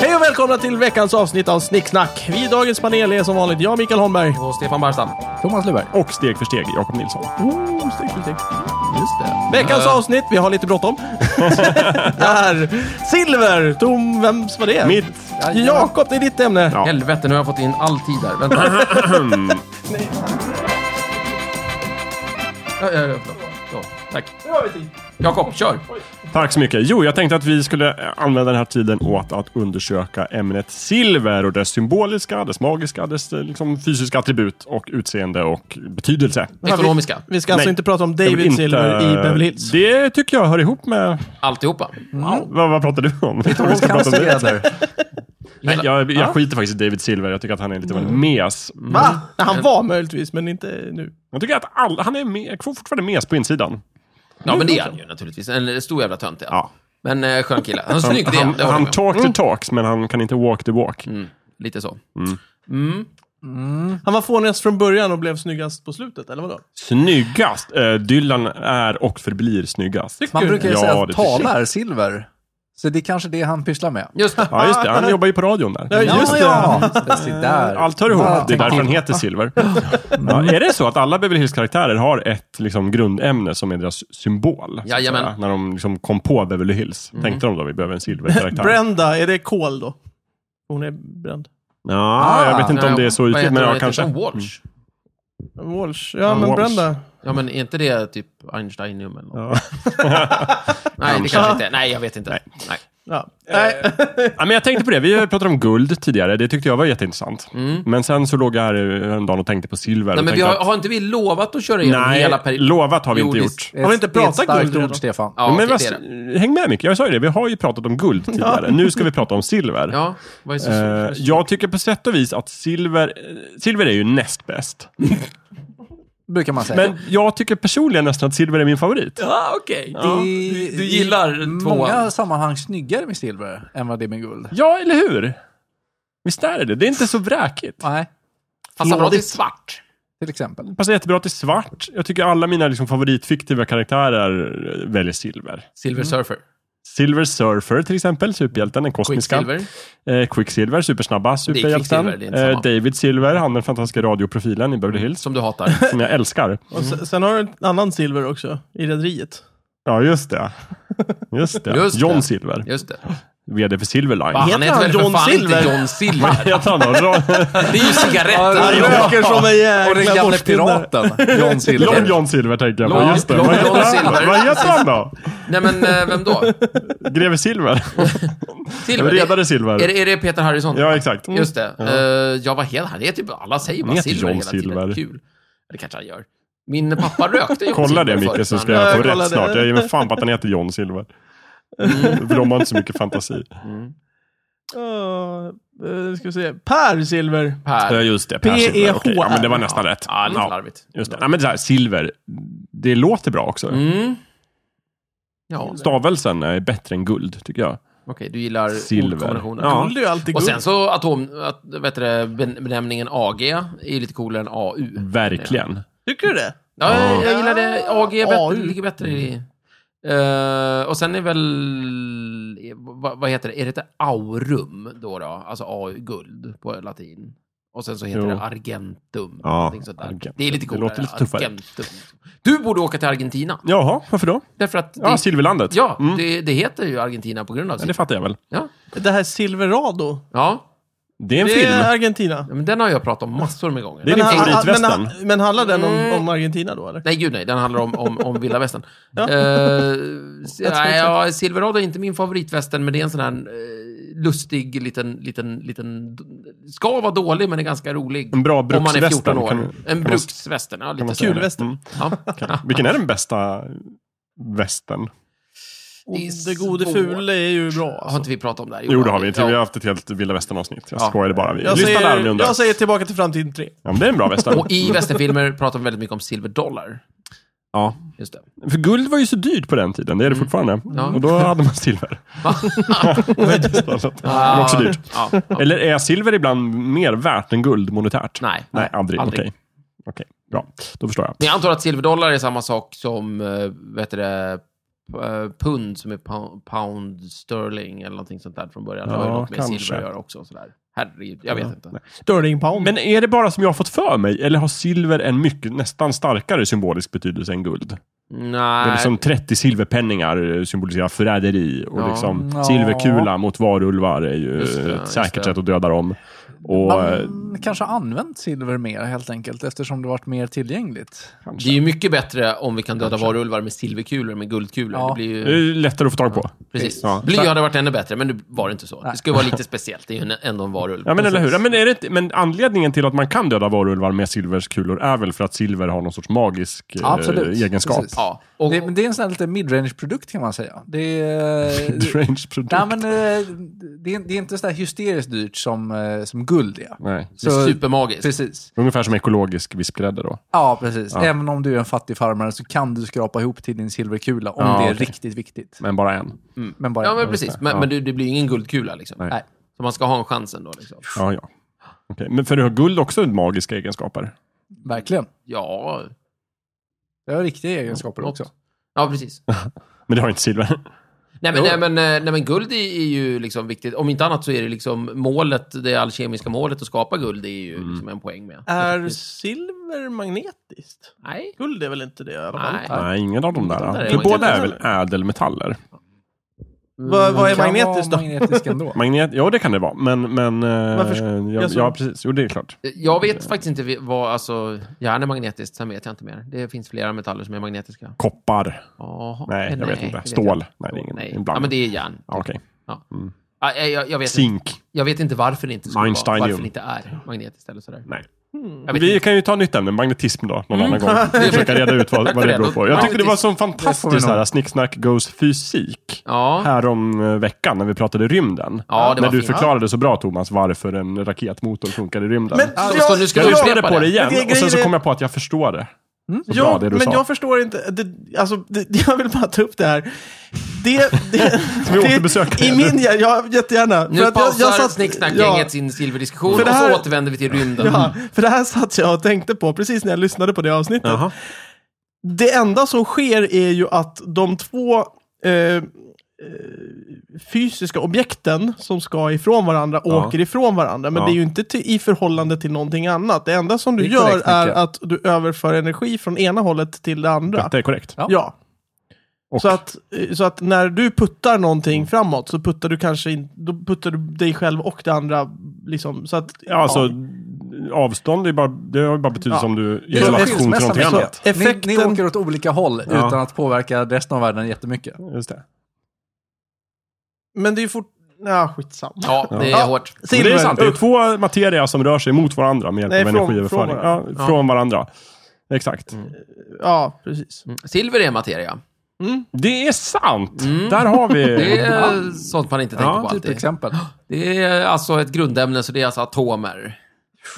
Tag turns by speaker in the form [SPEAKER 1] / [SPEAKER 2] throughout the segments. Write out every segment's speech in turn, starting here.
[SPEAKER 1] Hej och välkomna till veckans avsnitt av Snicksnack. Vi i dagens panel är som vanligt jag, Mikael Holmberg.
[SPEAKER 2] Och Stefan Barstam.
[SPEAKER 3] Thomas Luberg.
[SPEAKER 4] Och steg för steg, Jakob Nilsson.
[SPEAKER 3] Oh, steg för steg. Just det.
[SPEAKER 1] Veckans avsnitt, vi har lite bråttom, är silver. Tom, vems var det?
[SPEAKER 4] Mitt...
[SPEAKER 1] Jakob, det är ditt ämne.
[SPEAKER 4] Ja.
[SPEAKER 2] Helvete, nu har jag fått in all tid där. Vänta. Ja, ja, ja, förlåt. Ja, Tack. Jakob, kör.
[SPEAKER 4] Tack så mycket. Jo, jag tänkte att vi skulle eh, använda den här tiden åt att undersöka ämnet silver och dess symboliska, dess magiska, dess eh, liksom, fysiska attribut och utseende och betydelse.
[SPEAKER 2] Ekonomiska.
[SPEAKER 1] Vi ska alltså
[SPEAKER 4] Nej.
[SPEAKER 1] inte prata om
[SPEAKER 4] Jag
[SPEAKER 1] David
[SPEAKER 4] vill inte-
[SPEAKER 1] Silver i Beverly Hills. Mm.
[SPEAKER 4] Det tycker jag hör ihop med...
[SPEAKER 2] Alltihopa.
[SPEAKER 4] Vad, vad pratar du om? Jag tror vi ska prata om det.
[SPEAKER 3] Cancereder.
[SPEAKER 4] Nej, jag, jag skiter faktiskt i David Silver. Jag tycker att han är lite av en mes.
[SPEAKER 1] Mm. Va? Nej, Han var möjligtvis, men inte nu.
[SPEAKER 4] Jag tycker att all, han är me, fortfarande mes på insidan.
[SPEAKER 2] Ja, men det är han ju naturligtvis. En stor jävla tönt, ja.
[SPEAKER 4] Ja.
[SPEAKER 2] Men eh, skön kille. Han är snygg, det är
[SPEAKER 4] han,
[SPEAKER 2] han. Det håller jag
[SPEAKER 4] han
[SPEAKER 2] med om.
[SPEAKER 4] talk
[SPEAKER 1] Mm.
[SPEAKER 4] the talks, men han kan inte walk the walk.
[SPEAKER 2] Mm, Lite så.
[SPEAKER 1] Han var fånigast från början och blev snyggast på slutet, eller vadå?
[SPEAKER 4] Snyggast. Eh, Dylan är och förblir snyggast.
[SPEAKER 1] Kul.
[SPEAKER 3] Man brukar ju
[SPEAKER 4] Ja,
[SPEAKER 3] säga att
[SPEAKER 4] det tycker jag.
[SPEAKER 3] talar silver. Så det är kanske det han pysslar med.
[SPEAKER 2] Just det.
[SPEAKER 4] Ja, just det. Han jobbar ju på radion där.
[SPEAKER 1] Ja, just det.
[SPEAKER 3] ja. Just det. Se där.
[SPEAKER 4] Allt hör ihop.
[SPEAKER 3] Ja,
[SPEAKER 4] det är därför han heter Silver. Ja, är det så att alla Beverly Hills-karaktärer har ett liksom, grundämne som är deras symbol? så att
[SPEAKER 2] Jajamän. Mm.
[SPEAKER 4] säga? När de liksom, kom på Beverly Hills, tänkte de då vi behöver en silverkaraktär?
[SPEAKER 1] Brenda, är det kol då? Hon är bränd.
[SPEAKER 4] Ja, jag vet inte om det är så
[SPEAKER 2] Ah, Eh, Vad
[SPEAKER 4] uttryckt,
[SPEAKER 2] heter
[SPEAKER 4] men
[SPEAKER 2] hon?
[SPEAKER 4] ja,
[SPEAKER 2] Heter
[SPEAKER 4] kanske. Mm.
[SPEAKER 2] hon Walsh?
[SPEAKER 1] Walsh. Ja, men
[SPEAKER 4] Walsh.
[SPEAKER 1] Brenda.
[SPEAKER 2] Ja, men är inte det typ Einsteinium eller något?
[SPEAKER 4] Ja.
[SPEAKER 2] Nej, det kanske inte är. Nej, jag vet inte. Nej.
[SPEAKER 1] Ja.
[SPEAKER 4] Eh.
[SPEAKER 1] Nej.
[SPEAKER 4] Ja, men jag tänkte på det. Vi pratade om guld tidigare. Det tyckte jag var jätteintressant. Men sen så låg jag här eh, häromdagen och tänkte på silver.
[SPEAKER 2] Mm. Nej,
[SPEAKER 4] och
[SPEAKER 2] men vi
[SPEAKER 4] tänkte
[SPEAKER 2] har,
[SPEAKER 4] att-
[SPEAKER 2] har inte vi lovat att köra igenom
[SPEAKER 4] Nej,
[SPEAKER 2] hela perioden?
[SPEAKER 4] lovat har vi
[SPEAKER 2] Jo,
[SPEAKER 4] inte
[SPEAKER 2] det-
[SPEAKER 4] gjort.
[SPEAKER 3] Ett-
[SPEAKER 1] Har vi inte pratat
[SPEAKER 3] Det är ett
[SPEAKER 1] guld
[SPEAKER 3] starkt
[SPEAKER 1] redan?
[SPEAKER 3] ord, Stefan.
[SPEAKER 2] Ja, typ
[SPEAKER 4] men
[SPEAKER 2] men
[SPEAKER 4] vad- häng med Micke, jag sa ju det. Vi har ju pratat om guld tidigare. Nu ska vi prata om silver.
[SPEAKER 2] Ja, vad är så
[SPEAKER 4] Eh, jag tycker på sätt och vis att silver, eh, silver är ju näst bäst.
[SPEAKER 3] Brukar man säga.
[SPEAKER 4] Men jag tycker personligen nästan att silver är min favorit.
[SPEAKER 2] Ja, okej. Du, du gillar
[SPEAKER 3] i
[SPEAKER 2] tvåan.
[SPEAKER 3] många sammanhang snyggare med silver än vad det är med guld.
[SPEAKER 4] Ja, eller hur? Visst är det det? Det är inte så vräkigt.
[SPEAKER 3] Nej,
[SPEAKER 2] Passar bra till
[SPEAKER 4] flådigt.
[SPEAKER 2] svart.
[SPEAKER 3] till exempel.
[SPEAKER 4] Passar jättebra till svart. Jag tycker alla mina liksom, favoritfiktiva karaktärer eh, väljer silver.
[SPEAKER 2] Silver Surfer.
[SPEAKER 4] Silver Surfer till exempel, superhjälten, den kosmiska.
[SPEAKER 2] Quicksilver.
[SPEAKER 4] Eh, Quicksilver, supersnabba superhjälten.
[SPEAKER 2] Quicksilver, det är inte samma. Mm.
[SPEAKER 4] eh, David Silver, han den fantastiska radioprofilen i Beverly Hills,
[SPEAKER 2] Som du hatar.
[SPEAKER 4] som jag älskar.
[SPEAKER 1] Och sen, sen har du en annan silver också, i Rederiet.
[SPEAKER 4] Ja, just det. Just det.
[SPEAKER 2] Just
[SPEAKER 4] John
[SPEAKER 2] det.
[SPEAKER 4] Silver,
[SPEAKER 2] Just det.
[SPEAKER 4] vd för Silverline.
[SPEAKER 2] Va, han
[SPEAKER 1] Heter
[SPEAKER 2] heter
[SPEAKER 1] han
[SPEAKER 2] väl för
[SPEAKER 1] John
[SPEAKER 2] fan inte
[SPEAKER 1] Silver?
[SPEAKER 2] John Silver?
[SPEAKER 4] Jag tar någon. Ra-
[SPEAKER 2] Det är ju
[SPEAKER 3] Ja,
[SPEAKER 2] cigaretter.
[SPEAKER 1] Han
[SPEAKER 3] ja.
[SPEAKER 1] röker som en
[SPEAKER 3] Och den
[SPEAKER 1] jäkla
[SPEAKER 3] gamle
[SPEAKER 1] borstpinne.
[SPEAKER 3] piraten, John
[SPEAKER 4] Long
[SPEAKER 3] Silver.
[SPEAKER 4] John Silver tänker jag på.
[SPEAKER 2] Long-
[SPEAKER 4] Just det.
[SPEAKER 2] Long
[SPEAKER 4] Vad heter
[SPEAKER 2] John
[SPEAKER 4] han då?
[SPEAKER 2] Silver.
[SPEAKER 4] Vad heter han då?
[SPEAKER 2] Nej, men eh, vem då?
[SPEAKER 4] Greve Silver?
[SPEAKER 2] Silver?
[SPEAKER 4] Redare
[SPEAKER 2] Är,
[SPEAKER 4] Silver?
[SPEAKER 2] det- är det Peter Harrison?
[SPEAKER 4] Ja, exakt.
[SPEAKER 2] Just det. Eh, ja, vad heter han? Det är typ, alla säger
[SPEAKER 4] Han
[SPEAKER 2] bara
[SPEAKER 4] heter
[SPEAKER 2] Silver
[SPEAKER 4] John
[SPEAKER 2] hela tiden.
[SPEAKER 4] Silver.
[SPEAKER 2] Kul. Det kanske han gör. Min pappa rökte John
[SPEAKER 4] Kolla
[SPEAKER 2] Silver
[SPEAKER 4] det
[SPEAKER 2] förut,
[SPEAKER 4] Micke, så
[SPEAKER 2] men-
[SPEAKER 4] ska jag
[SPEAKER 1] Ja,
[SPEAKER 4] få
[SPEAKER 1] kolla
[SPEAKER 4] rätt
[SPEAKER 1] det.
[SPEAKER 4] snart. Jag ger mig fan på att han heter John Silver. För de har inte så mycket fantasi.
[SPEAKER 1] Ja, eh, ska vi se. Per Silver.
[SPEAKER 2] Per.
[SPEAKER 4] Ja, just det. Per
[SPEAKER 1] PEHR.
[SPEAKER 4] Silver. Okej, Ja, men det var nästan rätt.
[SPEAKER 2] Ja, lite
[SPEAKER 4] E Ja,
[SPEAKER 2] larvigt.
[SPEAKER 4] just det. Ja, men det här, silver, det låter bra också.
[SPEAKER 2] Mm. Ja, okej.
[SPEAKER 4] Stavelsen är bättre än guld, tycker jag.
[SPEAKER 2] Du gillar
[SPEAKER 4] Silver.
[SPEAKER 2] ordkombinationer.
[SPEAKER 4] Ja.
[SPEAKER 1] Guld är ju alltid
[SPEAKER 2] Och sen
[SPEAKER 1] guld.
[SPEAKER 2] så atom, att, vet du, det, ben- benämningen AG är ju lite coolare än AU.
[SPEAKER 4] Verkligen.
[SPEAKER 1] Tycker du det?
[SPEAKER 2] Ja,
[SPEAKER 4] Ja. Mm.
[SPEAKER 2] jag gillar det. AG är
[SPEAKER 1] AU.
[SPEAKER 2] bättre, ligger bättre i... Eh, och sen är väl... Vad, vad heter det? Är det inte aurum då? då? Alltså AU, guld på latin. Och sen så heter
[SPEAKER 4] Jo.
[SPEAKER 2] det argentum.
[SPEAKER 4] Ja,
[SPEAKER 2] någonting sånt där.
[SPEAKER 4] argentum.
[SPEAKER 2] Det är lite
[SPEAKER 4] Det
[SPEAKER 2] coolare.
[SPEAKER 4] låter lite tuffare.
[SPEAKER 2] Argentum. Du borde åka till Argentina.
[SPEAKER 4] Jaha, varför då?
[SPEAKER 2] Därför att...
[SPEAKER 4] Ja,
[SPEAKER 2] det,
[SPEAKER 4] silverlandet.
[SPEAKER 2] ja
[SPEAKER 4] Mm.
[SPEAKER 2] det, det heter ju Argentina på grund av
[SPEAKER 4] Ja, det
[SPEAKER 2] sitt...
[SPEAKER 4] fattar jag väl.
[SPEAKER 2] Ja,
[SPEAKER 1] Det här Silverado.
[SPEAKER 2] ja.
[SPEAKER 4] Det är en
[SPEAKER 1] Det
[SPEAKER 4] film.
[SPEAKER 1] är Argentina.
[SPEAKER 2] Ja, men den har jag pratat om massor med gånger.
[SPEAKER 4] Det är din
[SPEAKER 1] Men han-
[SPEAKER 4] favoritvästern.
[SPEAKER 1] han- Men, han- men handlar den om, om Argentina då eller?
[SPEAKER 2] Nej, gud nej. Den handlar om, om, om vilda västern.
[SPEAKER 1] Ja.
[SPEAKER 2] Eh,
[SPEAKER 1] Jag tror
[SPEAKER 2] nej, ja, Silverado är inte min favoritvästern, men det är en sån här eh, lustig liten, liten, liten... Ska vara dålig, men är ganska rolig.
[SPEAKER 4] En bra
[SPEAKER 2] Om man är 14
[SPEAKER 4] bruksvästern,
[SPEAKER 2] år.
[SPEAKER 4] kan man- kan
[SPEAKER 2] en
[SPEAKER 4] man-
[SPEAKER 2] bruksvästern, ja. Lite så.
[SPEAKER 4] säga.
[SPEAKER 1] Kulvästern.
[SPEAKER 4] Mm.
[SPEAKER 2] Ja.
[SPEAKER 4] Vilken är den bästa västern?
[SPEAKER 2] Det är
[SPEAKER 1] Det gode
[SPEAKER 2] svårt.
[SPEAKER 1] fule är ju bra
[SPEAKER 2] Har
[SPEAKER 1] alltså.
[SPEAKER 2] inte vi pratat om det här?
[SPEAKER 4] Jo, det har vi. Vi har
[SPEAKER 2] Ja.
[SPEAKER 4] haft ett helt vilda västern-avsnitt. Jag
[SPEAKER 2] Ja.
[SPEAKER 4] skojade bara. Vi
[SPEAKER 1] jag,
[SPEAKER 4] lyssnar där om ni
[SPEAKER 1] säger,
[SPEAKER 4] undrar.
[SPEAKER 1] jag säger tillbaka till framtiden 3.
[SPEAKER 4] Ja, men det är en bra västern.
[SPEAKER 2] Och i västernfilmer pratar vi väldigt mycket om silverdollar.
[SPEAKER 4] ja.
[SPEAKER 2] Just det.
[SPEAKER 4] För guld var ju så dyrt på den tiden. Det är
[SPEAKER 1] Mm.
[SPEAKER 4] det fortfarande.
[SPEAKER 2] Ja.
[SPEAKER 4] Och då hade man silver.
[SPEAKER 2] Va?
[SPEAKER 4] Det var jättesnällt. Det var också dyrt.
[SPEAKER 2] Ja, ja.
[SPEAKER 4] Eller är silver ibland mer värt än guld monetärt?
[SPEAKER 2] Nej.
[SPEAKER 4] Nej, aldrig. Okej.
[SPEAKER 2] Aldrig.
[SPEAKER 4] Okej, bra. Då förstår jag.
[SPEAKER 2] Men jag antar att silverdollar är samma sak som, eh, vad heter det, eh, pund som är pou- pound sterling eller någonting sånt där från början. det har ju
[SPEAKER 4] Ja,
[SPEAKER 2] något med
[SPEAKER 4] kanske.
[SPEAKER 2] silver att göra också. och Sådär. Herregud, jag vet inte.
[SPEAKER 1] Sterling pound.
[SPEAKER 4] Men är det bara som jag har fått för mig, eller har silver en mycket, nästan starkare symbolisk betydelse än guld? Det är
[SPEAKER 2] Nej,
[SPEAKER 4] liksom 30 silverpenningar eh, symboliserar förräderi och
[SPEAKER 2] Ja.
[SPEAKER 4] liksom
[SPEAKER 3] Ja.
[SPEAKER 4] silverkula mot varulvar är ju
[SPEAKER 2] Just det,
[SPEAKER 4] ett
[SPEAKER 2] just
[SPEAKER 4] säkert
[SPEAKER 2] det.
[SPEAKER 4] sätt att döda dem. Och, eh,
[SPEAKER 3] Man kanske har använt silver mer helt enkelt eftersom det varit mer tillgängligt.
[SPEAKER 2] det är ju mycket bättre om vi kan döda varulvar med silverkulor än med guldkulor.
[SPEAKER 3] Ja.
[SPEAKER 2] Det blir
[SPEAKER 4] det är
[SPEAKER 2] ju...
[SPEAKER 4] ju lättare att få tag på.
[SPEAKER 2] Precis.
[SPEAKER 4] Ja.
[SPEAKER 2] Bly hade varit ännu bättre, men nu var det inte så. Det skulle vara lite speciellt. Det är ju en- ändå en varulv.
[SPEAKER 4] Ja men eller hur. Ja, men, är det, inte- men anledningen till att man kan döda varulvar med silverskulor är väl för att silver har någon sorts magisk eh,
[SPEAKER 3] Absolut.
[SPEAKER 4] egenskap.
[SPEAKER 3] Precis.
[SPEAKER 2] Ja, och,
[SPEAKER 3] Det, men det är en sån här lite midrange-produkt kan man säga. Det är...
[SPEAKER 4] Strange-produkt.
[SPEAKER 3] Nej, men eh, det är, det är inte så där hysteriskt dyrt som, eh, som guld är.
[SPEAKER 4] Nej.
[SPEAKER 2] det är supermagiskt.
[SPEAKER 3] Precis.
[SPEAKER 4] Ungefär som ekologisk vispgrädde då.
[SPEAKER 3] Ja, precis. Även om du är en fattig farmare så kan du skrapa ihop till din silverkula om
[SPEAKER 4] Ja,
[SPEAKER 3] det är
[SPEAKER 4] okej.
[SPEAKER 3] riktigt viktigt.
[SPEAKER 4] Men bara en.
[SPEAKER 3] Men bara...
[SPEAKER 2] Ja, men precis. Men, men det, det blir ju ingen guldkula liksom.
[SPEAKER 4] Nej.
[SPEAKER 3] Nej.
[SPEAKER 2] Så man ska ha en chans ändå. Liksom.
[SPEAKER 4] Ja, ja. Okej, Men för du har guld också magiska egenskaper?
[SPEAKER 3] Verkligen.
[SPEAKER 2] Ja,
[SPEAKER 3] Det har riktiga egenskaper
[SPEAKER 2] Något.
[SPEAKER 3] också.
[SPEAKER 2] ja precis.
[SPEAKER 4] Men det har inte silver.
[SPEAKER 2] Nej men, nej, men, eh, nej, men guld är, är ju liksom viktigt. Om inte annat så är det liksom målet, det alkemiska målet att skapa guld, det är
[SPEAKER 4] Mm.
[SPEAKER 2] ju liksom en poäng med.
[SPEAKER 1] Är silver magnetiskt?
[SPEAKER 2] Nej.
[SPEAKER 1] Guld är väl inte det i alla fall?
[SPEAKER 2] Nej.
[SPEAKER 4] Nej, ingen av de
[SPEAKER 2] Där är
[SPEAKER 4] där.
[SPEAKER 2] det
[SPEAKER 4] För
[SPEAKER 2] inte.
[SPEAKER 4] båda är väl ädelmetaller?
[SPEAKER 1] Vad, vad är
[SPEAKER 3] Kan
[SPEAKER 1] magnetiskt då?
[SPEAKER 3] vara magnetisk ändå.
[SPEAKER 4] Magnet, ja det kan det vara. Men, men... eh,
[SPEAKER 1] Varför sk-
[SPEAKER 4] ja,
[SPEAKER 1] jag sa-
[SPEAKER 4] ja, precis. Jo, det är klart.
[SPEAKER 2] Jag vet faktiskt inte vi- vad, alltså, järn är magnetiskt, sen vet jag inte mer. Det finns flera metaller som är magnetiska.
[SPEAKER 4] Koppar?
[SPEAKER 2] Jaha.
[SPEAKER 4] Nej, jag
[SPEAKER 2] Eh,
[SPEAKER 4] vet inte.
[SPEAKER 2] det
[SPEAKER 4] Stål?
[SPEAKER 2] jag
[SPEAKER 4] Nej, det är ingen-
[SPEAKER 2] Nej.
[SPEAKER 4] en blandning.
[SPEAKER 2] Ja, men det är järn.
[SPEAKER 4] Ja, Okej. Mm.
[SPEAKER 2] Ja. Ah, eh, jag, jag, vet inte,
[SPEAKER 4] Zink?
[SPEAKER 2] jag vet inte varför det inte skulle vara,
[SPEAKER 4] Einsteinium.
[SPEAKER 2] varför det inte är magnetiskt eller sådär.
[SPEAKER 4] Nej.
[SPEAKER 2] Jag vet
[SPEAKER 4] Vi
[SPEAKER 2] inte.
[SPEAKER 4] kan ju ta nytt ämne, magnetism då,
[SPEAKER 2] Mm.
[SPEAKER 4] någon annan gång. Vi försöker reda ut vad, vad det beror på. Jag tyckte det var så
[SPEAKER 3] vi
[SPEAKER 4] fantastiskt
[SPEAKER 3] nog.
[SPEAKER 4] här, snicksnack goes fysik.
[SPEAKER 2] Ja.
[SPEAKER 4] Här om eh, veckan när vi pratade rymden.
[SPEAKER 2] Ja, det
[SPEAKER 4] när
[SPEAKER 2] var
[SPEAKER 4] du
[SPEAKER 2] fint.
[SPEAKER 4] förklarade så bra Thomas varför en raketmotor funkar i rymden.
[SPEAKER 1] Men
[SPEAKER 2] Så,
[SPEAKER 1] jag-
[SPEAKER 2] så nu ska
[SPEAKER 4] jag
[SPEAKER 2] du
[SPEAKER 4] lyssnade
[SPEAKER 2] upprepa
[SPEAKER 4] på det igen
[SPEAKER 1] Men det är
[SPEAKER 4] och sen så
[SPEAKER 1] grejen-
[SPEAKER 4] kom jag på att jag förstår det. Så bra
[SPEAKER 1] Ja,
[SPEAKER 4] det du
[SPEAKER 1] men
[SPEAKER 4] sa.
[SPEAKER 1] jag förstår inte. Det, alltså, det, jag vill bara ta upp det här. Det, det,
[SPEAKER 4] vi återbesöka
[SPEAKER 1] det, I
[SPEAKER 4] det?
[SPEAKER 1] min hjärna, ja, jättegärna.
[SPEAKER 2] Nu
[SPEAKER 1] För att jag- jag
[SPEAKER 2] pausar
[SPEAKER 1] satt-
[SPEAKER 2] snicksnackgänget
[SPEAKER 1] ja.
[SPEAKER 2] sin silverdiskussion
[SPEAKER 1] För det
[SPEAKER 2] och
[SPEAKER 1] här-
[SPEAKER 2] så återvänder vi till rymden.
[SPEAKER 1] Ja, för det här satt jag och tänkte på precis när jag lyssnade på det avsnittet.
[SPEAKER 4] Jaha.
[SPEAKER 1] Det enda som sker är ju att de två eh, eh, fysiska objekten som ska ifrån varandra
[SPEAKER 4] Ja.
[SPEAKER 1] åker ifrån varandra. Men
[SPEAKER 4] Ja.
[SPEAKER 1] det är ju inte till, i förhållande till någonting annat. Det enda som du
[SPEAKER 3] Det är
[SPEAKER 1] gör
[SPEAKER 3] korrekt,
[SPEAKER 1] är
[SPEAKER 3] Micke.
[SPEAKER 1] att du överför energi från ena hållet till det andra.
[SPEAKER 4] Detta är korrekt.
[SPEAKER 3] Ja.
[SPEAKER 1] Ja.
[SPEAKER 4] Och-
[SPEAKER 1] Så att, eh, så att när du puttar någonting framåt så puttar du kanske in, då puttar du dig själv och det andra. Liksom, så att,
[SPEAKER 4] Ja, alltså, avstånd är ju bara, det har ju bara
[SPEAKER 1] Ja.
[SPEAKER 4] betydelse om du är i
[SPEAKER 1] är som
[SPEAKER 4] relation till
[SPEAKER 3] skilsmässa,
[SPEAKER 4] någonting
[SPEAKER 1] men så-
[SPEAKER 4] annat.
[SPEAKER 3] Ni,
[SPEAKER 1] Effekten-
[SPEAKER 3] ni åker åt olika håll
[SPEAKER 4] Ja.
[SPEAKER 3] utan att påverka resten av världen jättemycket.
[SPEAKER 4] Just det.
[SPEAKER 1] Men det är ju fort... Ja, skitsamma.
[SPEAKER 2] Ja, det är
[SPEAKER 1] Ja.
[SPEAKER 2] hårt.
[SPEAKER 4] Men
[SPEAKER 1] Silver.
[SPEAKER 4] det är sant, det är
[SPEAKER 1] upp.
[SPEAKER 4] två materia som rör sig mot varandra med hjälp
[SPEAKER 1] Nej,
[SPEAKER 4] av
[SPEAKER 1] från-
[SPEAKER 4] energiöverföring.
[SPEAKER 1] från
[SPEAKER 4] ja,
[SPEAKER 1] varandra. Mm.
[SPEAKER 4] från varandra. Exakt.
[SPEAKER 1] Ja, precis.
[SPEAKER 2] Mm. Silver är materia.
[SPEAKER 4] Det är sant!
[SPEAKER 1] Mm.
[SPEAKER 4] Där har vi...
[SPEAKER 2] Det är sånt man inte tänker
[SPEAKER 4] Ja,
[SPEAKER 2] på
[SPEAKER 3] Typ
[SPEAKER 2] alltid.
[SPEAKER 3] exempel.
[SPEAKER 2] Det är alltså ett grundämne, så det är alltså atomer.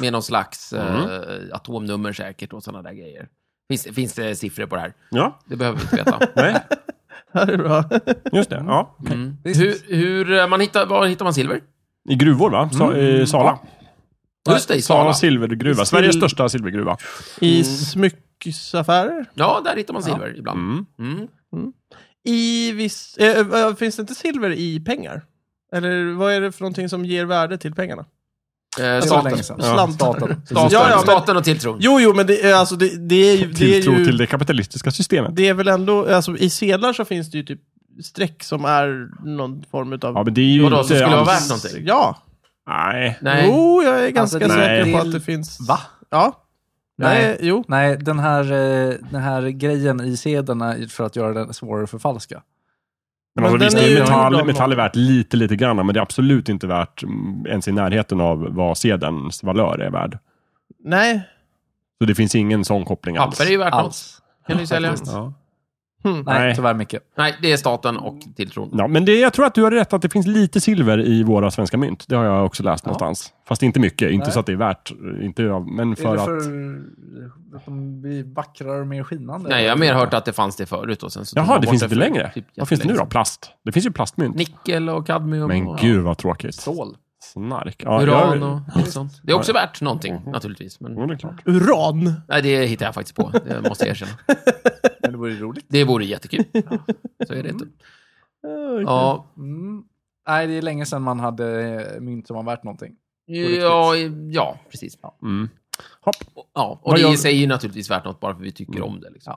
[SPEAKER 2] Med någon slags
[SPEAKER 1] Mm.
[SPEAKER 2] eh, atomnummer säkert och sådana där grejer. Finns, finns det siffror på det här?
[SPEAKER 4] Ja,
[SPEAKER 2] Det behöver vi inte veta.
[SPEAKER 4] nej,
[SPEAKER 1] Det här är bra.
[SPEAKER 4] just det. Ja.
[SPEAKER 2] Mm. Hur, hur eh, man hittar, var hittar man silver?
[SPEAKER 4] I gruvor, va? Sa,
[SPEAKER 1] Mm.
[SPEAKER 4] I Sala.
[SPEAKER 2] Just det, i
[SPEAKER 4] Sala
[SPEAKER 2] Sala.
[SPEAKER 4] silvergruva.
[SPEAKER 1] Sil-
[SPEAKER 4] Sveriges största silvergruva.
[SPEAKER 1] I smyckesaffärer.
[SPEAKER 2] Ja, där hittar man silver ibland.
[SPEAKER 4] Mm.
[SPEAKER 2] Mm.
[SPEAKER 1] I viss... eh, eh, finns det inte silver i pengar? Eller vad är det för någonting som ger värde till pengarna?
[SPEAKER 2] Eh,
[SPEAKER 3] Det var
[SPEAKER 2] staten.
[SPEAKER 3] länge
[SPEAKER 2] Staten,
[SPEAKER 3] sedan.
[SPEAKER 1] Ja. Slantar.
[SPEAKER 3] Staten.
[SPEAKER 2] staten,
[SPEAKER 1] Ja, ja, men-
[SPEAKER 2] och tilltron.
[SPEAKER 1] Jo, jo, men det är, alltså, det, det är ju... Det är
[SPEAKER 4] Tilltro
[SPEAKER 1] ju,
[SPEAKER 4] till det kapitalistiska systemet.
[SPEAKER 1] det är väl ändå... Alltså, I sedlar så finns det ju typ streck som är någon form av...
[SPEAKER 4] Ja, men det är ju
[SPEAKER 2] Vadå,
[SPEAKER 4] inte
[SPEAKER 2] så skulle det vara värt
[SPEAKER 4] alls-
[SPEAKER 2] någonting?
[SPEAKER 1] Ja.
[SPEAKER 4] Nej.
[SPEAKER 2] Nej.
[SPEAKER 1] Jo, jag är ganska
[SPEAKER 3] Alltså,
[SPEAKER 4] det-
[SPEAKER 1] säker
[SPEAKER 4] Nej.
[SPEAKER 1] på att det finns...
[SPEAKER 3] Va?
[SPEAKER 1] Ja.
[SPEAKER 3] Nej.
[SPEAKER 1] Nej, jo.
[SPEAKER 3] Nej, den här, eh, den här grejen i sedlarna för att göra den svårare att förfalska.
[SPEAKER 4] Men
[SPEAKER 1] Men
[SPEAKER 4] alltså,
[SPEAKER 1] den
[SPEAKER 4] visst,
[SPEAKER 1] är
[SPEAKER 4] är
[SPEAKER 1] ju gjord
[SPEAKER 4] metall,
[SPEAKER 1] av
[SPEAKER 4] metall är
[SPEAKER 1] något.
[SPEAKER 4] värt lite, lite grann, men det är absolut inte värt mm, ens i närheten av vad sedelns valör är värd.
[SPEAKER 1] Nej.
[SPEAKER 4] Så det finns ingen sån koppling alls.
[SPEAKER 2] Papper är ju värt något.
[SPEAKER 3] Alls.
[SPEAKER 2] Kan du sälja?
[SPEAKER 4] Ja.
[SPEAKER 3] Nej,
[SPEAKER 4] Nej.
[SPEAKER 3] tyvärr mycket.
[SPEAKER 2] Nej, det är staten och
[SPEAKER 4] Mm.
[SPEAKER 2] tilltron.
[SPEAKER 4] Ja, men det, jag tror att du har rätt att det finns lite silver i våra svenska mynt. Det har jag också läst någonstans. Fast inte mycket. Inte
[SPEAKER 3] Nej.
[SPEAKER 4] så att det är värt. Inte, av- men
[SPEAKER 3] är
[SPEAKER 4] för,
[SPEAKER 3] det för
[SPEAKER 4] att...
[SPEAKER 3] att de blir vackrare och mer skinande?
[SPEAKER 2] Nej, jag har mer hört att det fanns det förut. Och sen så tog
[SPEAKER 4] Jaha,
[SPEAKER 2] man
[SPEAKER 4] det
[SPEAKER 2] bort
[SPEAKER 4] finns inte
[SPEAKER 2] för
[SPEAKER 4] längre.
[SPEAKER 2] typ
[SPEAKER 4] vad finns det nu då?
[SPEAKER 2] jättelänge
[SPEAKER 4] Plast. Det finns ju plastmynt.
[SPEAKER 2] sedan. Nickel och kadmium.
[SPEAKER 4] Men
[SPEAKER 2] och,
[SPEAKER 4] gud vad tråkigt.
[SPEAKER 3] Stål.
[SPEAKER 4] Snark. Ja,
[SPEAKER 2] Uran
[SPEAKER 4] jag- Mm.
[SPEAKER 2] och allt sånt. Det är också värt någonting, naturligtvis. Men,
[SPEAKER 4] Ja, det är klart.
[SPEAKER 1] Uran.
[SPEAKER 2] nej, det hittar jag faktiskt på. Det måste jag erkänna.
[SPEAKER 3] Men det vore ju roligt.
[SPEAKER 2] Det vore jättekul. Så är det inte.
[SPEAKER 1] Eh,
[SPEAKER 2] Ja,
[SPEAKER 3] Mm. Nej, det är länge sedan man hade eh, mynt som var värt någonting. riktigt.
[SPEAKER 2] ja, ja precis. Ja.
[SPEAKER 4] Mm. Hopp.
[SPEAKER 2] Ja, och
[SPEAKER 4] Vad
[SPEAKER 2] det
[SPEAKER 4] gör- Mm.
[SPEAKER 2] i sig är ju naturligtvis värt något bara för vi tycker om det. Liksom.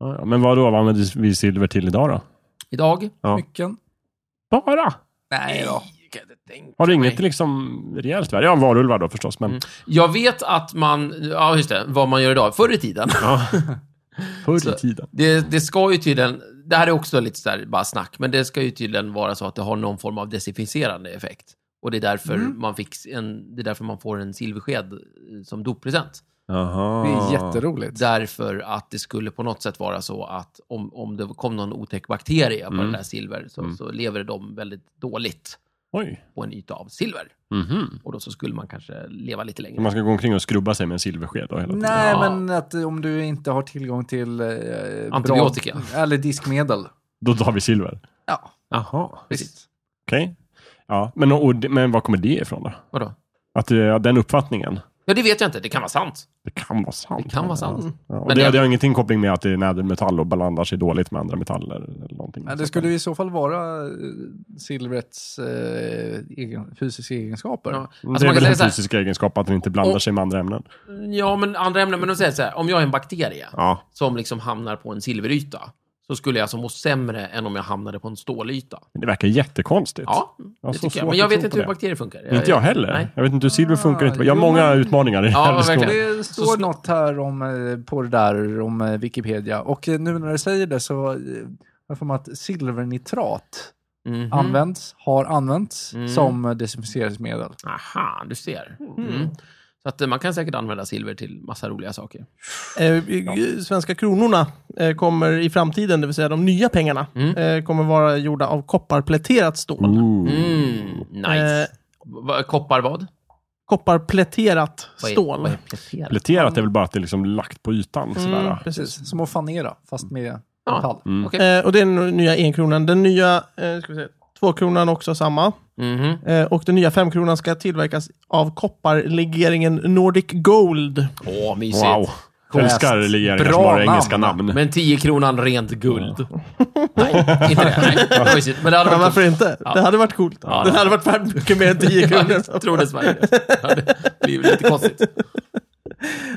[SPEAKER 4] Ja, ja, men vad då? Vad använder vi silver till idag då?
[SPEAKER 2] Idag?
[SPEAKER 4] Ja.
[SPEAKER 3] Mycken?
[SPEAKER 4] Bara?
[SPEAKER 3] Nej då.
[SPEAKER 2] Jag kan inte tänka
[SPEAKER 4] Har du
[SPEAKER 2] mig.
[SPEAKER 4] inget liksom rejält värde? Ja, varulvar då förstås, men...
[SPEAKER 2] Mm. Jag vet att man, ja just det, vad man gör idag, förr i tiden.
[SPEAKER 4] Ja. Förr
[SPEAKER 2] Så-
[SPEAKER 4] i tiden.
[SPEAKER 2] Det, det ska ju tydligen, det här är också lite så här, bara snack, men det ska ju tydligen vara så att det har någon form av desinficerande effekt. Och det är därför,
[SPEAKER 4] Mm.
[SPEAKER 2] man, fick en, det är därför man får en silversked eh, som doppresent.
[SPEAKER 4] Jaha.
[SPEAKER 3] Det är jätteroligt.
[SPEAKER 2] Därför att det skulle på något sätt vara så att om, om det kom någon otäck bakterie på
[SPEAKER 4] Mm.
[SPEAKER 2] det där silver så,
[SPEAKER 4] Mm.
[SPEAKER 2] så lever de väldigt dåligt
[SPEAKER 4] Oj.
[SPEAKER 2] på en yta av silver.
[SPEAKER 4] Mhm.
[SPEAKER 2] Och då så skulle man kanske leva lite
[SPEAKER 4] Så
[SPEAKER 2] längre.
[SPEAKER 4] man ska gå omkring och skrubba sig med en silversked då hela tiden?
[SPEAKER 3] Nej,
[SPEAKER 2] Ja.
[SPEAKER 3] men att eh, om du inte har tillgång till... Eh, bra-
[SPEAKER 2] Antibiotika.
[SPEAKER 3] eller diskmedel.
[SPEAKER 4] Då tar vi silver?
[SPEAKER 3] Ja,
[SPEAKER 4] Jaha.
[SPEAKER 3] visst.
[SPEAKER 4] Okej. Ja, men, och, det- men var kommer det ifrån då?
[SPEAKER 2] Vadå?
[SPEAKER 4] Att det- den uppfattningen?
[SPEAKER 2] Ja, det vet jag inte. Det kan vara sant.
[SPEAKER 4] Det kan vara sant.
[SPEAKER 2] Det kan vara sant.
[SPEAKER 4] Ja, och
[SPEAKER 2] Men
[SPEAKER 4] det,
[SPEAKER 2] det-
[SPEAKER 4] det har ingenting koppling med att det är nädermetall och blandar sig dåligt med andra metaller eller någonting.
[SPEAKER 3] Men det skulle ju i så fall vara eh, silvrets eh, egen, fysiska egenskaper.
[SPEAKER 2] Ja. Alltså,
[SPEAKER 4] det är
[SPEAKER 2] man kan
[SPEAKER 4] väl
[SPEAKER 2] säga
[SPEAKER 4] en
[SPEAKER 2] så här,
[SPEAKER 4] fysisk egenskap att den inte blandar
[SPEAKER 2] Och-
[SPEAKER 4] sig med andra ämnen.
[SPEAKER 2] ja, men andra ämnen, men de säger så här, om jag är en bakterie
[SPEAKER 4] Ja.
[SPEAKER 2] som liksom hamnar på en silveryta, så skulle jag alltså må sämre än om jag hamnade på en stålyta.
[SPEAKER 4] Men det verkar jättekonstigt.
[SPEAKER 2] Ja,
[SPEAKER 4] har
[SPEAKER 2] det
[SPEAKER 4] så
[SPEAKER 2] tycker jag.
[SPEAKER 4] svårt
[SPEAKER 2] Men jag
[SPEAKER 4] att
[SPEAKER 2] vet
[SPEAKER 4] tro
[SPEAKER 2] inte
[SPEAKER 4] på
[SPEAKER 2] hur
[SPEAKER 4] det.
[SPEAKER 2] bakterier funkar.
[SPEAKER 4] Inte jag heller.
[SPEAKER 2] Nej. Ah,
[SPEAKER 4] Jag vet inte hur silver funkar. Inte. Jag har
[SPEAKER 3] jo,
[SPEAKER 4] många
[SPEAKER 3] men-
[SPEAKER 4] utmaningar i den
[SPEAKER 2] Ja,
[SPEAKER 4] här diskussionen.
[SPEAKER 2] verkligen.
[SPEAKER 3] Det står
[SPEAKER 2] Så-
[SPEAKER 3] något här om, eh, på det där om eh, Wikipedia. Och eh, nu när du säger det så eh, jag får mig att silvernitrat
[SPEAKER 2] Mhm.
[SPEAKER 3] används, har använts
[SPEAKER 2] Mm.
[SPEAKER 3] som eh, desinficeringsmedel.
[SPEAKER 2] Aha, du ser. Mm. Så att eh, man kan säkert använda silver till massa roliga saker.
[SPEAKER 1] Eh, i- Svenska kronorna eh, kommer i framtiden, det vill säga de nya pengarna,
[SPEAKER 2] Mm.
[SPEAKER 1] eh, kommer vara gjorda av kopparpläterat stål.
[SPEAKER 4] Ooh.
[SPEAKER 2] Mm, nice.
[SPEAKER 1] Eh.
[SPEAKER 2] Va- Koppar vad?
[SPEAKER 1] Kopparpläterat
[SPEAKER 2] Vad är-
[SPEAKER 1] stål.
[SPEAKER 2] Vad är pläterat?
[SPEAKER 4] Pläterat är väl bara att det är liksom lagt på ytan. Sådär.
[SPEAKER 1] Mm, precis.
[SPEAKER 3] Precis. Som att fanera, fast med
[SPEAKER 2] Ja.
[SPEAKER 3] metall.
[SPEAKER 4] Mm.
[SPEAKER 2] Okej.
[SPEAKER 1] Eh, och det är den nya enkronan. Den nya eh, ska vi se, tvåkronan också samma.
[SPEAKER 2] Mhm.
[SPEAKER 1] Eh, och den nya femkronan ska tillverkas av kopparlegeringen Nordic Gold.
[SPEAKER 2] Åh, mysigt.
[SPEAKER 4] Wow. Älskar regeringar
[SPEAKER 3] Bra
[SPEAKER 4] som har
[SPEAKER 3] namn.
[SPEAKER 4] engelska namn.
[SPEAKER 2] Men 10 kronan rent guld. Nej, inte det. Nej. det var mysigt. Men det hade
[SPEAKER 1] Men
[SPEAKER 2] varit
[SPEAKER 1] varför inte?
[SPEAKER 2] Ja.
[SPEAKER 1] Det hade varit coolt.
[SPEAKER 2] Ja,
[SPEAKER 1] den
[SPEAKER 2] det-
[SPEAKER 1] hade varit värd mycket mer än 10
[SPEAKER 2] Ja,
[SPEAKER 1] kronor.
[SPEAKER 2] jag tror dessvärre det. Det hade blivit lite konstigt.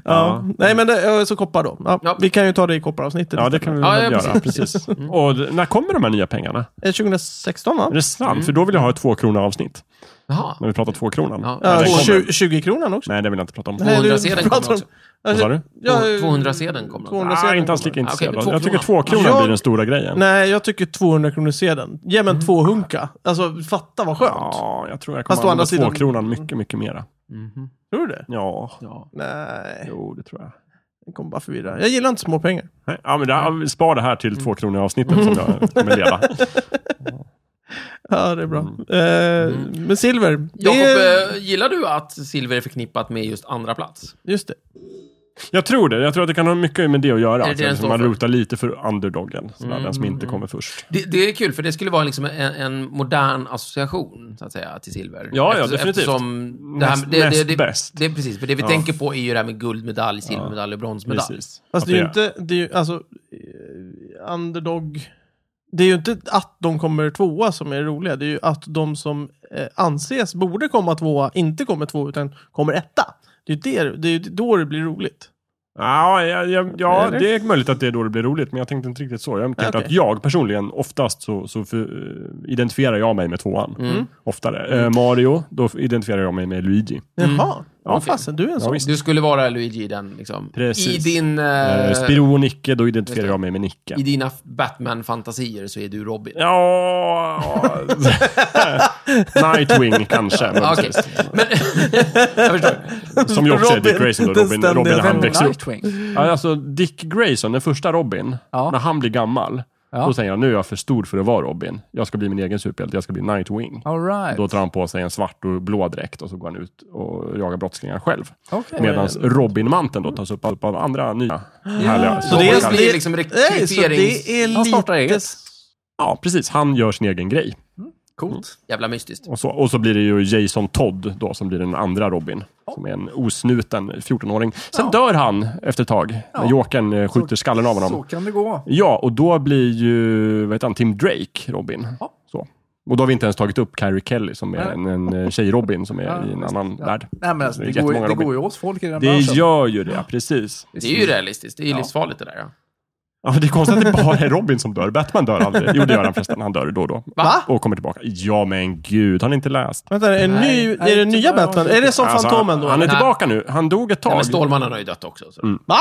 [SPEAKER 1] Ja. Nej, men det, eh, så koppar då. Ja,
[SPEAKER 2] Ja.
[SPEAKER 1] Vi kan ju ta det i kopparavsnittet.
[SPEAKER 4] Ja, det kan vi
[SPEAKER 2] Ja,
[SPEAKER 4] väl
[SPEAKER 2] ja,
[SPEAKER 4] göra. Precis. Och d- när kommer de här nya pengarna?
[SPEAKER 1] Eh, 2016 va?
[SPEAKER 4] Är det sant?
[SPEAKER 2] Mm.
[SPEAKER 4] För då vill jag ha ett två kronor avsnitt.
[SPEAKER 2] Jaha.
[SPEAKER 4] När vi pratar två kronan.
[SPEAKER 2] Ja.
[SPEAKER 4] När den
[SPEAKER 1] Ja,
[SPEAKER 4] kommer.
[SPEAKER 1] 20, 20-kronan också.
[SPEAKER 4] Nej, det vill jag inte prata om.
[SPEAKER 1] Nej, du
[SPEAKER 2] 200-sedeln
[SPEAKER 1] pratar
[SPEAKER 2] kommer
[SPEAKER 1] om-
[SPEAKER 2] också.
[SPEAKER 4] Vad sa du?
[SPEAKER 1] Ja, eh,
[SPEAKER 2] 200-sedeln kommer också.
[SPEAKER 1] 200
[SPEAKER 4] Nej,
[SPEAKER 1] sedeln
[SPEAKER 4] inte alls
[SPEAKER 1] kommer.
[SPEAKER 4] lika intresserad.
[SPEAKER 2] men Ah, två
[SPEAKER 4] jag tycker
[SPEAKER 2] kronan.
[SPEAKER 4] två kronor
[SPEAKER 1] Jag-
[SPEAKER 4] blir den stora grejen.
[SPEAKER 1] Nej, jag tycker 200 kronor sedeln. Ge mig en 200. Alltså, fatta vad skönt.
[SPEAKER 4] Mm. Ja, jag tror jag
[SPEAKER 1] Fast å
[SPEAKER 4] kommer
[SPEAKER 1] andra
[SPEAKER 4] använda
[SPEAKER 1] sidan-
[SPEAKER 4] två kronan mycket, mycket mera.
[SPEAKER 2] Mhm.
[SPEAKER 1] Tror du det?
[SPEAKER 4] Ja,
[SPEAKER 2] Ja.
[SPEAKER 1] Nej,
[SPEAKER 4] jo, det tror jag.
[SPEAKER 1] det kommer bara förvirra. Jag gillar inte små pengar.
[SPEAKER 4] Nej, Ja, men det
[SPEAKER 2] Mm.
[SPEAKER 4] här, spar det här till två kronor avsnittet som jag kommer leda.
[SPEAKER 1] Ja, det är bra. Eh,
[SPEAKER 4] Mm.
[SPEAKER 1] Men silver, det
[SPEAKER 2] Jakob,
[SPEAKER 1] är...
[SPEAKER 2] eh, gillar du att silver är förknippat med just andra plats?
[SPEAKER 1] Just det.
[SPEAKER 4] Jag tror det. Jag tror att det kan ha mycket med det att göra.
[SPEAKER 2] Är det
[SPEAKER 4] Att
[SPEAKER 2] det den
[SPEAKER 4] liksom
[SPEAKER 2] står
[SPEAKER 4] man
[SPEAKER 2] för? Mm,
[SPEAKER 4] rotar lite för underdogen. Sådär, Den som inte kommer först.
[SPEAKER 2] Det, det är kul, för det skulle vara liksom en, en modern association, så att säga, till silver.
[SPEAKER 4] Ja, ja, definitivt.
[SPEAKER 2] Eftersom det här,
[SPEAKER 4] Näst-
[SPEAKER 2] det, det,
[SPEAKER 4] näst
[SPEAKER 2] det,
[SPEAKER 4] bäst.
[SPEAKER 2] Det, är precis, för det vi tänker på är ju det här med guldmedalj, silvermedalj och bronsmedalj.
[SPEAKER 4] Precis.
[SPEAKER 1] Fast
[SPEAKER 4] Att
[SPEAKER 1] det är ju inte, det är ju, alltså, eh, underdog. Det är ju inte att de kommer tvåa som är det roliga. Det är ju att de som eh, anses borde komma tvåa inte kommer tvåa utan kommer etta. Det är ju det, det är ju då det blir roligt.
[SPEAKER 4] Ja, ja, ja, ja
[SPEAKER 1] Eller?
[SPEAKER 4] det är möjligt att det är då det blir roligt, men jag tänkte inte riktigt så. Jag tänkte
[SPEAKER 1] Okej.
[SPEAKER 4] att jag personligen, oftast så, så för, eh, identifierar jag mig med tvåan.
[SPEAKER 2] Mm.
[SPEAKER 4] Oftare. Eh, Mario, då identifierar jag mig med Luigi.
[SPEAKER 1] Jaha, ja,
[SPEAKER 2] Okej.
[SPEAKER 1] fasen du är en
[SPEAKER 4] Mm. Ja,
[SPEAKER 1] sån.
[SPEAKER 4] visst.
[SPEAKER 2] Du skulle vara Luigi i den, liksom.
[SPEAKER 4] Precis.
[SPEAKER 2] I din... eh,
[SPEAKER 4] Eh, Spiro och Nicke, då
[SPEAKER 2] just
[SPEAKER 4] identifierar
[SPEAKER 2] det.
[SPEAKER 4] jag mig med Nicke.
[SPEAKER 2] I dina Batman-fantasier så är du Robin.
[SPEAKER 4] Ja... Nightwing kanske. Men
[SPEAKER 2] Ah, Okej. Men, jag förstår.
[SPEAKER 4] Som ju också är Dick
[SPEAKER 1] Robin,
[SPEAKER 4] Grayson. Då,
[SPEAKER 1] den
[SPEAKER 4] Robin,
[SPEAKER 1] ständiga
[SPEAKER 4] Robin när han
[SPEAKER 1] vännen.
[SPEAKER 4] växer upp.
[SPEAKER 3] Nightwing.
[SPEAKER 4] Ja, Alltså Dick Grayson, den första Robin,
[SPEAKER 3] Ja.
[SPEAKER 4] när han blir gammal,
[SPEAKER 3] Ja.
[SPEAKER 4] då säger han nu är jag för stor för att vara Robin. Jag ska bli min egen superhjälte, jag ska bli Nightwing.
[SPEAKER 3] All right.
[SPEAKER 4] Då tar han på sig en svart och blå dräkt och så går han ut och jagar brottslingar själv.
[SPEAKER 3] Okej.
[SPEAKER 4] Medan Robin-manteln då tas upp av av andra nya härliga
[SPEAKER 1] Så det är,
[SPEAKER 2] Robin
[SPEAKER 4] superhjältar.
[SPEAKER 2] blir
[SPEAKER 1] det,
[SPEAKER 2] liksom
[SPEAKER 1] nej, så det
[SPEAKER 2] rekryterings-
[SPEAKER 1] är
[SPEAKER 3] Han startar
[SPEAKER 1] lite...
[SPEAKER 3] eget.
[SPEAKER 4] Ja, precis. Han gör sin egen grej.
[SPEAKER 3] Coolt.
[SPEAKER 2] Jävla mystiskt.
[SPEAKER 4] Och så, och så blir det ju Jason Todd då som blir den andra Robin. Som är en osnuten 14-åring. Sen dör han efter ett tag. När
[SPEAKER 3] Ja.
[SPEAKER 4] Jokern eh, skjuter skallen av
[SPEAKER 3] Så
[SPEAKER 4] honom.
[SPEAKER 3] kan det gå.
[SPEAKER 4] Ja, och då blir ju vad heter han, Tim Drake Robin.
[SPEAKER 3] Ja.
[SPEAKER 4] Så. Och då har vi inte ens tagit upp Carrie Kelly som är
[SPEAKER 3] Nej.
[SPEAKER 4] en, en eh, tjej-Robin som är
[SPEAKER 3] Ja,
[SPEAKER 4] i en
[SPEAKER 3] visst.
[SPEAKER 4] annan
[SPEAKER 3] Ja.
[SPEAKER 4] värld.
[SPEAKER 3] Nej, men alltså,
[SPEAKER 4] Det är
[SPEAKER 3] det, går, ju-
[SPEAKER 4] jättemånga
[SPEAKER 3] det
[SPEAKER 4] Robin.
[SPEAKER 3] går ju åt folk i den
[SPEAKER 4] Det
[SPEAKER 3] branschen.
[SPEAKER 4] gör ju det, precis.
[SPEAKER 2] Det är ju realistiskt. Det är ju
[SPEAKER 3] Ja.
[SPEAKER 2] livsfarligt det där. Ja.
[SPEAKER 4] Ja, men det är konstigt att det bara är Robin som dör. Batman dör aldrig. Jo, det gör han förresten. Han dör då och då.
[SPEAKER 2] Va?
[SPEAKER 4] Och kommer tillbaka. Ja, men gud. Har ni inte läst?
[SPEAKER 1] Vänta, är, det en
[SPEAKER 2] Nej.
[SPEAKER 1] ny,
[SPEAKER 3] Nej,
[SPEAKER 1] är det
[SPEAKER 3] inte
[SPEAKER 1] nya
[SPEAKER 3] bara-
[SPEAKER 1] Batman? Är det som
[SPEAKER 4] Alltså,
[SPEAKER 1] Fantomen då?
[SPEAKER 4] Han är
[SPEAKER 2] Nej.
[SPEAKER 4] tillbaka nu. Han dog ett
[SPEAKER 2] Nej,
[SPEAKER 4] tag.
[SPEAKER 2] men Stålmannen har ju dött också. Så.
[SPEAKER 1] Va?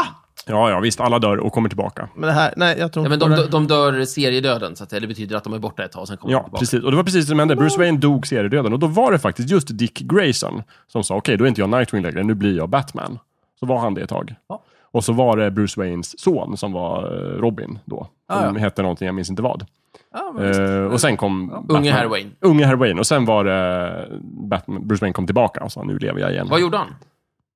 [SPEAKER 4] Ja, ja, visst. Alla dör och kommer tillbaka.
[SPEAKER 1] Men det här, nej jag tror
[SPEAKER 2] Ja,
[SPEAKER 1] inte
[SPEAKER 2] men
[SPEAKER 1] på det.
[SPEAKER 2] de, de dör seriedöden, så att det betyder att de är borta ett tag, sen kommer de
[SPEAKER 4] Ja,
[SPEAKER 2] tillbaka.
[SPEAKER 4] precis. Och det var precis det som hände. Bruce Wayne dog seriedöden. Och då var det faktiskt just Dick Grayson som sa, okej, då är inte jag Nightwing längre. Nu blir jag Batman. Så var han det ett tag.
[SPEAKER 3] Ja.
[SPEAKER 4] Och så var det Bruce Waynes son som var eh, Robin då.
[SPEAKER 3] Ah,
[SPEAKER 4] Som hette någonting, jag minns inte vad.
[SPEAKER 3] Ja, men visst.
[SPEAKER 4] Eh, och sen kom... Batman.
[SPEAKER 2] Unge herr Wayne.
[SPEAKER 4] Unge herr Wayne. Och sen var det Batman, Bruce Wayne kom tillbaka och sa nu lever jag igen.
[SPEAKER 2] Vad gjorde han?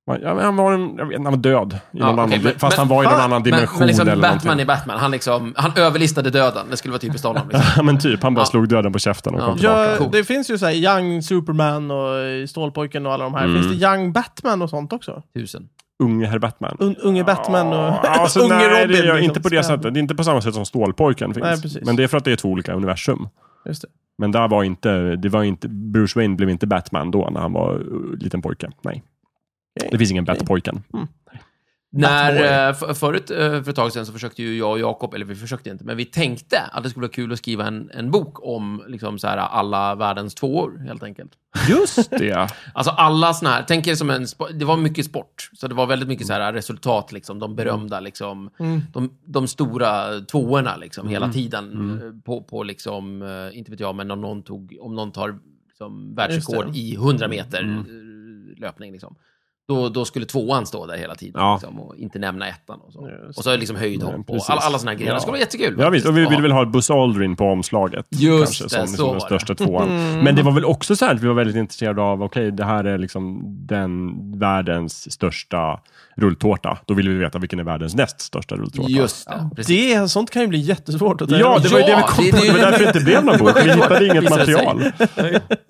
[SPEAKER 4] Ja, men han, var en, jag vet, inte, han var död. I någon
[SPEAKER 2] okej,
[SPEAKER 4] annan,
[SPEAKER 2] men-
[SPEAKER 4] fast
[SPEAKER 2] men-
[SPEAKER 4] han var i någon
[SPEAKER 2] fan,
[SPEAKER 4] annan
[SPEAKER 2] Men,
[SPEAKER 4] dimension
[SPEAKER 2] men liksom
[SPEAKER 4] eller
[SPEAKER 2] Batman är
[SPEAKER 4] någonting.
[SPEAKER 2] Batman. Han, liksom, han överlistade döden. Det skulle vara typiskt honom. Liksom.
[SPEAKER 4] Ja, men typ. Han bara
[SPEAKER 2] Ja.
[SPEAKER 4] slog döden på käften och
[SPEAKER 2] Ja.
[SPEAKER 4] kom tillbaka.
[SPEAKER 1] Ja,
[SPEAKER 2] Coolt.
[SPEAKER 1] det finns ju så här Young Superman och eh, Stålpojken och alla de här.
[SPEAKER 4] Mm.
[SPEAKER 1] Finns det Young Batman och sånt också?
[SPEAKER 2] Tusen.
[SPEAKER 4] Unge herr Batman.
[SPEAKER 1] Un, unge Batman och
[SPEAKER 4] Ja, alltså,
[SPEAKER 1] unge
[SPEAKER 4] nej,
[SPEAKER 1] Robin.
[SPEAKER 4] Det är jag
[SPEAKER 1] liksom.
[SPEAKER 4] inte på det
[SPEAKER 1] Ska-
[SPEAKER 4] sättet. Det är inte på samma sätt som Stålpojken finns.
[SPEAKER 1] Nej, precis.
[SPEAKER 4] men det är för att det är två olika universum.
[SPEAKER 1] Just det.
[SPEAKER 4] Men där var inte, det var inte, Bruce Wayne blev inte Batman då när han var uh, liten pojke. Nej.
[SPEAKER 1] Okej.
[SPEAKER 4] Det finns ingen Batpojken.
[SPEAKER 2] När, eh, för, förut, eh, för ett tag sedan, så försökte ju jag och Jakob, eller vi försökte inte, men vi tänkte att det skulle vara kul att skriva en, en bok om liksom, så här, alla världens tvåor, helt enkelt.
[SPEAKER 4] Just det.
[SPEAKER 2] Alltså alla såna här, tänk er som en, spo- det var mycket sport, så det var väldigt mycket så
[SPEAKER 4] Mm.
[SPEAKER 2] här resultat, liksom, de berömda, liksom, de, de stora tvåorna liksom,
[SPEAKER 4] Mm.
[SPEAKER 2] hela tiden. eh, På, på liksom, eh, inte vet jag, men om någon, tog, om någon tar liksom,
[SPEAKER 1] Just
[SPEAKER 2] världsrekord
[SPEAKER 1] det.
[SPEAKER 2] i 100
[SPEAKER 4] Mm.
[SPEAKER 2] meter eh, löpning, liksom, då, då skulle tvåan stå där hela tiden
[SPEAKER 4] Ja.
[SPEAKER 2] liksom, och inte nämna ettan. Och så,
[SPEAKER 1] Just
[SPEAKER 2] och så är det liksom höjdhopp
[SPEAKER 4] precis.
[SPEAKER 2] och alla, alla såna här grejer. Det skulle vara jättekul.
[SPEAKER 4] Ja, visst. Och vi
[SPEAKER 2] faktiskt.
[SPEAKER 4] ville väl ha Buzz Aldrin på omslaget.
[SPEAKER 2] Just
[SPEAKER 4] kanske,
[SPEAKER 2] det, så
[SPEAKER 4] som, som
[SPEAKER 2] var
[SPEAKER 4] den
[SPEAKER 2] det.
[SPEAKER 4] största tvåan.
[SPEAKER 1] Mm.
[SPEAKER 4] Men det var väl också så här att vi var väldigt intresserade av, okej, det här är liksom den världens största rulltårta. Då ville vi veta vilken är världens näst största rulltårta.
[SPEAKER 2] Just det, precis.
[SPEAKER 1] Det, sånt kan ju bli jättesvårt att ta
[SPEAKER 4] Ja,
[SPEAKER 1] reda
[SPEAKER 4] det
[SPEAKER 1] på.
[SPEAKER 4] var ju det vi
[SPEAKER 2] Ja,
[SPEAKER 4] kom
[SPEAKER 2] det-
[SPEAKER 4] på.
[SPEAKER 2] det-
[SPEAKER 4] Det var därför det inte blev någon bok. Vi hittade inget
[SPEAKER 2] Visade sig.
[SPEAKER 4] material.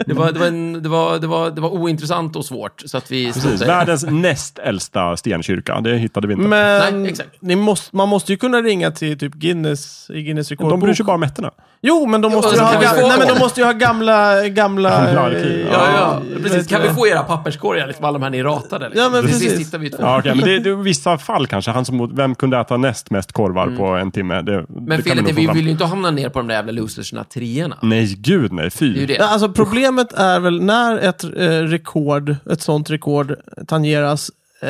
[SPEAKER 2] Det var, det, var en, det, var, det, var, det var ointressant och svårt, så att vi...
[SPEAKER 4] Precis.
[SPEAKER 2] struntade i det.
[SPEAKER 4] Världens näst äldsta stenkyrka. Det hittade vi inte.
[SPEAKER 1] Men
[SPEAKER 2] Nej, exakt.
[SPEAKER 1] ni måste, man måste ju kunna ringa till typ Guinness i Guinness
[SPEAKER 4] de bryr
[SPEAKER 1] rekordbok.
[SPEAKER 4] sig bara om ettorna.
[SPEAKER 1] Jo, men de måste,
[SPEAKER 2] och
[SPEAKER 1] ju
[SPEAKER 2] så
[SPEAKER 1] ha,
[SPEAKER 2] alltså, kan
[SPEAKER 1] ga-
[SPEAKER 2] vi få
[SPEAKER 1] nej, men
[SPEAKER 2] dem.
[SPEAKER 1] de måste ju ha gamla... gamla
[SPEAKER 4] Gamla arkiv.
[SPEAKER 1] eh,
[SPEAKER 2] Ja, ja,
[SPEAKER 1] eh, vad
[SPEAKER 2] precis.
[SPEAKER 1] heter
[SPEAKER 2] Kan vi
[SPEAKER 1] det?
[SPEAKER 2] få era papperskorgar, liksom, alla de här ni ratade? Liksom.
[SPEAKER 1] Ja, men
[SPEAKER 2] Till sist
[SPEAKER 1] precis.
[SPEAKER 2] hittar vi två.
[SPEAKER 4] Ja, okej, men det, det är vissa fall kanske. Han som, åt- vem kunde äta näst mest korvar på en timme? Det,
[SPEAKER 2] Mm. men
[SPEAKER 4] det kan
[SPEAKER 2] felet är,
[SPEAKER 4] nog få
[SPEAKER 2] vi
[SPEAKER 4] fram.
[SPEAKER 2] vill ju inte hamna ner på de där jävla loserserna, treorna.
[SPEAKER 4] Nej, gud nej. Fy.
[SPEAKER 2] Det är ju
[SPEAKER 1] Ja,
[SPEAKER 2] det.
[SPEAKER 1] alltså problemet är väl när ett eh, rekord, ett sånt rekord tangeras, eh,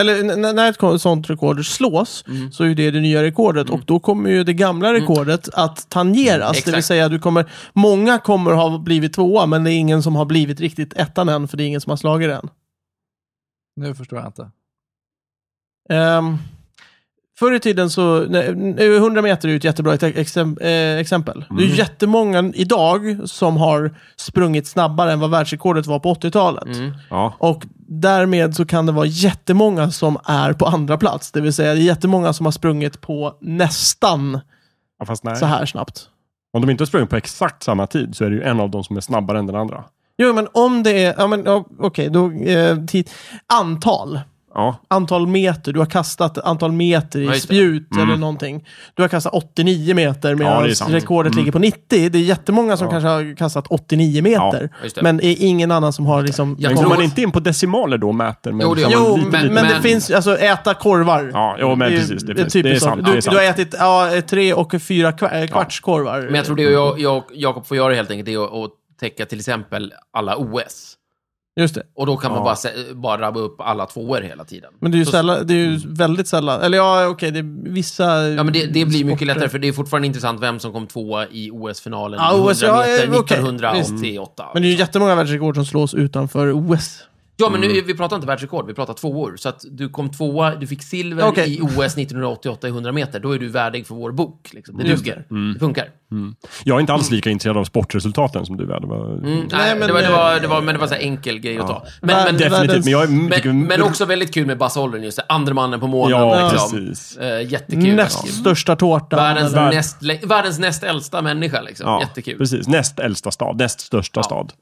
[SPEAKER 1] eller n- n- när ett ko- sånt rekord slås,
[SPEAKER 2] Mm.
[SPEAKER 1] så är ju det det nya rekordet och då kommer ju det gamla rekordet att tangeras. Det vill
[SPEAKER 2] Exakt.
[SPEAKER 1] säga, du kommer, många kommer ha blivit tvåa, men det är ingen som har blivit riktigt ettan än, för det är ingen som har slagit den.
[SPEAKER 3] Nu förstår jag inte.
[SPEAKER 1] Ehm, förr i tiden så, nej, nu är 100 meter är ju ett jättebra ex- exem, eh, exempel. Det är
[SPEAKER 2] Mm.
[SPEAKER 1] ju jättemånga idag som har sprungit snabbare än vad världsrekordet var på 80-talet.
[SPEAKER 2] Mm.
[SPEAKER 4] Ja.
[SPEAKER 1] Och därmed så kan det vara jättemånga som är på andra plats. Det vill säga det är jättemånga som har sprungit på nästan
[SPEAKER 4] Ja, fast nej.
[SPEAKER 1] så här snabbt.
[SPEAKER 4] Om de inte har sprungit på exakt samma tid så är det ju en av dem som är snabbare än den andra.
[SPEAKER 1] Jo, men om det är, ja men ja, okej, då, eh, ti- antal.
[SPEAKER 4] Ja.
[SPEAKER 1] antal meter, du har kastat antal meter
[SPEAKER 2] Ja,
[SPEAKER 1] i
[SPEAKER 2] just det.
[SPEAKER 1] spjut eller någonting. Du har kastat 89 meter medan
[SPEAKER 4] det är sant.
[SPEAKER 1] rekordet ligger på 90. Det är jättemånga som kanske har kastat 89 meter.
[SPEAKER 2] just det.
[SPEAKER 1] men är ingen annan som har liksom...
[SPEAKER 2] Jag
[SPEAKER 4] Men
[SPEAKER 2] tror-
[SPEAKER 4] går man inte in på decimaler då och mäter? Men
[SPEAKER 2] Jo, det gör
[SPEAKER 4] Ja,
[SPEAKER 2] man.
[SPEAKER 1] Jo,
[SPEAKER 4] lite,
[SPEAKER 1] men,
[SPEAKER 4] lite.
[SPEAKER 1] men det
[SPEAKER 2] Men-
[SPEAKER 1] finns, alltså äta korvar.
[SPEAKER 4] Ja, jo, men precis. Det, finns. det är
[SPEAKER 1] typiskt så.
[SPEAKER 4] sant.
[SPEAKER 1] Du,
[SPEAKER 4] Det är sant.
[SPEAKER 1] du har ätit ja, tre och fyra kva- kvarts korvar.
[SPEAKER 2] Men jag tror det jag, jag, Jakob får göra helt enkelt, det är att, att täcka till exempel alla OS.
[SPEAKER 1] Just det.
[SPEAKER 2] Och då kan man bara, sä- bara rabba upp alla tvåor hela tiden.
[SPEAKER 1] Men det är ju,
[SPEAKER 2] Så-
[SPEAKER 1] sällan, det är ju väldigt sällan. Eller ja, okej, det är vissa...
[SPEAKER 2] Ja, men det, det blir mycket
[SPEAKER 1] sporter.
[SPEAKER 2] lättare, för det är fortfarande intressant vem som kom tvåa i OS-finalen
[SPEAKER 1] Ja,
[SPEAKER 2] i
[SPEAKER 1] OS,
[SPEAKER 2] 100
[SPEAKER 1] ja,
[SPEAKER 2] meter
[SPEAKER 1] eh, okej.
[SPEAKER 2] 1988.
[SPEAKER 1] Men det är ju jättemånga världsrekord som slås utanför OS.
[SPEAKER 2] Ja, men
[SPEAKER 4] Mm.
[SPEAKER 2] nu, vi pratar inte världsrekord, vi pratar tvåor. Så att du kom tvåa, du fick silver
[SPEAKER 1] Okej.
[SPEAKER 2] i OS 1988 i 100 meter. Då är du värdig för vår bok. Liksom. Det
[SPEAKER 1] Just
[SPEAKER 2] duger.
[SPEAKER 4] Mm.
[SPEAKER 2] Det funkar.
[SPEAKER 4] Jag är inte alls lika intresserad av sportresultaten som du är. Det var...
[SPEAKER 2] Mm, nej,
[SPEAKER 1] men-
[SPEAKER 2] men, det var, det var, det var, men det var så här enkel grej att ta. Men, men,
[SPEAKER 1] Definitivt.
[SPEAKER 4] Definitivt, men jag är mycket...
[SPEAKER 2] men, men också väldigt kul med Buzz Aldrin just det. Andre mannen på månen.
[SPEAKER 4] Ja,
[SPEAKER 2] liksom.
[SPEAKER 4] precis.
[SPEAKER 2] Eh, jättekul.
[SPEAKER 1] Näst största tårta.
[SPEAKER 2] Världens,
[SPEAKER 4] Värld-
[SPEAKER 2] näst, lä- världens näst äldsta människa. Liksom.
[SPEAKER 4] Ja,
[SPEAKER 2] Jättekul. Mm.
[SPEAKER 4] Precis. Näst äldsta stad, näst största stad.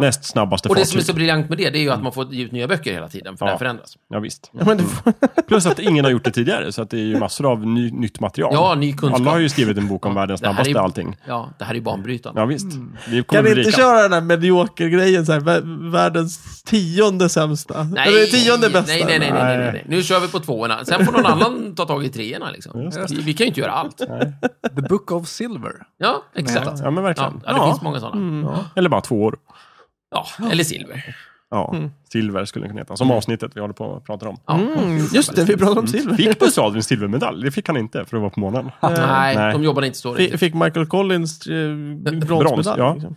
[SPEAKER 4] Näst snabbaste
[SPEAKER 2] Och det som är
[SPEAKER 4] fartyg.
[SPEAKER 2] så briljant med det, det är ju att man får ge ut nya böcker hela tiden, för
[SPEAKER 4] Ja.
[SPEAKER 2] den förändras.
[SPEAKER 4] Ja, visst.
[SPEAKER 1] Ja, men det får...
[SPEAKER 4] Plus att ingen har gjort det tidigare, så att det är ju massor av ny, nytt material.
[SPEAKER 2] Ja, ny kunskap.
[SPEAKER 4] Alla har ju skrivit en bok om
[SPEAKER 2] Ja,
[SPEAKER 4] världens
[SPEAKER 2] det här är
[SPEAKER 4] snabbaste
[SPEAKER 2] ju-
[SPEAKER 4] allting.
[SPEAKER 2] Ja, det här är ju banbrytande.
[SPEAKER 4] Ja, visst. Vi kommer
[SPEAKER 1] Mm. Kan
[SPEAKER 4] bli
[SPEAKER 1] vi inte
[SPEAKER 4] rika.
[SPEAKER 1] köra den här mediokergrejen? så här, vä- Världens tionde sämsta. Eller tionde bästa.
[SPEAKER 2] Nej, nej, nej, nej, nej, nej. Nu kör vi på tvåorna. Sen får någon annan ta tag i treorna. Liksom.
[SPEAKER 4] Just
[SPEAKER 2] Vi, vi kan ju inte göra allt.
[SPEAKER 3] The Book of Silver.
[SPEAKER 2] Ja, exakt.
[SPEAKER 4] Ja, Mm. men
[SPEAKER 2] Ja,
[SPEAKER 4] verkligen.
[SPEAKER 2] ja, det finns många sådana.
[SPEAKER 4] Ja. Eller bara två år.
[SPEAKER 2] Ja, eller silver.
[SPEAKER 4] Ja, silver skulle den kunna heta. Som avsnittet vi håller på att prata om.
[SPEAKER 2] Ja.
[SPEAKER 1] Mm, just det, vi pratade om silver.
[SPEAKER 4] Fick Buzz Aldrin silvermedalj? Det fick han inte, för att vara på månen.
[SPEAKER 2] Nej,
[SPEAKER 4] Nej.
[SPEAKER 2] de jobbade inte så
[SPEAKER 1] Fi-
[SPEAKER 2] riktigt.
[SPEAKER 1] Fick Michael Collins eh,
[SPEAKER 4] Brons,
[SPEAKER 1] bronsmedalj.
[SPEAKER 4] ja.
[SPEAKER 1] liksom.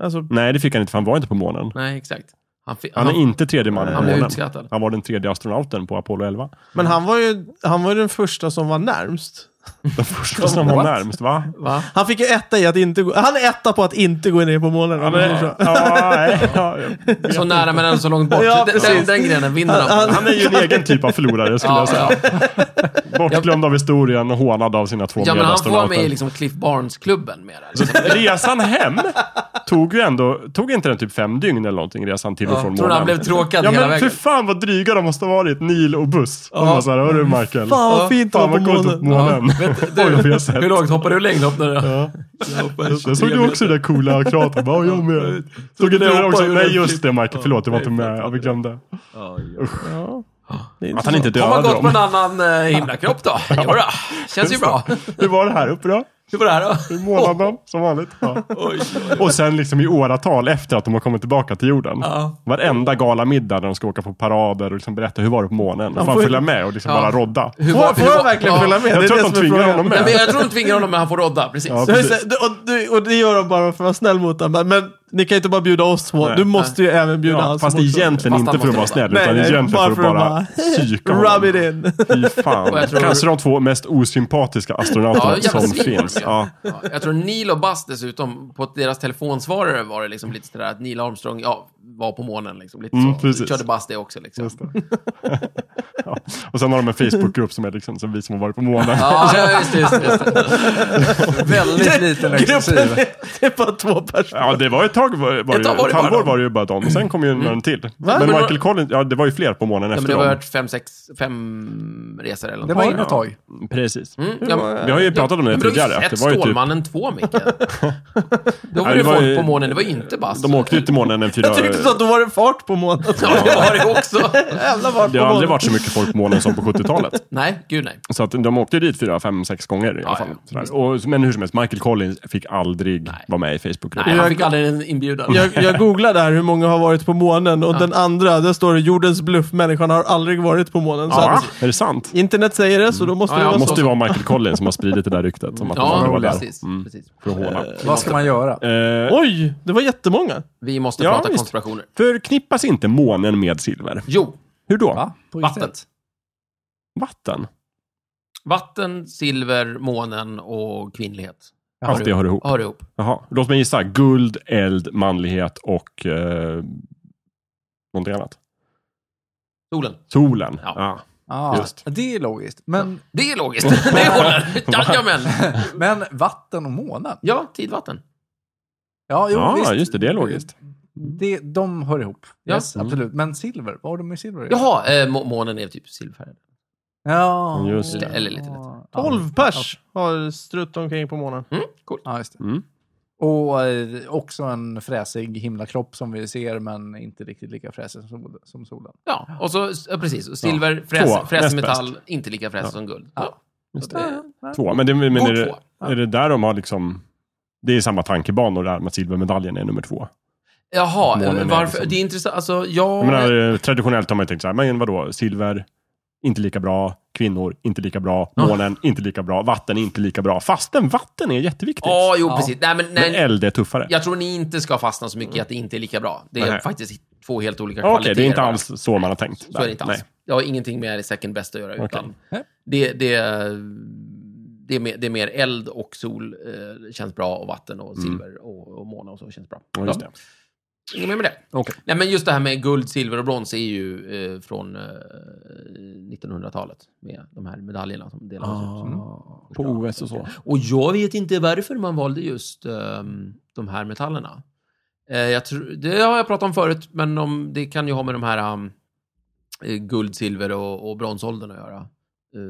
[SPEAKER 1] Alltså,
[SPEAKER 4] Nej, det fick han inte, för han var inte på månen.
[SPEAKER 2] Nej, exakt. Han, fi-
[SPEAKER 4] Han är inte tredje mannen
[SPEAKER 2] han
[SPEAKER 4] på
[SPEAKER 2] blev
[SPEAKER 4] månen.
[SPEAKER 2] utskrattad.
[SPEAKER 4] Han var den tredje astronauten på Apollo 11.
[SPEAKER 1] men han var, ju, han var ju den första som var närmst.
[SPEAKER 4] Den första som var
[SPEAKER 1] What?
[SPEAKER 4] närmst, va?
[SPEAKER 2] Va?
[SPEAKER 1] Han fick ju etta i att inte gå, han är etta på att inte gå ner på målen. om
[SPEAKER 4] Ja,
[SPEAKER 1] man säger så.
[SPEAKER 4] men, ja, nej, ja, ja.
[SPEAKER 2] Så nära men ändå så långt bort.
[SPEAKER 1] Ja,
[SPEAKER 2] den, den,
[SPEAKER 1] precis.
[SPEAKER 2] den grenen vinner han.
[SPEAKER 1] Han-
[SPEAKER 4] Han är ju en egen typ av förlorare, skulle jag säga.
[SPEAKER 2] Ja, ja.
[SPEAKER 4] Bortglömd av historien och hånad av sina två
[SPEAKER 2] ja, men han får vara
[SPEAKER 4] medastronauter.
[SPEAKER 2] med i liksom Cliff Barnes-klubben mera. Liksom.
[SPEAKER 4] Resan hem tog ju ändå, tog inte den typ fem dygn eller någonting, resan till och
[SPEAKER 2] Tror
[SPEAKER 4] från
[SPEAKER 2] du
[SPEAKER 4] månen?
[SPEAKER 2] han blev tråkad
[SPEAKER 4] Ja
[SPEAKER 2] hela
[SPEAKER 4] men för
[SPEAKER 2] vägen?
[SPEAKER 4] fan vad dryga de måste ha varit, Neil och Buss. De var såhär, hörru
[SPEAKER 2] Mm.
[SPEAKER 4] Michael.
[SPEAKER 1] Fan vad fint
[SPEAKER 4] fan
[SPEAKER 1] han var
[SPEAKER 4] vad
[SPEAKER 1] på
[SPEAKER 4] coolt på
[SPEAKER 1] målen.
[SPEAKER 4] månen. Oj, vad vi har sett.
[SPEAKER 2] Hur långt hoppar du längdhopp när du... Jag hoppar
[SPEAKER 4] Just det, Såg du också det där coola kratet? Bara, jag med. Såg inte
[SPEAKER 2] jag
[SPEAKER 4] du
[SPEAKER 2] hoppar
[SPEAKER 4] också?
[SPEAKER 2] ur
[SPEAKER 4] Nej
[SPEAKER 2] den
[SPEAKER 4] just det Michael, förlåt, du var
[SPEAKER 2] nej,
[SPEAKER 4] inte med. Ja, vi glömde.
[SPEAKER 1] Ja, det är
[SPEAKER 4] Att
[SPEAKER 1] inte
[SPEAKER 4] han inte
[SPEAKER 2] Har man
[SPEAKER 4] dödade
[SPEAKER 2] gått på en
[SPEAKER 4] dem.
[SPEAKER 2] annan eh, himlakropp då? Jodå, känns ju bra.
[SPEAKER 4] Hur var det här uppe då?
[SPEAKER 2] Hur var det här då?
[SPEAKER 4] I månaden, som vanligt. Ja.
[SPEAKER 2] Oj,
[SPEAKER 4] Och sen liksom i åratal efter att de har kommit tillbaka till jorden.
[SPEAKER 2] Ja.
[SPEAKER 4] Varenda galamiddag där de ska åka på parader och liksom berätta hur var det på månen. Och
[SPEAKER 1] får
[SPEAKER 4] fan
[SPEAKER 1] ju-
[SPEAKER 4] följa med och liksom
[SPEAKER 2] Ja.
[SPEAKER 4] bara rodda.
[SPEAKER 2] Hur
[SPEAKER 1] Får, får jag verkligen
[SPEAKER 2] ja.
[SPEAKER 1] följa med?
[SPEAKER 4] Jag
[SPEAKER 1] det är
[SPEAKER 4] tror
[SPEAKER 1] det
[SPEAKER 4] att de
[SPEAKER 1] som är
[SPEAKER 4] tvingar
[SPEAKER 1] frågan.
[SPEAKER 4] honom med.
[SPEAKER 2] Nej, men jag tror de tvingar honom, men han får rodda. Precis.
[SPEAKER 4] Ja,
[SPEAKER 1] Så jag
[SPEAKER 4] precis.
[SPEAKER 1] säger- det- och, det- och det gör de bara för att vara snäll mot honom. Men- Men ni kan ju inte bara bjuda oss två.
[SPEAKER 4] Nej.
[SPEAKER 1] Du måste ju även bjuda
[SPEAKER 4] Ja,
[SPEAKER 1] han
[SPEAKER 4] fast
[SPEAKER 1] som också-
[SPEAKER 4] egentligen
[SPEAKER 2] Fast
[SPEAKER 4] inte
[SPEAKER 2] han
[SPEAKER 4] för att vara
[SPEAKER 2] måste
[SPEAKER 4] snäll,
[SPEAKER 1] Nej,
[SPEAKER 4] utan
[SPEAKER 1] nej,
[SPEAKER 4] egentligen för
[SPEAKER 1] bara
[SPEAKER 4] att
[SPEAKER 1] för att
[SPEAKER 4] bara
[SPEAKER 1] bara-
[SPEAKER 4] psyka
[SPEAKER 1] Rub it
[SPEAKER 4] honom.
[SPEAKER 1] in.
[SPEAKER 4] Fy fan.
[SPEAKER 2] jag tror-
[SPEAKER 4] Kanske de två mest osympatiska astronauterna
[SPEAKER 2] Ja, jävla
[SPEAKER 4] som
[SPEAKER 2] svin var de
[SPEAKER 4] finns.
[SPEAKER 2] ju.
[SPEAKER 4] Ja.
[SPEAKER 2] Ja, jag tror Neil och Buzz dessutom, på deras telefonsvarare var det liksom lite sådär att Neil Armstrong ja, var på månen. Liksom, lite
[SPEAKER 4] Mm,
[SPEAKER 2] så.
[SPEAKER 4] precis.
[SPEAKER 2] Körde Buzz det också. Liksom.
[SPEAKER 4] Ja. Och sen har de en Facebookgrupp som är liksom som vi som har varit på månen.
[SPEAKER 2] Ja, ja, just det. Just det, just det.
[SPEAKER 3] Väldigt liten
[SPEAKER 1] Gruppen
[SPEAKER 3] exklusiv.
[SPEAKER 1] är, det är bara två personer.
[SPEAKER 4] Ja, det var ett tag, var, var
[SPEAKER 2] Ett tag
[SPEAKER 4] det,
[SPEAKER 2] var det
[SPEAKER 4] ju- ett
[SPEAKER 2] bara
[SPEAKER 4] halvår
[SPEAKER 2] de. Mm.
[SPEAKER 4] var det ju bara de. Och sen kom ju någon till. Men
[SPEAKER 2] Men då-
[SPEAKER 4] Michael Collins, ja det var ju fler på månen
[SPEAKER 2] Ja, men
[SPEAKER 4] efter
[SPEAKER 2] det har
[SPEAKER 4] dem.
[SPEAKER 2] varit fem, sex, fem resor eller något.
[SPEAKER 3] Det var ju något tag.
[SPEAKER 4] Precis.
[SPEAKER 2] Mm, ja, men-
[SPEAKER 4] Vi har ju pratat om det
[SPEAKER 2] Men du har
[SPEAKER 4] tidigare.
[SPEAKER 2] ju
[SPEAKER 4] att
[SPEAKER 2] sett
[SPEAKER 4] Det var ju typ,
[SPEAKER 2] Stålmannen 2, Micke. Då var
[SPEAKER 4] det
[SPEAKER 2] det ju
[SPEAKER 4] var ju-
[SPEAKER 2] folk på månen, det var ju inte Buzz.
[SPEAKER 4] de åkte ju till månen en fyra...
[SPEAKER 1] Jag tyckte så att då var det fart på månen.
[SPEAKER 2] Ja, det var det också.
[SPEAKER 1] Jävla fart på
[SPEAKER 4] Det har aldrig
[SPEAKER 1] månen.
[SPEAKER 4] varit så mycket folk på månen som på 70-talet.
[SPEAKER 2] Nej, gud nej.
[SPEAKER 4] Så att de åkte dit fyra, fem, sex gånger i alla
[SPEAKER 2] Ja,
[SPEAKER 4] fall.
[SPEAKER 2] ja.
[SPEAKER 4] Sådär. Och, men hur som helst, Michael Collins fick aldrig vara med i
[SPEAKER 2] nej
[SPEAKER 4] Facebookgruppen.
[SPEAKER 2] han fick aldrig en inbjudan.
[SPEAKER 1] Jag, jag googlade här hur många har varit på månen och den andra, där står det jordens bluff, människan har aldrig varit på månen. Så
[SPEAKER 4] Ja,
[SPEAKER 1] att,
[SPEAKER 4] är det sant?
[SPEAKER 1] internet säger det, så då måste
[SPEAKER 2] Ja,
[SPEAKER 1] det
[SPEAKER 2] ja,
[SPEAKER 1] vara
[SPEAKER 4] Det
[SPEAKER 1] så.
[SPEAKER 4] måste ju vara Michael Collins som har spridit det där ryktet. Som att han aldrig
[SPEAKER 2] Ja,
[SPEAKER 4] var där
[SPEAKER 2] precis. precis.
[SPEAKER 4] för att håna.
[SPEAKER 3] Vad ska man göra?
[SPEAKER 4] Eh,
[SPEAKER 1] Oj, det var jättemånga.
[SPEAKER 2] Vi måste
[SPEAKER 4] Ja,
[SPEAKER 2] prata
[SPEAKER 4] visst.
[SPEAKER 2] konspirationer.
[SPEAKER 4] förknippas inte månen med silver?
[SPEAKER 2] Jo,
[SPEAKER 4] Hur då?
[SPEAKER 3] Va? På vilket
[SPEAKER 2] vatten.
[SPEAKER 3] sätt?
[SPEAKER 4] Vatten?
[SPEAKER 2] Vatten, silver, månen och kvinnlighet.
[SPEAKER 4] Allt det hör ihop.
[SPEAKER 2] Hör ihop.
[SPEAKER 4] Jaha. Låt mig gissa. Guld, eld, manlighet och eh, någonting annat.
[SPEAKER 2] Solen.
[SPEAKER 4] Solen.
[SPEAKER 2] Ja.
[SPEAKER 4] Ja.
[SPEAKER 3] Ah,
[SPEAKER 4] Just.
[SPEAKER 3] det är logiskt. Men,
[SPEAKER 2] Det är logiskt. Det håller. Jajamän.
[SPEAKER 3] men vatten och månen?
[SPEAKER 2] Ja, tidvatten.
[SPEAKER 3] Ja, jo,
[SPEAKER 4] Ja,
[SPEAKER 3] visst.
[SPEAKER 4] just det, det är logiskt.
[SPEAKER 3] Det, de hör ihop.
[SPEAKER 2] Ja. Mm.
[SPEAKER 3] Yes, absolut. Men silver, vad har de med silver att göra?
[SPEAKER 2] Jaha, eh, må- månen är typ silverfärgad.
[SPEAKER 3] Ja.
[SPEAKER 4] Just det.
[SPEAKER 2] Eller lite lätt.
[SPEAKER 3] Ja.
[SPEAKER 1] 12 pers har strutt omkring på månen.
[SPEAKER 2] Mm, coolt.
[SPEAKER 3] Ja, just det.
[SPEAKER 4] Mm.
[SPEAKER 3] Och eh, också en fräsig himlakropp som vi ser, men inte riktigt lika fräsig som, sol- som solen.
[SPEAKER 2] Ja, och så, ja, precis. Och Silver, fräs,
[SPEAKER 4] Två,
[SPEAKER 2] fräs
[SPEAKER 4] näst
[SPEAKER 2] metall, inte lika fräs som guld. Ja.
[SPEAKER 4] Just
[SPEAKER 2] Så det-
[SPEAKER 4] Två. Men, det, men
[SPEAKER 2] God
[SPEAKER 4] är, det,
[SPEAKER 2] två.
[SPEAKER 4] är det där de har liksom... Det är samma tankebanor där med att silvermedaljen är nummer två.
[SPEAKER 2] Jaha,
[SPEAKER 4] Månen är
[SPEAKER 2] eh, varför?
[SPEAKER 4] liksom-
[SPEAKER 2] Det är intressant. Alltså, jag...
[SPEAKER 4] Jag menar, eh, traditionellt har man ju tänkt så här, men vadå, silver, inte lika bra, kvinnor, inte lika bra,
[SPEAKER 2] Ja.
[SPEAKER 4] månen, inte lika bra, vatten, inte lika bra. Fastän vatten är jätteviktigt.
[SPEAKER 2] Ja, jo,
[SPEAKER 3] Ja.
[SPEAKER 2] precis. Nej, men,
[SPEAKER 4] men
[SPEAKER 2] nej,
[SPEAKER 4] eld är tuffare.
[SPEAKER 2] jag tror ni inte ska fastna så mycket i att det inte är lika bra. Det är
[SPEAKER 4] Mm. Nej.
[SPEAKER 2] faktiskt två helt olika
[SPEAKER 4] Okej,
[SPEAKER 2] kvaliteter.
[SPEAKER 4] det är inte
[SPEAKER 2] bara.
[SPEAKER 4] alls så man har tänkt.
[SPEAKER 2] Så är det inte alls.
[SPEAKER 4] Nej.
[SPEAKER 2] Det har ingenting med second best att göra.
[SPEAKER 4] Okej.
[SPEAKER 2] Utan
[SPEAKER 3] Nej.
[SPEAKER 2] det, det, det, är mer, det är mer eld och sol eh, känns bra och vatten och
[SPEAKER 4] Mm.
[SPEAKER 2] silver och, och måne och så känns bra.
[SPEAKER 4] Ja, just det.
[SPEAKER 2] Inget mer med det.
[SPEAKER 4] Okej.
[SPEAKER 2] Nej, men just det här med guld, silver och brons är ju eh, från eh, 1900-talet med de här medaljerna som delades
[SPEAKER 4] Ah.
[SPEAKER 2] ut. Mm.
[SPEAKER 4] På OS och så.
[SPEAKER 2] Och jag vet inte varför man valde just ehm, de här metallerna. Eh, jag tror, det har jag pratat om förut, men om, det kan ju ha med de här ehm, eh, guld, silver och, och bronsåldern att göra. Eh,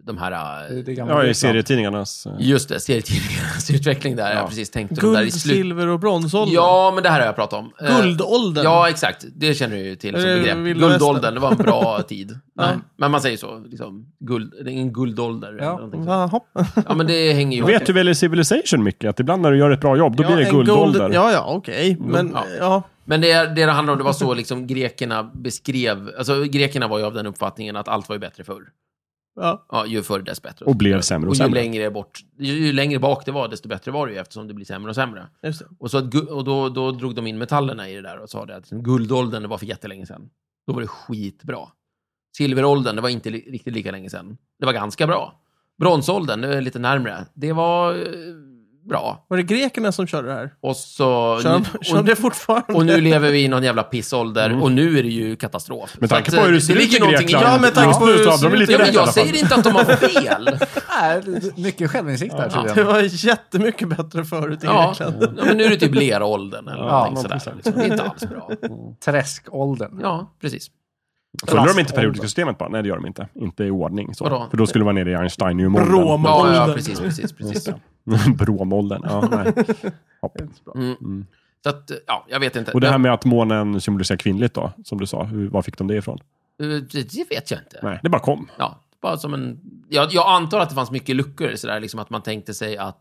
[SPEAKER 2] de här... eh,
[SPEAKER 3] Det, det är gamla
[SPEAKER 4] Ja, i
[SPEAKER 3] Grekland.
[SPEAKER 4] serietidningarnas... eh,
[SPEAKER 2] just det, serietidningarnas utveckling där.
[SPEAKER 4] Ja.
[SPEAKER 2] Jag precis tänkte de där i
[SPEAKER 1] Guld,
[SPEAKER 2] slutet.
[SPEAKER 1] silver och bronsåldern.
[SPEAKER 2] Ja, men det här har jag pratat om. Eh,
[SPEAKER 1] Guldåldern.
[SPEAKER 2] Ja, exakt. Det känner du ju till som
[SPEAKER 1] Eller
[SPEAKER 2] begrepp.
[SPEAKER 1] Vilda
[SPEAKER 2] Guldåldern, det var en bra tid.
[SPEAKER 1] Ja.
[SPEAKER 2] Nej, men man säger så. Liksom, guld, det är en guldålder.
[SPEAKER 3] Ja.
[SPEAKER 2] eller någonting sånt.
[SPEAKER 1] Jaha.
[SPEAKER 2] ja, men det hänger ju ihop.
[SPEAKER 4] Vet du väl i Civilization mycket att ibland när du gör ett bra jobb, då
[SPEAKER 1] Ja,
[SPEAKER 4] blir det
[SPEAKER 1] en
[SPEAKER 4] guldålder. Mm.
[SPEAKER 1] golden- Ja, ja, okej. Men,
[SPEAKER 2] Ja.
[SPEAKER 1] ja.
[SPEAKER 2] Men det, det det handlar om, det var så liksom grekerna beskrev... Alltså, grekerna var ju av den uppfattningen att allt var ju bättre förr.
[SPEAKER 1] ja.
[SPEAKER 2] Ja, ju förr dess bättre.
[SPEAKER 4] Och blev sämre och
[SPEAKER 2] Och ju
[SPEAKER 4] sämre.
[SPEAKER 2] längre, bort, ju, ju längre bak det var, desto bättre var det ju eftersom det blir sämre och sämre.
[SPEAKER 1] Just det.
[SPEAKER 2] Och, så att, gu- och då, då drog de in metallerna i det där och sa det att liksom, guldåldern, det var för jättelänge sedan. Då var det skitbra. Silveråldern, det var inte li- riktigt lika länge sedan. Det var ganska bra. Bronsåldern, det är lite närmre. Det var eh, bra.
[SPEAKER 1] Var det grekerna som körde det här?
[SPEAKER 2] Och så...
[SPEAKER 1] Kör,
[SPEAKER 2] och-
[SPEAKER 1] kör det fortfarande?
[SPEAKER 2] och nu lever vi i någon jävla pissålder och nu är det ju katastrof.
[SPEAKER 4] Mm. Med
[SPEAKER 2] Så
[SPEAKER 4] tanke
[SPEAKER 2] att,
[SPEAKER 4] på hur det
[SPEAKER 2] eh,
[SPEAKER 4] ser ut i
[SPEAKER 2] ligger någonting
[SPEAKER 4] Grekland.
[SPEAKER 2] i-
[SPEAKER 1] Ja, med tanke
[SPEAKER 4] just
[SPEAKER 1] på
[SPEAKER 4] nu,
[SPEAKER 1] hur
[SPEAKER 4] så
[SPEAKER 1] det
[SPEAKER 4] har
[SPEAKER 1] ser
[SPEAKER 4] de
[SPEAKER 1] ut i-
[SPEAKER 4] lite
[SPEAKER 2] Ja,
[SPEAKER 4] rätt
[SPEAKER 2] men
[SPEAKER 4] i alla
[SPEAKER 2] jag
[SPEAKER 4] fall.
[SPEAKER 2] säger inte att de har fel.
[SPEAKER 3] Nej, det- mycket självinsikt där
[SPEAKER 2] Ja.
[SPEAKER 1] Det
[SPEAKER 3] tydligen.
[SPEAKER 1] var jättemycket bättre förut i
[SPEAKER 2] Ja,
[SPEAKER 1] Grekland.
[SPEAKER 2] ja, men nu är det typ leråldern eller
[SPEAKER 3] Ja,
[SPEAKER 2] någonting sådär. Liksom. Det är inte alls bra.
[SPEAKER 3] Träskåldern.
[SPEAKER 2] Ja, precis.
[SPEAKER 4] Följer de inte periodiska systemet bara? Nej, det gör de inte. Inte i ordning.
[SPEAKER 2] Vadå?
[SPEAKER 4] Så. För då skulle man nere i Einsteinium-åldern.
[SPEAKER 2] Ja, ja
[SPEAKER 1] Bromåldern.
[SPEAKER 2] precis, precis, precis.
[SPEAKER 4] Bromåldern. Ja, nej. Hopp.
[SPEAKER 2] Mm. Så att, ja, jag vet inte.
[SPEAKER 4] Och det här med att månen symboliserar kvinnligt då, som du sa. Hur, var fick de det ifrån?
[SPEAKER 2] Eh, det, det vet jag inte.
[SPEAKER 4] Nej, det bara kom.
[SPEAKER 2] Ja, bara som en... Jag, jag antar att det fanns mycket luckor, sådär, liksom att man tänkte sig att...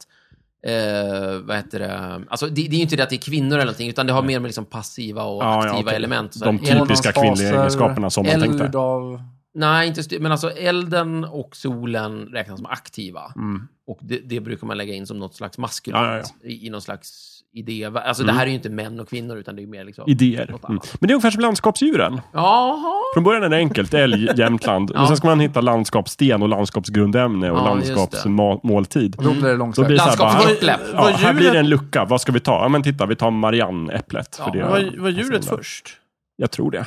[SPEAKER 2] Eh, vad heter det? Alltså, det, det är ju inte det att det är kvinnor eller någonting, utan det har mer med liksom passiva och
[SPEAKER 4] Ja, ja,
[SPEAKER 2] aktiva
[SPEAKER 4] okej.
[SPEAKER 2] element. Så
[SPEAKER 4] De
[SPEAKER 2] här. Eld-
[SPEAKER 4] typiska kvinnliga
[SPEAKER 3] Månadsfaser,
[SPEAKER 4] egenskaperna som man
[SPEAKER 3] Eld
[SPEAKER 4] tänkte.
[SPEAKER 3] av...
[SPEAKER 2] Mm. Nej, inte styr, men alltså elden och solen räknas som aktiva.
[SPEAKER 4] Mm.
[SPEAKER 2] Och det, det brukar man lägga in som något slags maskulint
[SPEAKER 4] Ja, Mm. ja,
[SPEAKER 2] I, i någon slags idé. Alltså det här är ju inte män och kvinnor, utan det är ju mer liksom...
[SPEAKER 4] Idéer.
[SPEAKER 2] Något
[SPEAKER 4] Mm.
[SPEAKER 2] annat.
[SPEAKER 4] Men det är ungefär som landskapsdjuren.
[SPEAKER 2] Jaha!
[SPEAKER 4] Från början är det enkelt, älg, Jämtland.
[SPEAKER 2] Ja.
[SPEAKER 4] Men sen ska man hitta landskapssten och landskapsgrundämne och
[SPEAKER 2] Ja,
[SPEAKER 4] landskapsmåltid.
[SPEAKER 3] Och då blir det långsökt.
[SPEAKER 4] Då blir det så här bara,
[SPEAKER 2] Landskapsdjur.
[SPEAKER 4] här,
[SPEAKER 2] Äpple.
[SPEAKER 1] Var,
[SPEAKER 4] ja,
[SPEAKER 1] var
[SPEAKER 4] här blir det
[SPEAKER 1] djuret,
[SPEAKER 4] en lucka. Vad ska vi ta? Ja, men titta, vi tar Marianneäpplet.
[SPEAKER 2] Ja.
[SPEAKER 4] för det,
[SPEAKER 1] var, var djuret
[SPEAKER 4] passar in där.
[SPEAKER 1] först?
[SPEAKER 4] Jag tror det.
[SPEAKER 2] Eh,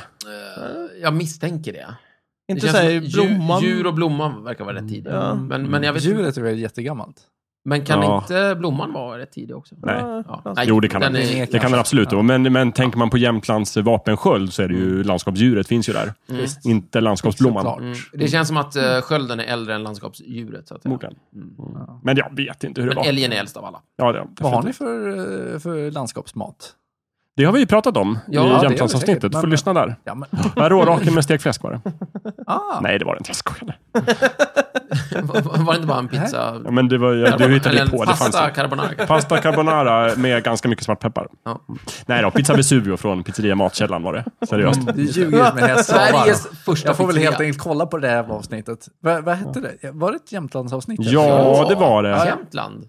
[SPEAKER 2] jag misstänker det.
[SPEAKER 1] Inte
[SPEAKER 2] det känns
[SPEAKER 1] såhär
[SPEAKER 2] som att djur-
[SPEAKER 1] blomman?
[SPEAKER 2] Djur och blomman verkar vara rätt
[SPEAKER 4] Mm.
[SPEAKER 2] tidiga.
[SPEAKER 1] Ja.
[SPEAKER 2] Men, men jag vet inte.
[SPEAKER 3] Djuret tror jag är jättegammalt.
[SPEAKER 2] Men kan
[SPEAKER 4] Ja.
[SPEAKER 2] inte blomman vara rätt tidig också?
[SPEAKER 4] Nej.
[SPEAKER 2] Ja.
[SPEAKER 1] Ja.
[SPEAKER 2] Nej,
[SPEAKER 4] Jo, det kan
[SPEAKER 2] den
[SPEAKER 4] den.
[SPEAKER 2] är-
[SPEAKER 4] Det kan den absolut. vara. Men, men tänker man på Jämtlands vapensköld så är det ju landskapsdjuret finns ju där.
[SPEAKER 2] Mm.
[SPEAKER 4] Inte landskapsblomman.
[SPEAKER 3] Såklart.
[SPEAKER 2] Mm. Det känns som att eh, skölden är äldre än landskapsdjuret. Så att säga.
[SPEAKER 4] Förmodligen.
[SPEAKER 2] Mm.
[SPEAKER 4] Men jag vet inte hur det
[SPEAKER 2] Men
[SPEAKER 4] var.
[SPEAKER 2] älgen är äldst av alla.
[SPEAKER 4] Ja, det,
[SPEAKER 3] Vad har
[SPEAKER 4] definitivt.
[SPEAKER 3] ni för, eh, för landskapsmat?
[SPEAKER 4] det har vi ju pratat om
[SPEAKER 2] Ja, det gör
[SPEAKER 4] i
[SPEAKER 2] vi
[SPEAKER 4] Jämtlandsavsnittet.
[SPEAKER 3] säkert,
[SPEAKER 4] Du får
[SPEAKER 3] men-
[SPEAKER 4] lyssna där.
[SPEAKER 3] Ja, men,
[SPEAKER 4] Var råraken med stekt fläsk var det.
[SPEAKER 3] ah,
[SPEAKER 4] Nej, det var det inte. Jag skojade.
[SPEAKER 2] Var var det inte bara en pizza?
[SPEAKER 4] Ja, Men det var, ju- du hittade
[SPEAKER 2] Eller
[SPEAKER 4] ju
[SPEAKER 2] en
[SPEAKER 4] på. Det fanns
[SPEAKER 2] pasta
[SPEAKER 4] inte.
[SPEAKER 2] carbonara.
[SPEAKER 4] Pasta carbonara med ganska mycket svartpeppar.
[SPEAKER 2] Ja.
[SPEAKER 4] Nej då, pizza Vesuvio från pizzeria Matkällan var det. Seriöst.
[SPEAKER 3] Mm, du ljuger med hästsavar.
[SPEAKER 2] Sveriges första
[SPEAKER 3] Jag får väl
[SPEAKER 2] pizzeria.
[SPEAKER 3] helt enkelt kolla på det här avsnittet. Va, vad hette det? Var det ett Jämtlandsavsnitt?
[SPEAKER 4] Ja, det var det.
[SPEAKER 2] Jämtland.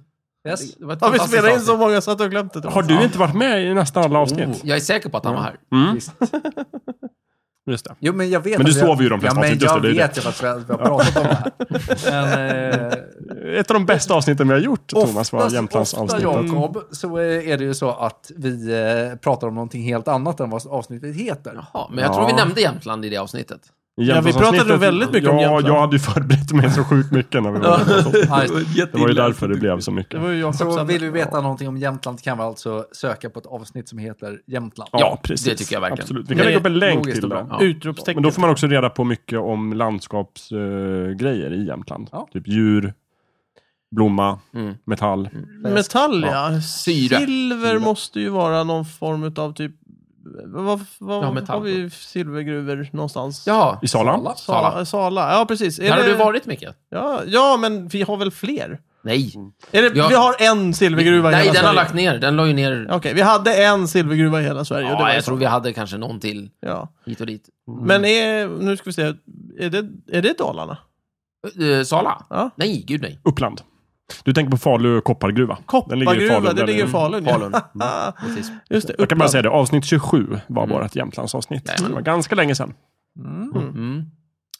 [SPEAKER 3] Yes.
[SPEAKER 2] Det var ett
[SPEAKER 1] Har vi
[SPEAKER 2] fantastiskt
[SPEAKER 1] spelat in
[SPEAKER 2] avsnitt.
[SPEAKER 1] så många så att du har glömt det?
[SPEAKER 4] Har du inte varit med i nästan alla avsnitt?
[SPEAKER 2] Jag är säker på att han var här.
[SPEAKER 4] Mm.
[SPEAKER 3] Visst.
[SPEAKER 4] Just det.
[SPEAKER 3] Jo, men jag vet
[SPEAKER 4] Men du
[SPEAKER 3] att vi har-
[SPEAKER 4] sover ju de flesta
[SPEAKER 3] ja, men
[SPEAKER 4] avsnitt, just
[SPEAKER 3] Jag
[SPEAKER 4] det, det är
[SPEAKER 3] vet ju att vi har vi har pratat om det här. Men, eh,
[SPEAKER 4] Ett av de bästa avsnitten vi har gjort, Thomas, var
[SPEAKER 3] Oftast-
[SPEAKER 4] Jämtlandsavsnittet.
[SPEAKER 3] Ofta, Jakob, så eh, är det ju så att vi eh, pratar om någonting helt annat än vad avsnittet heter.
[SPEAKER 2] Jaha, men jag
[SPEAKER 4] Ja.
[SPEAKER 2] tror vi nämnde Jämtland i det avsnittet.
[SPEAKER 1] Ja, vi pratade ju väldigt mycket om Jämtland.
[SPEAKER 4] Ja, jag hade ju förberett mig så sjukt mycket när vi var
[SPEAKER 3] Ja, just det.
[SPEAKER 4] Det var ju därför det blev så
[SPEAKER 1] Det
[SPEAKER 4] mycket.
[SPEAKER 1] var ju Jakobs
[SPEAKER 3] Så
[SPEAKER 1] andra.
[SPEAKER 3] vill vi veta någonting om Jämtland kan vi alltså söka på ett avsnitt som heter Jämtland.
[SPEAKER 2] Ja, det tycker jag verkligen.
[SPEAKER 4] Absolut. Vi
[SPEAKER 1] Men
[SPEAKER 4] kan lägga upp en länk
[SPEAKER 3] logiskt
[SPEAKER 4] till
[SPEAKER 3] och bra.
[SPEAKER 4] det.
[SPEAKER 2] Ja.
[SPEAKER 1] Utropstecken.
[SPEAKER 4] Men då får man också reda på mycket om landskapsgrejer i Jämtland.
[SPEAKER 3] Ja.
[SPEAKER 4] Typ djur, blomma,
[SPEAKER 2] Mm.
[SPEAKER 4] metall.
[SPEAKER 1] Metall, ja.
[SPEAKER 2] Syre.
[SPEAKER 1] Silver måste ju vara någon form av typ... Vad, vad
[SPEAKER 2] Ja, metall
[SPEAKER 1] har vi silvergruvor någonstans?
[SPEAKER 2] Jaha.
[SPEAKER 4] I Sala?
[SPEAKER 1] Sala. Sala. Ja, precis. Är
[SPEAKER 2] Där har
[SPEAKER 1] det-
[SPEAKER 2] du varit, Micke?
[SPEAKER 1] Ja, ja, men vi har väl fler?
[SPEAKER 2] Nej.
[SPEAKER 1] Är det,
[SPEAKER 2] Ja.
[SPEAKER 1] Vi har en silvergruva i
[SPEAKER 2] Nej,
[SPEAKER 1] hela
[SPEAKER 2] den har
[SPEAKER 1] Sverige.
[SPEAKER 2] lagt ner. Den la ju ner...
[SPEAKER 1] Okej, vi hade en silvergruva i hela Sverige. och det var
[SPEAKER 2] Ja, jag
[SPEAKER 1] så.
[SPEAKER 2] tror vi hade kanske någon till
[SPEAKER 1] ja.
[SPEAKER 2] hit och dit.
[SPEAKER 1] Men är, nu ska vi se, är det, är det Dalarna?
[SPEAKER 2] Eh, Sala?
[SPEAKER 1] Ja.
[SPEAKER 2] Nej, gud nej.
[SPEAKER 4] Uppland. Du tänker på Falu koppargruva. Den ligger i
[SPEAKER 1] Koppargruva,
[SPEAKER 4] Falun,
[SPEAKER 1] det
[SPEAKER 4] där
[SPEAKER 1] ligger i
[SPEAKER 4] det-
[SPEAKER 1] Falun. ja.
[SPEAKER 2] Falun. Mm, precis.
[SPEAKER 1] Just det,
[SPEAKER 4] Jag kan bara
[SPEAKER 1] Uppland.
[SPEAKER 4] säga det, avsnitt 27 var
[SPEAKER 2] Mm.
[SPEAKER 4] bara ett Jämtlandsavsnitt.
[SPEAKER 2] Jajamän.
[SPEAKER 4] Det var ganska länge sedan.
[SPEAKER 3] Mm.
[SPEAKER 2] Mm.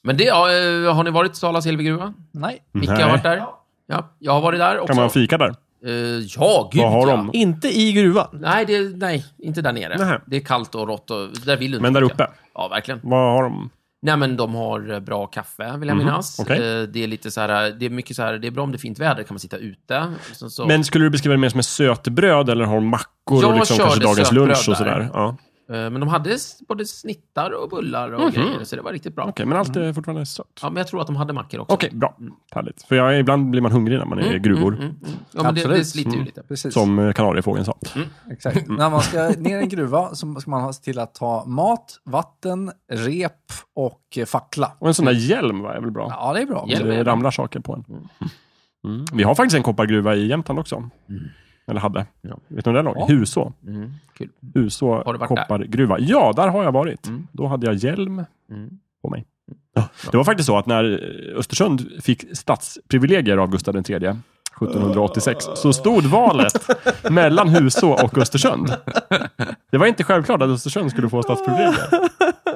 [SPEAKER 2] Men det, ja, eh, har ni varit i Sala silvergruva?
[SPEAKER 3] Nej.
[SPEAKER 2] Micke
[SPEAKER 4] Nej.
[SPEAKER 2] har varit där. Ja, jag har varit där också.
[SPEAKER 4] Kan man fika där?
[SPEAKER 2] Eh, ja, gud
[SPEAKER 4] Vad har
[SPEAKER 2] ja.
[SPEAKER 4] de?
[SPEAKER 1] Inte i gruvan.
[SPEAKER 2] Nej, det, nej, inte där nere.
[SPEAKER 4] Nej.
[SPEAKER 2] Det är kallt och rått och där vill du inte
[SPEAKER 4] Men där
[SPEAKER 2] åka.
[SPEAKER 4] uppe?
[SPEAKER 2] Ja, verkligen.
[SPEAKER 4] Vad har de?
[SPEAKER 2] Nej, men de har eh, bra kaffe, vill jag
[SPEAKER 4] Mhm,
[SPEAKER 2] minnas.
[SPEAKER 4] okej.
[SPEAKER 2] Eh, Det är lite så här, eh, det är mycket så här, det är bra om det är fint väder, kan man sitta ute. Sen så,
[SPEAKER 4] Men skulle du beskriva det mer som ett sötbröd eller har de mackor och
[SPEAKER 2] Jag
[SPEAKER 4] liksom
[SPEAKER 2] körde
[SPEAKER 4] kanske dagens
[SPEAKER 2] sötbröd
[SPEAKER 4] lunch och
[SPEAKER 2] där.
[SPEAKER 4] sådär? Ja. Okej,
[SPEAKER 2] eh, men de hade s- både snittar och bullar och
[SPEAKER 4] Mhm.
[SPEAKER 2] grejer, så det var riktigt bra.
[SPEAKER 4] men allt
[SPEAKER 2] Mm.
[SPEAKER 4] är fortfarande sött.
[SPEAKER 2] Ja, men jag tror att de hade mackor också.
[SPEAKER 4] Okej, bra. Härligt. För jag, ibland blir man hungrig när man är i gruvor.
[SPEAKER 2] Mm, mm, mm. Ja, men det,
[SPEAKER 3] Absolut.
[SPEAKER 2] det sliter ju lite.
[SPEAKER 3] Precis.
[SPEAKER 4] Som Mm. eh, kanariefågeln sa.
[SPEAKER 2] Mm.
[SPEAKER 3] Exakt. När man ska ner i en gruva så ska man se till att ta mat, vatten, rep och eh, fackla.
[SPEAKER 4] Och en sån där hjälm va, är väl bra?
[SPEAKER 3] Ja, det är bra.
[SPEAKER 2] Ja. hjälm är
[SPEAKER 4] det
[SPEAKER 2] bra.
[SPEAKER 4] ramlar saker på en. Mm. Vi har faktiskt en koppargruva i Jämtland också. Eller hade.
[SPEAKER 2] Mm. Ja.
[SPEAKER 4] Vet du om den låg?
[SPEAKER 3] Ja.
[SPEAKER 4] Huså.
[SPEAKER 2] Mm, kul.
[SPEAKER 4] Huså
[SPEAKER 2] Har du varit
[SPEAKER 4] koppargruva. Ja, där har jag varit.
[SPEAKER 2] Mm.
[SPEAKER 4] Då hade jag hjälm
[SPEAKER 2] Mm.
[SPEAKER 4] på mig. Ja. Det var faktiskt så att när eh, Östersund fick stadsprivilegier av Gustav III 1786, så stod valet mellan Huså och Östersund. Det var inte självklart att Östersund skulle få stadsprivilegier.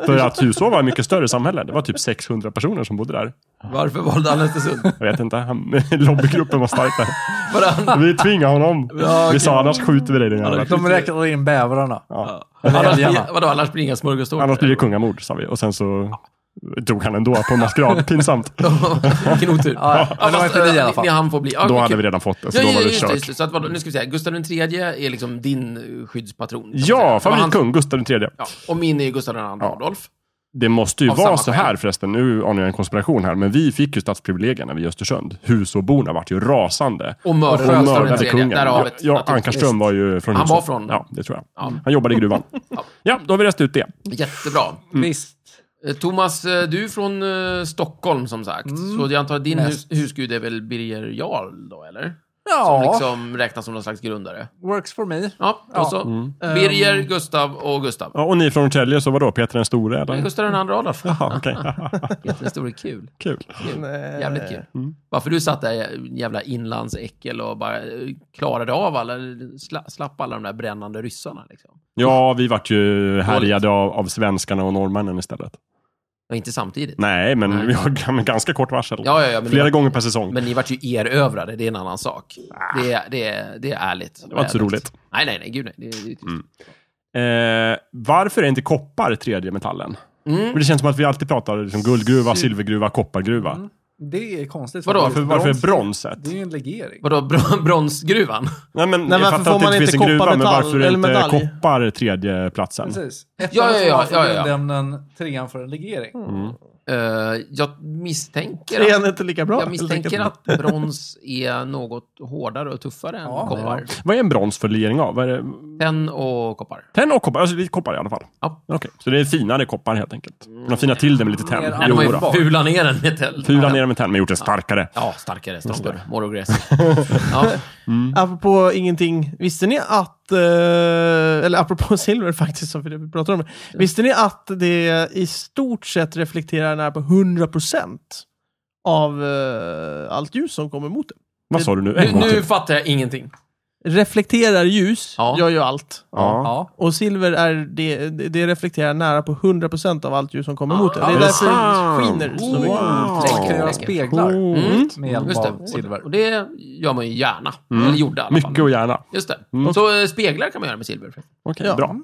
[SPEAKER 4] För att Huså var ett mycket större samhälle. Det var typ 600 personer som bodde där.
[SPEAKER 2] Varför valde han Östersund?
[SPEAKER 4] Jag vet inte, han, lobbygruppen var stark där.
[SPEAKER 2] Varann-
[SPEAKER 4] Vi tvingar honom. Vi sa annars skjuter vi dig din jävel.
[SPEAKER 3] De räknar in bävrarna.
[SPEAKER 4] Ja.
[SPEAKER 2] Annars,
[SPEAKER 3] Älgarna.
[SPEAKER 2] vadå, annars blir det inga smörgåstårtor?
[SPEAKER 4] Annars blir det kungamord, sa vi. Och sen så drog han ändå på en maskerad. Pinsamt.
[SPEAKER 2] Vilken otur.
[SPEAKER 3] Ja, men det var inte
[SPEAKER 2] fast,
[SPEAKER 3] vi i
[SPEAKER 2] eh,
[SPEAKER 3] alla fall.
[SPEAKER 2] Ni, ni hann få bli. Ja,
[SPEAKER 4] Då
[SPEAKER 2] men
[SPEAKER 4] hade
[SPEAKER 2] kul.
[SPEAKER 4] vi redan fått det, så
[SPEAKER 2] Ja, ja, just
[SPEAKER 4] Alltså, då var det
[SPEAKER 2] det, just
[SPEAKER 4] kört.
[SPEAKER 2] det. Så att, vadå, nu ska vi säga, Gustav III är liksom din eh, skyddspatron. kan man
[SPEAKER 4] Ja,
[SPEAKER 2] säga. Och hans-
[SPEAKER 4] favoritkung, Gustav III.
[SPEAKER 2] Ja, och min är Gustav II Adolf.
[SPEAKER 4] Det måste ju
[SPEAKER 2] Av
[SPEAKER 4] vara
[SPEAKER 2] samma
[SPEAKER 4] så här
[SPEAKER 2] skäl.
[SPEAKER 4] förresten, nu anar jag en konspiration här, men vi fick ju stadsprivilegierna vid Östersund. Husoborna vart ju rasande.
[SPEAKER 2] Och
[SPEAKER 4] Och
[SPEAKER 2] mördade Gustav
[SPEAKER 4] mördade
[SPEAKER 2] III.
[SPEAKER 4] kungen.
[SPEAKER 2] Därav
[SPEAKER 4] Ja,
[SPEAKER 2] ett
[SPEAKER 4] ja,
[SPEAKER 2] naturligt-
[SPEAKER 4] Ankarström var ju från
[SPEAKER 2] Han
[SPEAKER 4] Huså.
[SPEAKER 2] var från-
[SPEAKER 4] Ja, det tror jag.
[SPEAKER 2] Ja.
[SPEAKER 4] Han jobbade i gruvan. Ja, då har vi rest ut det.
[SPEAKER 2] Jättebra.
[SPEAKER 3] Visst.
[SPEAKER 2] Eh, Thomas, eh, du är från eh, Stockholm som sagt.
[SPEAKER 4] Mm.
[SPEAKER 2] Så jag antar att din hus,
[SPEAKER 3] Mest.
[SPEAKER 2] husgud är väl Birger Jarl då, eller? Som
[SPEAKER 3] Ja,
[SPEAKER 2] liksom räknas som någon slags grundare.
[SPEAKER 3] works for me.
[SPEAKER 2] Ja, och
[SPEAKER 3] Ja.
[SPEAKER 2] så
[SPEAKER 4] Mm.
[SPEAKER 2] Birger, Gustav och Gustav.
[SPEAKER 4] Ja, och ni från Norrtälje, så vadå? Peter den store?
[SPEAKER 2] Men
[SPEAKER 4] Eller?
[SPEAKER 2] Gustav II Adolf.
[SPEAKER 4] Jaha, okej.
[SPEAKER 2] Den store kul.
[SPEAKER 4] Kul.
[SPEAKER 2] kul.
[SPEAKER 1] Nej.
[SPEAKER 2] Jävligt kul.
[SPEAKER 4] Mm.
[SPEAKER 2] Varför du satt där jä- jävla inlandsäckel och bara eh, klarade av alla, sla, slapp alla de där brännande ryssarna liksom.
[SPEAKER 4] Ja, vi vart ju härjade av, av svenskarna och norrmännen istället.
[SPEAKER 2] Men inte samtidigt.
[SPEAKER 4] Nej, men
[SPEAKER 2] Nej.
[SPEAKER 4] vi har med ganska kort varsel.
[SPEAKER 2] Ja, ja, ja, men
[SPEAKER 4] Flera
[SPEAKER 2] det var-
[SPEAKER 4] gånger per säsong.
[SPEAKER 2] Men ni vart ju erövrade, det är en annan sak. Det, är- det, är- det är ärligt.
[SPEAKER 4] Ah. Det var inte så roligt. Mm.
[SPEAKER 2] Nej, nej, nej, gud nej. Det, är- det, är trist.
[SPEAKER 4] Eh, varför är inte koppar tredje metallen? För det känns som att vi alltid pratar liksom, guldgruva, silvergruva, koppargruva.
[SPEAKER 3] Det är konstigt.
[SPEAKER 2] Vadå,
[SPEAKER 4] Varför, varför är bronset?
[SPEAKER 3] Det är ju en legering.
[SPEAKER 2] Vadå, bron- bronsgruvan?
[SPEAKER 4] Nej, men,
[SPEAKER 1] varför
[SPEAKER 4] jag fattar
[SPEAKER 1] får
[SPEAKER 4] att det
[SPEAKER 1] man
[SPEAKER 4] inte finns en
[SPEAKER 1] inte
[SPEAKER 4] gruva,
[SPEAKER 1] koppar,
[SPEAKER 4] men
[SPEAKER 1] metall
[SPEAKER 4] varför är
[SPEAKER 1] eller
[SPEAKER 4] inte
[SPEAKER 1] medalj?
[SPEAKER 4] koppar tredje platsen?
[SPEAKER 3] Precis. Ettan
[SPEAKER 2] Ja, ja, ja,
[SPEAKER 3] står för
[SPEAKER 2] ja, ja.
[SPEAKER 3] grundämnen, trean för en legering.
[SPEAKER 4] Mm.
[SPEAKER 2] Eh, jag misstänker
[SPEAKER 1] Trean
[SPEAKER 2] att,
[SPEAKER 1] är inte lika bra.
[SPEAKER 2] jag misstänker att brons är något hårdare och tuffare än
[SPEAKER 3] Ja,
[SPEAKER 2] koppar.
[SPEAKER 4] Vad är en brons för legering av? Vad är det?
[SPEAKER 2] Tenn och koppar.
[SPEAKER 4] Tenn och koppar, alltså det är koppar i alla fall.
[SPEAKER 2] Ja.
[SPEAKER 4] Okej, så det är finare koppar helt enkelt. Man har finat till det med lite tenn.
[SPEAKER 3] Mer
[SPEAKER 2] Nej, de har
[SPEAKER 4] Jo då.
[SPEAKER 2] ju
[SPEAKER 3] då.
[SPEAKER 2] fulat ner den med tenn.
[SPEAKER 4] Fula ner dem med tenn, men gjort den starkare.
[SPEAKER 2] Ja, starkare, stronger, more aggressive. ja.
[SPEAKER 1] Mm. Apropå ingenting, visste ni att, eh, eller apropå silver faktiskt, som vi pratar om, visste ni att det i stort sett reflekterar nära på 100% av eh, allt ljus som kommer mot det?
[SPEAKER 4] Vad sa du nu?
[SPEAKER 2] nu,
[SPEAKER 4] En gång
[SPEAKER 2] nu
[SPEAKER 4] till.
[SPEAKER 2] fattar jag ingenting.
[SPEAKER 1] Reflekterar ljus,
[SPEAKER 2] Ja.
[SPEAKER 1] gör ju allt.
[SPEAKER 4] Ja.
[SPEAKER 3] Ja.
[SPEAKER 1] Och silver är det, det det reflekterar nära på 100% av allt ljus som kommer mot det. Det
[SPEAKER 2] Ah,
[SPEAKER 1] är
[SPEAKER 2] det är
[SPEAKER 1] därför det
[SPEAKER 4] sant.
[SPEAKER 1] skiner så
[SPEAKER 4] Wow.
[SPEAKER 1] mycket.
[SPEAKER 3] Så man kan
[SPEAKER 2] Tänker.
[SPEAKER 3] göra speglar
[SPEAKER 2] Mm.
[SPEAKER 3] med hjälp
[SPEAKER 2] Just det.
[SPEAKER 3] av
[SPEAKER 2] Och-
[SPEAKER 3] silver.
[SPEAKER 2] Och det gör man ju gärna. Eller gjorde i alla fall.
[SPEAKER 4] Mycket och gärna.
[SPEAKER 2] Just det. Så eh, speglar kan man göra med silver.
[SPEAKER 4] Okej,
[SPEAKER 1] Ja.
[SPEAKER 4] bra.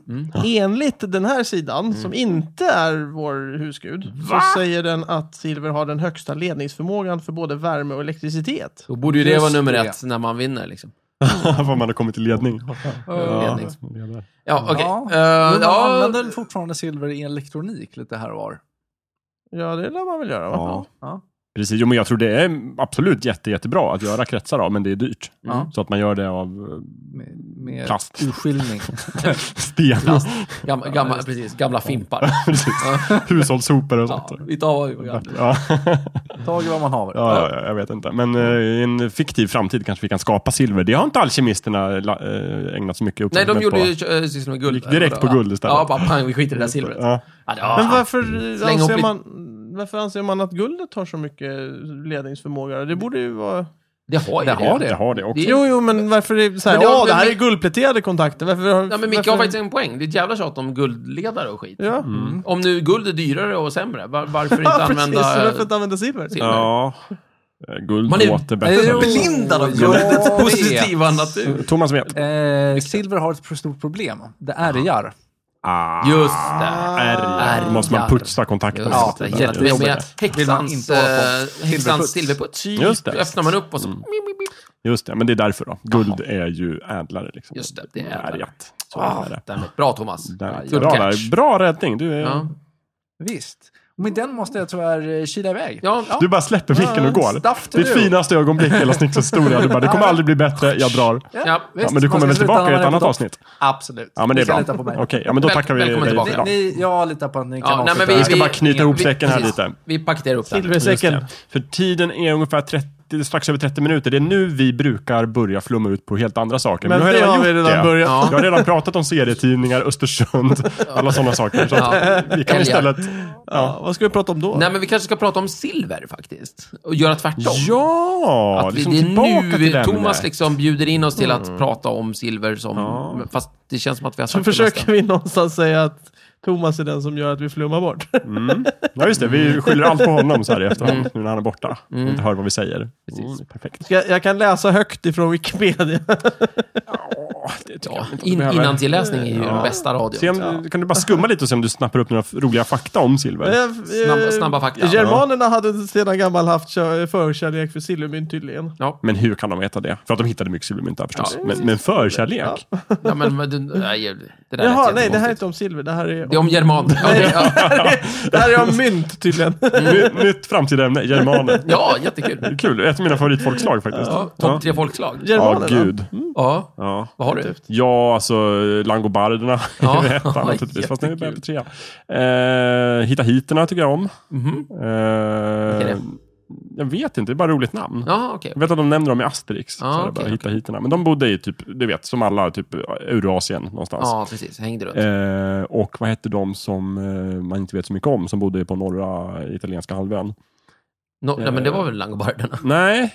[SPEAKER 1] Enligt den här sidan,
[SPEAKER 2] Mm.
[SPEAKER 1] som inte är vår husgud, så säger den att silver har den högsta ledningsförmågan för både värme och elektricitet.
[SPEAKER 2] Då borde ju det
[SPEAKER 3] Just
[SPEAKER 2] vara nummer
[SPEAKER 3] det.
[SPEAKER 2] ett när man vinner. Liksom.
[SPEAKER 4] Vad man har kommit till ledning.
[SPEAKER 2] Ledning.
[SPEAKER 4] Ledare.
[SPEAKER 2] Ja, okej.
[SPEAKER 3] Ja.
[SPEAKER 2] Eh,
[SPEAKER 3] Men man
[SPEAKER 2] ja,
[SPEAKER 3] använder fortfarande silver i elektronik lite här och var.
[SPEAKER 1] Ja, det lär man väl göra va?
[SPEAKER 4] Ja.
[SPEAKER 3] Ja.
[SPEAKER 4] Precis, jo, men jag tror det är absolut jätte, jättebra att göra kretsar av, men det är dyrt.
[SPEAKER 3] Ja.
[SPEAKER 4] Så att man gör det av
[SPEAKER 3] Med, med
[SPEAKER 4] Plast.
[SPEAKER 3] urskiljning.
[SPEAKER 4] eh, sten,
[SPEAKER 2] plast. Gamla, gamla, precis, gamla fimpar.
[SPEAKER 4] hushållssopor och sånt.
[SPEAKER 2] Ja, vi tar vad vi kan.
[SPEAKER 4] Ja. Ja,
[SPEAKER 3] Tag i vad man har.
[SPEAKER 4] ja, ja, jag vet inte. Men eh, i en fiktiv framtid kanske vi kan skapa silver. Det har inte alkemisterna la- eh, ägnat så mycket
[SPEAKER 2] Nej, de
[SPEAKER 4] uppmärksamhet
[SPEAKER 2] gjorde
[SPEAKER 4] på.
[SPEAKER 2] ju eh, sysslor med guld.
[SPEAKER 4] Gick direkt på guld istället.
[SPEAKER 2] Ja, bara pang, vi skiter i det där silvret.
[SPEAKER 4] Ja.
[SPEAKER 2] Ja, det- ja. Mm.
[SPEAKER 1] Men varför,
[SPEAKER 2] Släng upp
[SPEAKER 1] anser
[SPEAKER 2] lite-
[SPEAKER 1] man, varför anser man att guldet har så mycket ledningsförmåga? Det borde ju vara...
[SPEAKER 2] Det har ju
[SPEAKER 3] Det
[SPEAKER 2] det.
[SPEAKER 3] har det.
[SPEAKER 4] Jag har det också.
[SPEAKER 2] Det-
[SPEAKER 1] Jo, jo, men varför är det så här,
[SPEAKER 2] Men det har-
[SPEAKER 1] ja, det här
[SPEAKER 2] men-
[SPEAKER 1] är guldpläterade kontakter. Varför, har-
[SPEAKER 2] Ja, men Micke har
[SPEAKER 1] varför-
[SPEAKER 2] faktiskt en poäng. Det är ett jävla tjat om guldledare och skit.
[SPEAKER 1] Ja,
[SPEAKER 4] Mm.
[SPEAKER 2] Om nu guld är dyrare och sämre, var, varför inte
[SPEAKER 1] ja precis.
[SPEAKER 2] använda... eh,
[SPEAKER 1] Varför inte använda silver? typ.
[SPEAKER 2] silver?
[SPEAKER 4] Ja. Eh, Guld
[SPEAKER 2] Man är-
[SPEAKER 4] låter bättre.
[SPEAKER 3] Jo.
[SPEAKER 4] liksom.
[SPEAKER 2] Blindad av
[SPEAKER 3] Ja,
[SPEAKER 2] guldets
[SPEAKER 3] jag
[SPEAKER 2] positiva
[SPEAKER 3] vet.
[SPEAKER 2] natur.
[SPEAKER 4] Thomas vet.
[SPEAKER 3] Eh, silver har ett stort problem. Det är jar.
[SPEAKER 4] Ah.
[SPEAKER 2] Just det.
[SPEAKER 4] Ärr. Måste man putsa kontakten.
[SPEAKER 2] Just det.
[SPEAKER 4] hela
[SPEAKER 2] Hjälp
[SPEAKER 4] tiden.
[SPEAKER 2] mig med
[SPEAKER 3] Vill man
[SPEAKER 2] häxans,
[SPEAKER 3] inte hålla på.
[SPEAKER 2] eh, häxans
[SPEAKER 3] Silverputs.
[SPEAKER 2] silverputs.
[SPEAKER 4] Just det. Mm.
[SPEAKER 2] Öppnar man upp och så... Mip, mip, mip.
[SPEAKER 4] Just det, men det är därför då. Guld är ju ädlare. Liksom.
[SPEAKER 2] Just det, det är ädlare.
[SPEAKER 4] Ärgat. Så
[SPEAKER 2] Ah,
[SPEAKER 4] är det.
[SPEAKER 2] därmed. Bra Thomas.
[SPEAKER 4] Där.
[SPEAKER 2] Good
[SPEAKER 4] Bra,
[SPEAKER 2] catch.
[SPEAKER 4] där. Bra räddning. Du, är...
[SPEAKER 2] Ja.
[SPEAKER 3] Visst. Och med den måste jag tyvärr eh, kila iväg.
[SPEAKER 2] Ja,
[SPEAKER 4] du bara släpper micken och går.
[SPEAKER 3] Stuff to
[SPEAKER 4] Ditt
[SPEAKER 3] do.
[SPEAKER 4] finaste ögonblick i hela snickshistoria. Du bara, det kommer aldrig bli bättre, jag drar.
[SPEAKER 2] Ja,
[SPEAKER 4] Ja,
[SPEAKER 3] visst.
[SPEAKER 4] men du kommer
[SPEAKER 3] Man ska
[SPEAKER 4] väl
[SPEAKER 3] sluta när
[SPEAKER 4] tillbaka i
[SPEAKER 3] man
[SPEAKER 4] ett
[SPEAKER 3] är
[SPEAKER 4] annat
[SPEAKER 3] på topp.
[SPEAKER 4] avsnitt?
[SPEAKER 3] Absolut.
[SPEAKER 4] Ja, men det
[SPEAKER 3] Ni
[SPEAKER 4] är
[SPEAKER 3] ska
[SPEAKER 4] bra.
[SPEAKER 3] lita på mig.
[SPEAKER 4] Okej, ja, men då
[SPEAKER 2] Väl-
[SPEAKER 4] tackar vi
[SPEAKER 2] välkommen
[SPEAKER 4] dig
[SPEAKER 2] tillbaka.
[SPEAKER 4] för idag.
[SPEAKER 3] Ni, jag litar på att ni kan
[SPEAKER 2] Ja, nej,
[SPEAKER 3] avsluta
[SPEAKER 2] men
[SPEAKER 3] det
[SPEAKER 4] vi
[SPEAKER 3] här.
[SPEAKER 4] ska bara knyta ihop
[SPEAKER 2] vi-
[SPEAKER 4] säcken här
[SPEAKER 2] precis.
[SPEAKER 4] lite.
[SPEAKER 2] Vi paketerar upp den.
[SPEAKER 1] Silversäcken.
[SPEAKER 4] Just det. För tiden är ungefär 30, strax över 30 minuter. Det är nu vi brukar börja flumma ut på helt andra saker.
[SPEAKER 1] Men
[SPEAKER 4] nu jag
[SPEAKER 1] det har
[SPEAKER 4] gjort
[SPEAKER 1] vi redan
[SPEAKER 4] det.
[SPEAKER 1] börjat.
[SPEAKER 2] Ja.
[SPEAKER 4] Jag har redan pratat om serietidningar, Östersund, alla sådana saker. Så att vi kan istället...
[SPEAKER 1] Ja, vad ska vi prata om då?
[SPEAKER 2] Nej, men vi kanske ska prata om silver faktiskt. Och göra tvärtom.
[SPEAKER 4] Ja!
[SPEAKER 2] att vi,
[SPEAKER 4] liksom
[SPEAKER 2] det
[SPEAKER 4] tillbaka
[SPEAKER 2] är
[SPEAKER 4] till
[SPEAKER 2] nu
[SPEAKER 4] den
[SPEAKER 2] Thomas
[SPEAKER 4] där.
[SPEAKER 2] liksom bjuder in oss till
[SPEAKER 4] Mm.
[SPEAKER 2] att prata om silver som... men Fast det känns som att vi har
[SPEAKER 1] Så
[SPEAKER 2] sagt det
[SPEAKER 1] försöker
[SPEAKER 2] mesta.
[SPEAKER 1] vi någonstans säga att Thomas är den som gör att vi flummar bort.
[SPEAKER 4] Ja, just det. Vi skyller allt på honom så här i efterhand, nu när han är borta. Inte hör vad vi säger.
[SPEAKER 2] Mm. Precis.
[SPEAKER 4] Mm, perfekt.
[SPEAKER 1] Ska, jag kan läsa högt ifrån Wikipedia.
[SPEAKER 2] Ja, in, innantilläsning är ju den bästa radion.
[SPEAKER 4] Se om, Kan du bara skumma lite och se om du snappar upp några roliga fakta om silver?
[SPEAKER 1] Snabba,
[SPEAKER 2] snabba fakta.
[SPEAKER 1] Germanerna hade sedan gammal haft kö- förkärlek för silvermynt tydligen.
[SPEAKER 2] Ja,
[SPEAKER 4] Men hur kan de veta det? För att de hittade mycket silvermynt där förstås.
[SPEAKER 2] Ja.
[SPEAKER 4] Men, men förkärlek?
[SPEAKER 2] ja men men det, nej, det där
[SPEAKER 1] Jaha,
[SPEAKER 2] lät
[SPEAKER 1] nej, det här är
[SPEAKER 2] jättekonstigt. inte...
[SPEAKER 1] inte om silver. Det här är,
[SPEAKER 2] Det är om german. Ja, det- ja,
[SPEAKER 1] det här är om mynt tydligen.
[SPEAKER 4] Ny- Nytt framtida ämne, germaner.
[SPEAKER 2] ja, jättekul.
[SPEAKER 4] Kul, ett av mina favoritfolkslag faktiskt.
[SPEAKER 2] Ja, Topp tre Mm. folkslag.
[SPEAKER 1] Germanerna.
[SPEAKER 4] Ja, gud.
[SPEAKER 2] Ja,
[SPEAKER 4] Ja.
[SPEAKER 2] vad har du?
[SPEAKER 4] Ja, alltså langobarderna
[SPEAKER 2] Ja.
[SPEAKER 4] är väl ettan naturligtvis. Fast nu är vi på trea. Eh, Hitta hiterna tycker jag om.
[SPEAKER 2] Mhm.
[SPEAKER 4] Eh,
[SPEAKER 2] Vilka är det?
[SPEAKER 4] jag vet inte, det är bara roligt namn.
[SPEAKER 2] Ja, okej.
[SPEAKER 4] Jag vet att de nämner dem i Asterix.
[SPEAKER 2] Ah,
[SPEAKER 4] så här,
[SPEAKER 2] okej,
[SPEAKER 4] bara,
[SPEAKER 2] okej.
[SPEAKER 4] hitta hiterna. Men de bodde i typ, du vet, som alla, typ Eurasien någonstans.
[SPEAKER 2] Ja, precis. Hängde runt.
[SPEAKER 4] Eh, och vad hette de som eh, man inte vet så mycket om, som bodde på norra italienska halvön?
[SPEAKER 2] No, nej, men det var väl langobarderna?
[SPEAKER 4] Nej.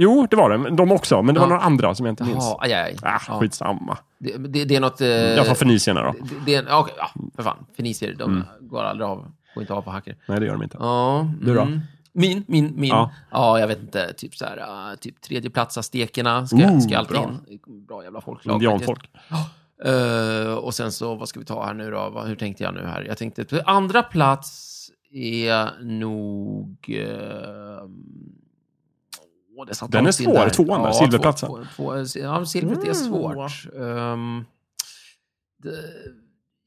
[SPEAKER 4] Jo, det var det. men De också, men det var
[SPEAKER 2] Ja.
[SPEAKER 4] några andra som jag inte minns.
[SPEAKER 2] Jaha, aj, aj.
[SPEAKER 4] Ah,
[SPEAKER 2] Ja.
[SPEAKER 4] skitsamma.
[SPEAKER 2] Det, det, det är något... Eh,
[SPEAKER 4] Jag tar fenicierna då.
[SPEAKER 2] det, det är, ja, okej, ja, för fan. Fenicier, de går aldrig av. Går inte av på hacker.
[SPEAKER 4] Nej, det gör de inte.
[SPEAKER 2] Ja.
[SPEAKER 4] Du då?
[SPEAKER 2] mm. Min, min, min. Ja.
[SPEAKER 4] Ja.
[SPEAKER 2] jag vet inte. Typ så här, äh, typ tredjeplats-aztekerna ska,
[SPEAKER 4] Ooh,
[SPEAKER 2] ska alltid
[SPEAKER 4] Mm, bra.
[SPEAKER 2] in. Bra jävla folklag. faktiskt.
[SPEAKER 4] Indianfolk.
[SPEAKER 2] Eh, och sen så, vad ska vi ta här nu då? Vad- Hur tänkte jag nu här? Jag tänkte, på andra plats är nog... eh, åh, det satt
[SPEAKER 4] Den är
[SPEAKER 2] långt in
[SPEAKER 4] svår,
[SPEAKER 2] där.
[SPEAKER 4] tvåan där,
[SPEAKER 2] Ja,
[SPEAKER 4] silverplatsen. Mm.
[SPEAKER 2] Två, två, två, ja, silvret är svårt. Ehm, det,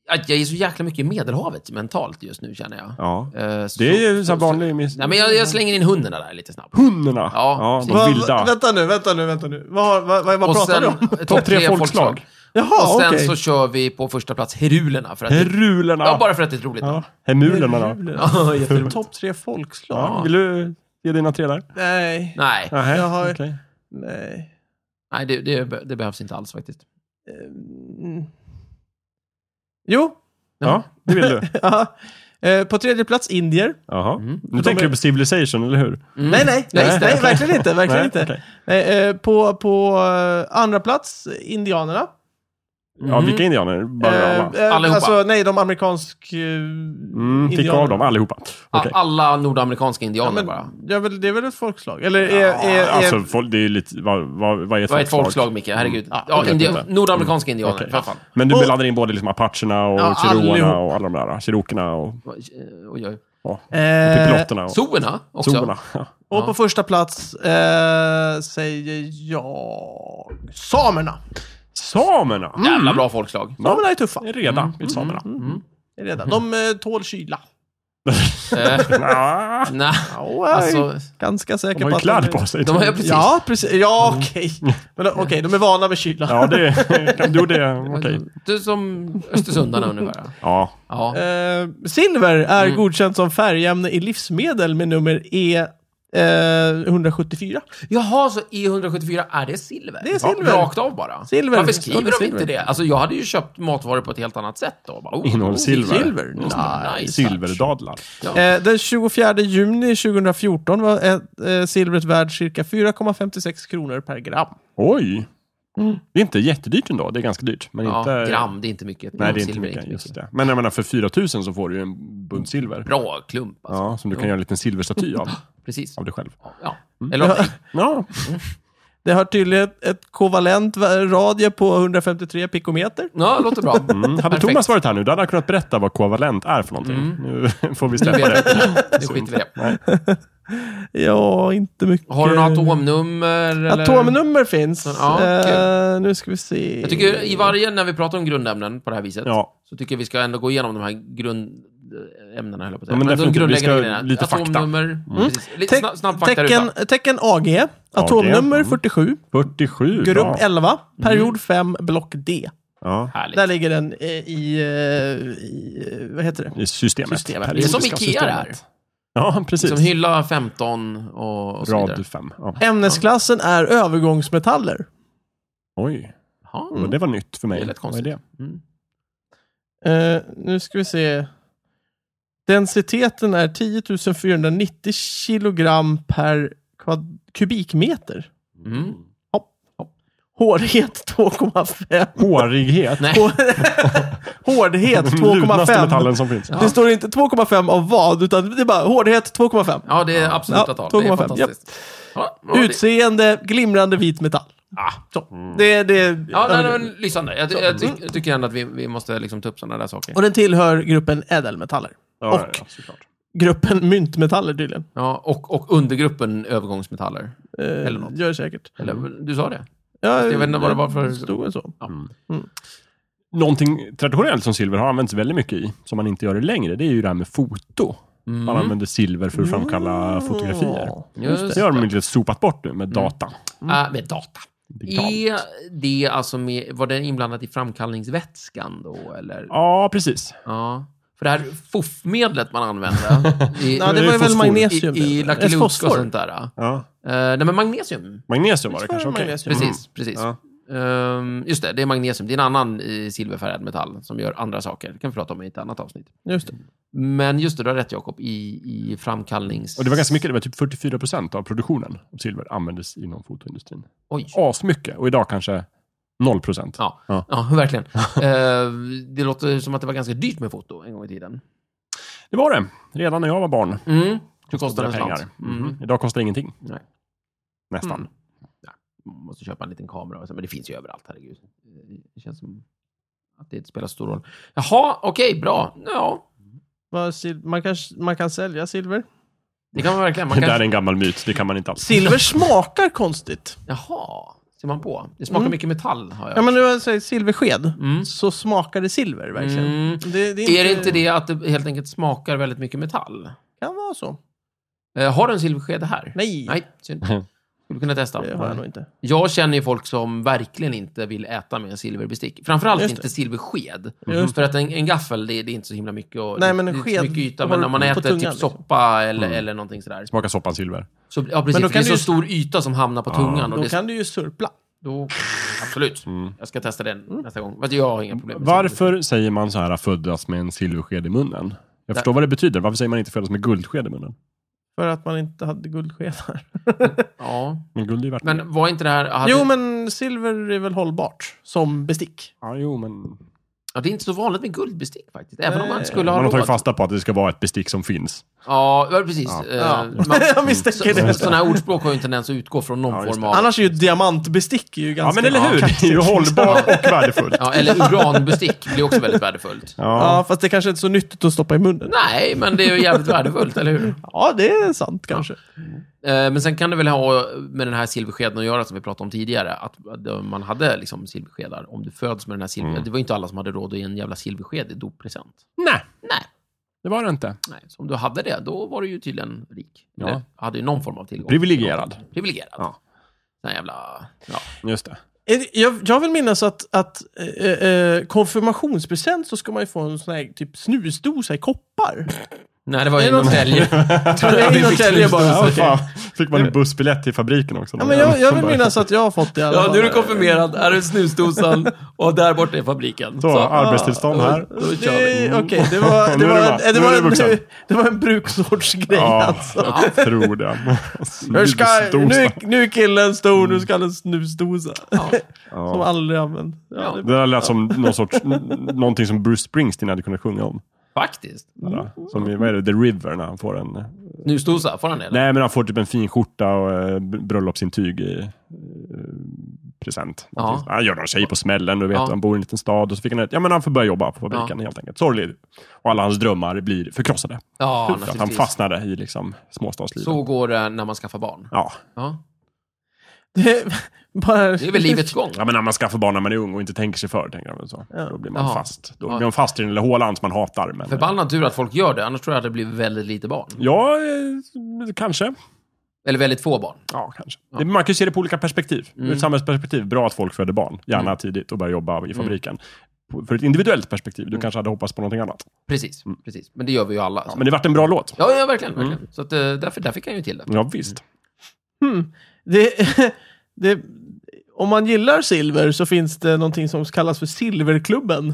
[SPEAKER 2] att jag är så jäkla mycket i Medelhavet mentalt just nu, känner jag.
[SPEAKER 4] Ja.
[SPEAKER 2] Eh, så-
[SPEAKER 4] Det är ju så
[SPEAKER 2] så-
[SPEAKER 4] här vanlig miss...
[SPEAKER 2] Nej, men jag, jag slänger in hundarna där lite snabbt.
[SPEAKER 4] Hundarna!
[SPEAKER 2] Ja,
[SPEAKER 4] Ja,
[SPEAKER 1] Va-
[SPEAKER 4] de vilda.
[SPEAKER 1] Vänta nu, vänta nu, vänta nu. Vad, har- vad, vad, vad pratar du om?
[SPEAKER 2] topp
[SPEAKER 4] tre
[SPEAKER 2] tre
[SPEAKER 4] folkslag.
[SPEAKER 2] folkslag.
[SPEAKER 1] Jaha,
[SPEAKER 2] och sen
[SPEAKER 1] okej.
[SPEAKER 2] så kör vi på första plats herulerna. För att det,
[SPEAKER 4] Herulerna!
[SPEAKER 2] ja, bara för att det är ett roligt namn.
[SPEAKER 4] Ja, Hemulerna då?
[SPEAKER 1] Ja, jätteroligt. Topp tre folkslag?
[SPEAKER 4] Ja, vill du ge dina tre där?
[SPEAKER 1] Nej,
[SPEAKER 2] Nej,
[SPEAKER 4] Nähä,
[SPEAKER 1] Jag har-
[SPEAKER 4] okej.
[SPEAKER 1] nej.
[SPEAKER 2] nej det, det, be- det behövs inte alls faktiskt.
[SPEAKER 1] Mm. Jo,
[SPEAKER 4] Ja, det vill du.
[SPEAKER 1] ja. Eh, på tredje plats indier.
[SPEAKER 4] Jaha. Nu tänker du på Civilization, eller hur?
[SPEAKER 2] Mm.
[SPEAKER 1] Nej, nej, nej,
[SPEAKER 2] just det.
[SPEAKER 1] nej, verkligen inte. Verkligen
[SPEAKER 4] Nej,
[SPEAKER 1] inte.
[SPEAKER 4] okej.
[SPEAKER 1] Eh, eh, på på eh, andra plats, indianerna.
[SPEAKER 4] Ja, vilka indianer? Bara
[SPEAKER 1] Eh,
[SPEAKER 4] alla.
[SPEAKER 1] eh,
[SPEAKER 2] Allihopa.
[SPEAKER 1] Alltså, nej, de amerikansk... Eh,
[SPEAKER 4] Mm, ticka av dem, allihopa.
[SPEAKER 2] A-
[SPEAKER 4] Okej.
[SPEAKER 2] Alla nordamerikanska
[SPEAKER 1] Ja,
[SPEAKER 2] indianer
[SPEAKER 1] men,
[SPEAKER 2] bara.
[SPEAKER 1] ja, väl, det är väl ett folkslag? Eller är... är, är
[SPEAKER 4] Mm. Alltså, folk- det är ju lite... Vad, vad, vad är ett
[SPEAKER 2] Vad är ett
[SPEAKER 4] folkslag?
[SPEAKER 2] folkslag, Micke? Herregud.
[SPEAKER 1] Ja,
[SPEAKER 2] Ja,
[SPEAKER 4] jag vet
[SPEAKER 2] indi-
[SPEAKER 4] inte.
[SPEAKER 2] nordamerikanska indianer.
[SPEAKER 4] Okej.
[SPEAKER 2] För fan.
[SPEAKER 4] Men du
[SPEAKER 1] Och-
[SPEAKER 4] blandar in både liksom apacherna och
[SPEAKER 2] Ja,
[SPEAKER 4] cherokerna
[SPEAKER 2] allihop.
[SPEAKER 4] och alla de där. Cherokerna och...
[SPEAKER 2] Oj, oj.
[SPEAKER 4] Ja,
[SPEAKER 1] Eh,
[SPEAKER 4] pipilotterna och...
[SPEAKER 2] Zooerna också.
[SPEAKER 4] Zonerna. Ja.
[SPEAKER 1] och på första plats eh, säger jag... Samerna.
[SPEAKER 4] Samerna!
[SPEAKER 2] Jävla bra folkslag.
[SPEAKER 1] Samerna är tuffa.
[SPEAKER 4] Reda, mm. samerna.
[SPEAKER 1] Är redan.
[SPEAKER 4] Mm.
[SPEAKER 1] De eh, tål kyla.
[SPEAKER 2] Eh,
[SPEAKER 4] Ah,
[SPEAKER 2] nej,
[SPEAKER 1] Ja, jag är
[SPEAKER 2] alltså,
[SPEAKER 1] ganska säker
[SPEAKER 4] de har
[SPEAKER 1] på
[SPEAKER 4] ju
[SPEAKER 1] att
[SPEAKER 4] kläder
[SPEAKER 1] de...
[SPEAKER 4] på sig. Mm.
[SPEAKER 2] de har ju precis...
[SPEAKER 1] Ja, precis. Ja, okej. Men Okej, de är vana med kyla.
[SPEAKER 4] Ja, det... Kan du det? Okej.
[SPEAKER 2] Du är som östersundarna ungefär.
[SPEAKER 4] Ja.
[SPEAKER 2] Ja. Mm.
[SPEAKER 1] Eh, silver är godkänt som färgämne i livsmedel med nummer E eh, 174.
[SPEAKER 2] Jaha, så E174, är det silver?
[SPEAKER 1] Det är silver.
[SPEAKER 2] rakt av bara?
[SPEAKER 1] Silver.
[SPEAKER 2] Varför skriver
[SPEAKER 1] Står det
[SPEAKER 2] de inte
[SPEAKER 1] silver?
[SPEAKER 2] det? Alltså, jag hade ju köpt matvaror på ett helt annat sätt då. Bara, oh,
[SPEAKER 4] Innehåller
[SPEAKER 2] oh,
[SPEAKER 4] silver. Mm.
[SPEAKER 1] silver.
[SPEAKER 2] Nice.
[SPEAKER 4] Silverdadlar.
[SPEAKER 1] Eh, den 24 juni 2014 var ett, eh, silvret värd cirka 4,56 kronor per gram.
[SPEAKER 4] Oj! Det är inte jättedyrt ändå. Det är ganska dyrt. Men
[SPEAKER 2] Ja,
[SPEAKER 4] inte...
[SPEAKER 2] gram, det är inte mycket.
[SPEAKER 4] Nej,
[SPEAKER 2] Gram
[SPEAKER 4] det är inte
[SPEAKER 2] silver
[SPEAKER 4] mycket. Just det. Men jag menar, för 4 000 så får du ju en bunt silver.
[SPEAKER 2] Bra klump alltså.
[SPEAKER 4] Ja, som du kan
[SPEAKER 2] Jo.
[SPEAKER 4] göra en liten silverstaty av,
[SPEAKER 2] Precis.
[SPEAKER 4] av dig själv.
[SPEAKER 2] Ja. Eller,
[SPEAKER 4] Mm. Ja,
[SPEAKER 1] Det har tydligen ett, ett kovalent va- radie på 153 pikometer.
[SPEAKER 2] ja, låter bra.
[SPEAKER 4] mm. Hade
[SPEAKER 2] Perfekt. Mm.
[SPEAKER 4] Thomas varit här nu, då hade han kunnat berätta vad kovalent är för någonting. Nu får vi
[SPEAKER 2] Nu
[SPEAKER 4] släppa
[SPEAKER 2] vet
[SPEAKER 4] det.
[SPEAKER 2] jag. Nu skiter vi i det.
[SPEAKER 1] Ja, inte mycket.
[SPEAKER 2] Har du något atomnummer? Eller?
[SPEAKER 1] Atomnummer finns.
[SPEAKER 2] Ja, okej.
[SPEAKER 1] eh, nu ska vi se.
[SPEAKER 2] Jag tycker i varje, när vi pratar om grundämnen på det här viset,
[SPEAKER 4] Ja.
[SPEAKER 2] så tycker jag vi ska ändå gå igenom de här grundämnena, höll jag på att säga.
[SPEAKER 4] Ja, men
[SPEAKER 2] de
[SPEAKER 4] definitivt. Vi ska lite fakta. Mm.
[SPEAKER 2] Atomnummer, precis. Lite
[SPEAKER 1] Te-
[SPEAKER 2] snabb, snabb faktaruta.
[SPEAKER 1] tecken, tecken AG, atomnummer
[SPEAKER 4] mm.
[SPEAKER 1] 47,
[SPEAKER 4] 47.
[SPEAKER 1] grupp
[SPEAKER 4] bra. Mm.
[SPEAKER 1] 11, period 5, block D.
[SPEAKER 4] Ja,
[SPEAKER 2] Härligt.
[SPEAKER 1] Där ligger den eh, i, eh, i eh, vad heter det?
[SPEAKER 4] i systemet.
[SPEAKER 1] Systemet.
[SPEAKER 4] Här
[SPEAKER 2] Det är som
[SPEAKER 4] Nordiska
[SPEAKER 2] Ikea
[SPEAKER 4] systemet.
[SPEAKER 2] där.
[SPEAKER 4] Ja, precis.
[SPEAKER 2] Som Liksom hylla 15 och, och så vidare.
[SPEAKER 4] Rad 5. Ja.
[SPEAKER 1] Ämnesklassen är övergångsmetaller.
[SPEAKER 4] Oj,
[SPEAKER 2] Ja.
[SPEAKER 4] det var nytt för mig.
[SPEAKER 2] Det lät
[SPEAKER 4] Vad är
[SPEAKER 2] konstigt.
[SPEAKER 4] det?
[SPEAKER 2] Mm.
[SPEAKER 1] Eh, nu ska vi se. Densiteten är 10 490 kilogram per kvad- kubikmeter.
[SPEAKER 2] Mm.
[SPEAKER 1] Hårdhet 2,5.
[SPEAKER 4] Hårighet.
[SPEAKER 2] Nej.
[SPEAKER 1] Hårdhet
[SPEAKER 4] Den Lunaste
[SPEAKER 1] 2,5.
[SPEAKER 4] metallen som finns.
[SPEAKER 1] Det står inte 2,5 av vad, utan det är bara hårdhet 2,5.
[SPEAKER 2] Ja, det är absoluta
[SPEAKER 1] Ja,
[SPEAKER 2] tal. Det är
[SPEAKER 1] 2,5,
[SPEAKER 2] fantastiskt. Ja, ja, det-
[SPEAKER 1] Utseende, glimrande vit metall.
[SPEAKER 2] Ah.
[SPEAKER 1] Så.
[SPEAKER 4] Mm.
[SPEAKER 1] Det, det,
[SPEAKER 2] Ja, nej, nej, men lysande. Jag, jag, ty- jag tycker ändå att vi, vi måste liksom ta upp sådana där saker.
[SPEAKER 1] Och den tillhör gruppen ädelmetaller.
[SPEAKER 4] Ja,
[SPEAKER 1] Och
[SPEAKER 4] ja, såklart.
[SPEAKER 1] gruppen myntmetaller tydligen.
[SPEAKER 2] Ja, och, och undergruppen övergångsmetaller.
[SPEAKER 1] Eh,
[SPEAKER 2] Eller något.
[SPEAKER 1] Gör det säkert.
[SPEAKER 2] Eller, du sa det?
[SPEAKER 1] Ja,
[SPEAKER 2] Jag vet inte vad det var för-
[SPEAKER 1] stod väl så.
[SPEAKER 4] Någonting traditionellt som silver har använts väldigt mycket i, som man inte gör det längre, det är ju det här med foto.
[SPEAKER 2] Mm.
[SPEAKER 4] Man använder silver för att framkalla fotografier.
[SPEAKER 2] Just Mm.
[SPEAKER 4] Det har de lite sopat bort nu med data.
[SPEAKER 2] Ah, med data.
[SPEAKER 4] Digitalt.
[SPEAKER 2] Är det alltså med, var den inblandad i framkallningsvätskan då, eller? Ja.
[SPEAKER 4] Ja, precis.
[SPEAKER 2] För det här fuffmedlet man använde i,
[SPEAKER 1] Ja, det
[SPEAKER 4] är
[SPEAKER 1] var ju väl
[SPEAKER 4] fosfor.
[SPEAKER 1] magnesium.
[SPEAKER 2] i, i
[SPEAKER 1] Ett
[SPEAKER 2] Lucky Luke och
[SPEAKER 1] Eh, fosfor.
[SPEAKER 2] sånt där. Uh,
[SPEAKER 4] Ja.
[SPEAKER 2] nej, men magnesium.
[SPEAKER 4] Magnesium var det kanske.
[SPEAKER 1] var
[SPEAKER 4] okej. Mm.
[SPEAKER 1] magnesium.
[SPEAKER 2] Precis, precis. Ehm, just det, det är magnesium. Det är en annan eh, silverfärgad metall som gör andra saker. Det kan vi prata om i ett annat avsnitt.
[SPEAKER 1] Just det.
[SPEAKER 2] Men just det, du har rätt Jakob, i, i framkallnings...
[SPEAKER 4] Och det var ganska mycket, det var typ 44 procent av produktionen av silver användes inom fotoindustrin.
[SPEAKER 2] Oj.
[SPEAKER 4] Asmycket, och idag kanske 0 procent.
[SPEAKER 2] Ja, ja.
[SPEAKER 4] Ja.
[SPEAKER 2] verkligen. Ehm, det låter som att det var ganska dyrt med foto en gång i tiden.
[SPEAKER 4] Det var det, redan när jag var barn.
[SPEAKER 2] Mm. Det
[SPEAKER 4] Kostade
[SPEAKER 2] kostar en
[SPEAKER 4] pengar. Mhm.
[SPEAKER 2] slant. Mm.
[SPEAKER 4] Idag kostar det ingenting.
[SPEAKER 2] Nej. Mm.
[SPEAKER 4] Nästan.
[SPEAKER 2] Man måste köpa en liten kamera, och så, men det finns ju överallt, herregud. Det känns som att det inte spelar stor roll. Jaha, okej, bra. Ja,
[SPEAKER 1] Vad sil- Man kan, man kan sälja silver.
[SPEAKER 2] det kan man verkligen. Man
[SPEAKER 4] Det där är
[SPEAKER 2] kan...
[SPEAKER 4] en gammal myt, det kan man inte alls.
[SPEAKER 1] Silver smakar konstigt.
[SPEAKER 2] Jaha, ser man på. Det
[SPEAKER 4] Mm.
[SPEAKER 2] smakar mycket metall, har jag
[SPEAKER 1] Ja, men nu säger silversked,
[SPEAKER 2] Mm.
[SPEAKER 1] så smakar det silver verkligen.
[SPEAKER 2] Mm.
[SPEAKER 1] Det, det
[SPEAKER 2] Är det inte det att det helt enkelt smakar väldigt mycket metall?
[SPEAKER 1] kan vara så.
[SPEAKER 2] Eh, har du en silversked här?
[SPEAKER 1] Nej,
[SPEAKER 2] Nej, synd. Skulle kunna testa.
[SPEAKER 1] det har jag nog inte.
[SPEAKER 2] Jag känner ju folk som verkligen inte vill äta med en silverbestick. Framförallt
[SPEAKER 1] Just
[SPEAKER 2] inte
[SPEAKER 1] det.
[SPEAKER 2] silversked.
[SPEAKER 1] Just
[SPEAKER 2] För att en, en gaffel, det, det är inte så himla mycket, och,
[SPEAKER 1] Nej,
[SPEAKER 2] det-
[SPEAKER 1] men en
[SPEAKER 2] det är inte
[SPEAKER 1] sked
[SPEAKER 2] så mycket yta.
[SPEAKER 1] har
[SPEAKER 2] Men
[SPEAKER 1] du
[SPEAKER 2] när man
[SPEAKER 1] på
[SPEAKER 2] äter
[SPEAKER 1] tungan,
[SPEAKER 2] typ
[SPEAKER 1] liksom.
[SPEAKER 2] soppa eller, eller någonting sådär.
[SPEAKER 4] Smaka soppan silver.
[SPEAKER 2] Så, ja,
[SPEAKER 1] då
[SPEAKER 2] precis. för det
[SPEAKER 1] kan
[SPEAKER 2] är
[SPEAKER 1] du
[SPEAKER 2] så
[SPEAKER 1] ju-
[SPEAKER 2] stor yta som hamnar på tungan. Och
[SPEAKER 1] Då
[SPEAKER 2] det,
[SPEAKER 1] kan du ju surpla.
[SPEAKER 2] då, absolut. Jag ska testa den nästa gång. Fast Jag har inga problem med
[SPEAKER 4] Varför säger man så här föddas med en silversked i munnen? Jag förstår vad det betyder. Varför säger man inte föddas med guldsked i munnen?
[SPEAKER 1] För att man inte hade guldskedar.
[SPEAKER 2] silversked. Ja.
[SPEAKER 4] Men guld är ju värt mer.
[SPEAKER 2] Men var inte det här... Hade,
[SPEAKER 1] Jo, men silver är väl hållbart som bestick.
[SPEAKER 4] Ja, jo, men...
[SPEAKER 2] ja, det är inte så vanligt med guldbestick faktiskt. Även om man
[SPEAKER 1] Nej.
[SPEAKER 2] skulle ha
[SPEAKER 4] Man har tagit
[SPEAKER 2] råd.
[SPEAKER 4] fasta på att det ska vara ett bestick som finns.
[SPEAKER 2] Ja, ja, precis. Eh,
[SPEAKER 1] Ja.
[SPEAKER 2] man-
[SPEAKER 1] jag misstänker det.
[SPEAKER 2] Sådana här ordspråk har ju en tendens att utgå från någon
[SPEAKER 4] Ja, just
[SPEAKER 2] form
[SPEAKER 4] det.
[SPEAKER 2] av...
[SPEAKER 1] Annars är ju diamantbestick ju
[SPEAKER 4] Ja,
[SPEAKER 1] ganska...
[SPEAKER 4] men eller hur? Det är ju hållbart och värdefullt.
[SPEAKER 2] Ja, eller uranbestick blir också väldigt värdefullt.
[SPEAKER 1] Ja, fast det kanske inte är så nyttigt att stoppa i munnen.
[SPEAKER 2] Nej, men det är ju jävligt värdefullt, eller hur? Eh,
[SPEAKER 1] Ja, det är sant kanske.
[SPEAKER 2] Men sen kan det väl ha med den här silverskeden att göra, som vi pratade om tidigare, att att man hade liksom silverskedar. Om du föds med den här silverskeden.
[SPEAKER 4] Mm.
[SPEAKER 2] Det var ju inte alla som hade råd att ge en jävla silversked i doppresent.
[SPEAKER 4] Nej,
[SPEAKER 2] Nej.
[SPEAKER 4] det var det inte.
[SPEAKER 2] Nej, så om du hade det, då var du ju tydligen rik.
[SPEAKER 4] Ja.
[SPEAKER 2] Eller hade ju någon form av tillgång.
[SPEAKER 4] Privilegierad.
[SPEAKER 2] Privilegierad.
[SPEAKER 4] Ja.
[SPEAKER 2] Den här jävla... Ja.
[SPEAKER 4] Just det.
[SPEAKER 1] Är det- Jag, jag vill minnas att, att eh, eh, konfirmationspresent så ska man ju få en sån här typ snusdosa i koppar.
[SPEAKER 2] Nej, det var
[SPEAKER 1] Är
[SPEAKER 2] i
[SPEAKER 1] det någon-
[SPEAKER 2] Norrtälje.
[SPEAKER 1] Det är i Norrtälje bara.
[SPEAKER 4] Ja,
[SPEAKER 1] så-
[SPEAKER 4] fan. Fick man en bussbiljett till fabriken också?
[SPEAKER 1] Ja, men jag, jag vill minnas att jag har fått det i alla
[SPEAKER 2] Ja,
[SPEAKER 1] fall.
[SPEAKER 2] nu är du konfirmerad. Här är snusdosan och där borta är fabriken.
[SPEAKER 4] Så, arbetstillstånd här.
[SPEAKER 2] Då kör vi.
[SPEAKER 1] Det- Okej, det var,
[SPEAKER 4] Nu
[SPEAKER 1] det
[SPEAKER 4] är
[SPEAKER 1] var,
[SPEAKER 4] du
[SPEAKER 1] en- det var,
[SPEAKER 4] vuxen. Nu är du
[SPEAKER 1] en,
[SPEAKER 4] vuxen.
[SPEAKER 1] det var en bruksortsgrej
[SPEAKER 4] Ja,
[SPEAKER 1] alltså.
[SPEAKER 4] jag tror det.
[SPEAKER 1] Nu, ska, nu,
[SPEAKER 4] Snusdosa.
[SPEAKER 1] är- nu är killen stor, nu ska han ha en snusdosa. Som
[SPEAKER 4] Ja.
[SPEAKER 1] aldrig använt. Ja,
[SPEAKER 2] Ja.
[SPEAKER 1] det,
[SPEAKER 4] Det där lät som någon sorts, n- någonting som Bruce Springsteen hade kunnat sjunga om.
[SPEAKER 2] Faktiskt.
[SPEAKER 1] Mm.
[SPEAKER 4] Där, Som i, vad är det, The River, när han får en...
[SPEAKER 2] Snusdosa, får han det? eller?
[SPEAKER 4] Nej, men han får typ en fin skjorta och eh, b- bröllopsintyg i eh, present. Någonting. Han gör någon tjej på smällen, du vet.
[SPEAKER 2] Ja.
[SPEAKER 4] Han bor i en liten stad och så fick han ett, ja men han får börja jobba på fabriken helt enkelt. Sorglig. Och alla hans drömmar blir förkrossade.
[SPEAKER 2] Ja,
[SPEAKER 4] för att han
[SPEAKER 2] naturligtvis.
[SPEAKER 4] fastnade i liksom småstadslivet.
[SPEAKER 2] Så går det när man skaffar barn.
[SPEAKER 4] Ja.
[SPEAKER 2] Ja.
[SPEAKER 1] det, är bara,
[SPEAKER 2] Det är väl livets gång?
[SPEAKER 4] ja, men när man skaffar barn när man är ung och inte tänker sig för, tänker jag väl så.
[SPEAKER 1] Ja.
[SPEAKER 4] Då blir man
[SPEAKER 2] Jaha.
[SPEAKER 4] fast. Då
[SPEAKER 2] Ja.
[SPEAKER 4] blir man fast i den lilla hålan som man hatar. Men...
[SPEAKER 2] Förbannad tur att folk gör det, annars tror jag att det blir väldigt lite barn.
[SPEAKER 4] Ja, eh, kanske.
[SPEAKER 2] Eller väldigt få barn.
[SPEAKER 4] Ja, kanske. Det, man kan ju se det på olika perspektiv.
[SPEAKER 2] Mm.
[SPEAKER 4] Ur ett samhällsperspektiv, bra att folk föder barn. Gärna tidigt och börjar jobba i fabriken. På- För ett individuellt perspektiv, du kanske hade hoppats på någonting annat.
[SPEAKER 2] Precis, precis. Men det gör vi ju alla.
[SPEAKER 4] Ja,
[SPEAKER 2] Mm. så.
[SPEAKER 4] men det vart en bra låt.
[SPEAKER 2] Ja, ja, verkligen. verkligen. Så att, eh, därför, där fick han ju till det.
[SPEAKER 4] Ja, visst.
[SPEAKER 1] det, det, om man gillar silver så finns det någonting som kallas för Silverklubben.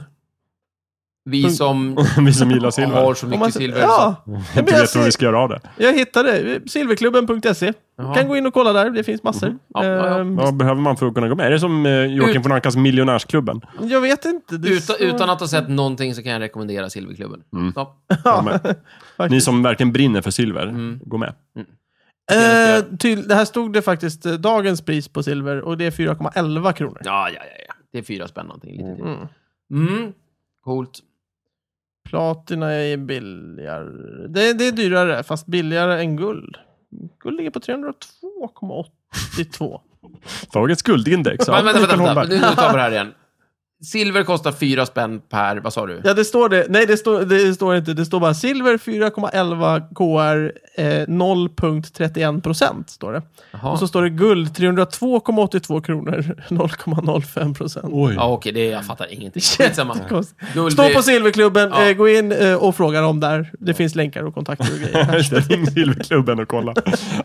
[SPEAKER 2] Vi som
[SPEAKER 4] Vi som gillar
[SPEAKER 2] har
[SPEAKER 4] silver.
[SPEAKER 2] så
[SPEAKER 1] Om
[SPEAKER 2] mycket
[SPEAKER 1] man,
[SPEAKER 2] silver. alltså. så-
[SPEAKER 1] ja,
[SPEAKER 4] Jag
[SPEAKER 1] men
[SPEAKER 4] inte
[SPEAKER 1] jag,
[SPEAKER 4] vet hur vi
[SPEAKER 1] ser,
[SPEAKER 4] ska göra av det.
[SPEAKER 1] jag hittade silverklubben.se.
[SPEAKER 2] Jaha. Mm.
[SPEAKER 1] Kan gå in och kolla där, det finns massor.
[SPEAKER 2] Ja, ja, ja.
[SPEAKER 1] Ehm,
[SPEAKER 4] Vad behöver man för att kunna gå med? Är det som eh, Joakim
[SPEAKER 2] Ut-
[SPEAKER 4] von Ankas Miljonärsklubben?
[SPEAKER 1] Jag vet inte. det är
[SPEAKER 2] Utan,
[SPEAKER 1] så-
[SPEAKER 2] utan att ha sett någonting så kan jag rekommendera Silverklubben.
[SPEAKER 4] Mm.
[SPEAKER 2] Ja.
[SPEAKER 4] Gå med. Ni
[SPEAKER 1] faktiskt.
[SPEAKER 4] som verkligen brinner för silver,
[SPEAKER 2] Mm.
[SPEAKER 4] gå med.
[SPEAKER 1] Eh, till, det här stod det faktiskt eh, dagens pris på silver och det är 4,11 kronor.
[SPEAKER 2] Ja, ja, ja, ja. Det är fyra spänn någonting. Lite till. Mm. Coolt.
[SPEAKER 1] Platina är billigare. Det, det är dyrare, fast billigare än guld. Guld ligger på 302,82.
[SPEAKER 4] Dagens guldindex. Ja,
[SPEAKER 2] Men, vänta,
[SPEAKER 4] Mikael
[SPEAKER 2] vänta, vänta.
[SPEAKER 4] Holmberg.
[SPEAKER 2] Nu, nu tar vi det här igen. Silver kostar fyra spänn per, vad sa du?
[SPEAKER 1] ja, det står det. Nej, det står, det står inte. Det står bara silver 4,11 KR eh, 0,31 procent. Står det.
[SPEAKER 2] Jaha.
[SPEAKER 1] Och så står det guld 302,82 kronor 0,05 procent.
[SPEAKER 4] Oj.
[SPEAKER 2] Ja, okej, det, jag fattar ingenting. Skitsamma.
[SPEAKER 1] Jättekonstigt.
[SPEAKER 2] Guld
[SPEAKER 1] Stå
[SPEAKER 2] är-
[SPEAKER 1] på Silverklubben,
[SPEAKER 2] Ja.
[SPEAKER 1] eh, gå in eh, och fråga dem där. Det finns länkar och kontakter och grejer.
[SPEAKER 4] Ring Silverklubben och kolla.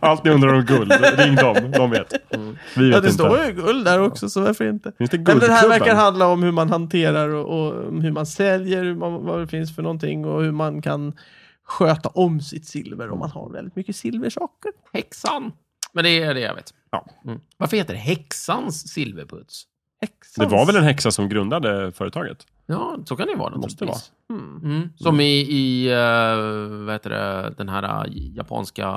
[SPEAKER 4] Allt ni undrar om guld, ring dem. De vet.
[SPEAKER 2] Mm.
[SPEAKER 4] Vi
[SPEAKER 1] ja,
[SPEAKER 4] vet
[SPEAKER 1] det står
[SPEAKER 4] inte.
[SPEAKER 1] ju guld där också, så varför inte?
[SPEAKER 4] Finns det
[SPEAKER 1] Nej, men det här
[SPEAKER 4] guldklubben?
[SPEAKER 1] verkar handla om hur man hanterar och, och om hur man säljer, hur man, vad det finns för någonting och hur man kan sköta om sitt silver om man har väldigt mycket silversaker.
[SPEAKER 2] Häxan. Men det är det jag vet.
[SPEAKER 4] Ja.
[SPEAKER 2] Mm. Varför heter det häxans silverputs?
[SPEAKER 1] Häxans.
[SPEAKER 4] Det var väl en häxa som grundade företaget?
[SPEAKER 2] Ja, så kan det ju vara.
[SPEAKER 4] Måste
[SPEAKER 2] naturligtvis.
[SPEAKER 1] Mm.
[SPEAKER 2] Mm. Som i, i eh, vad heter det, den här eh, japanska...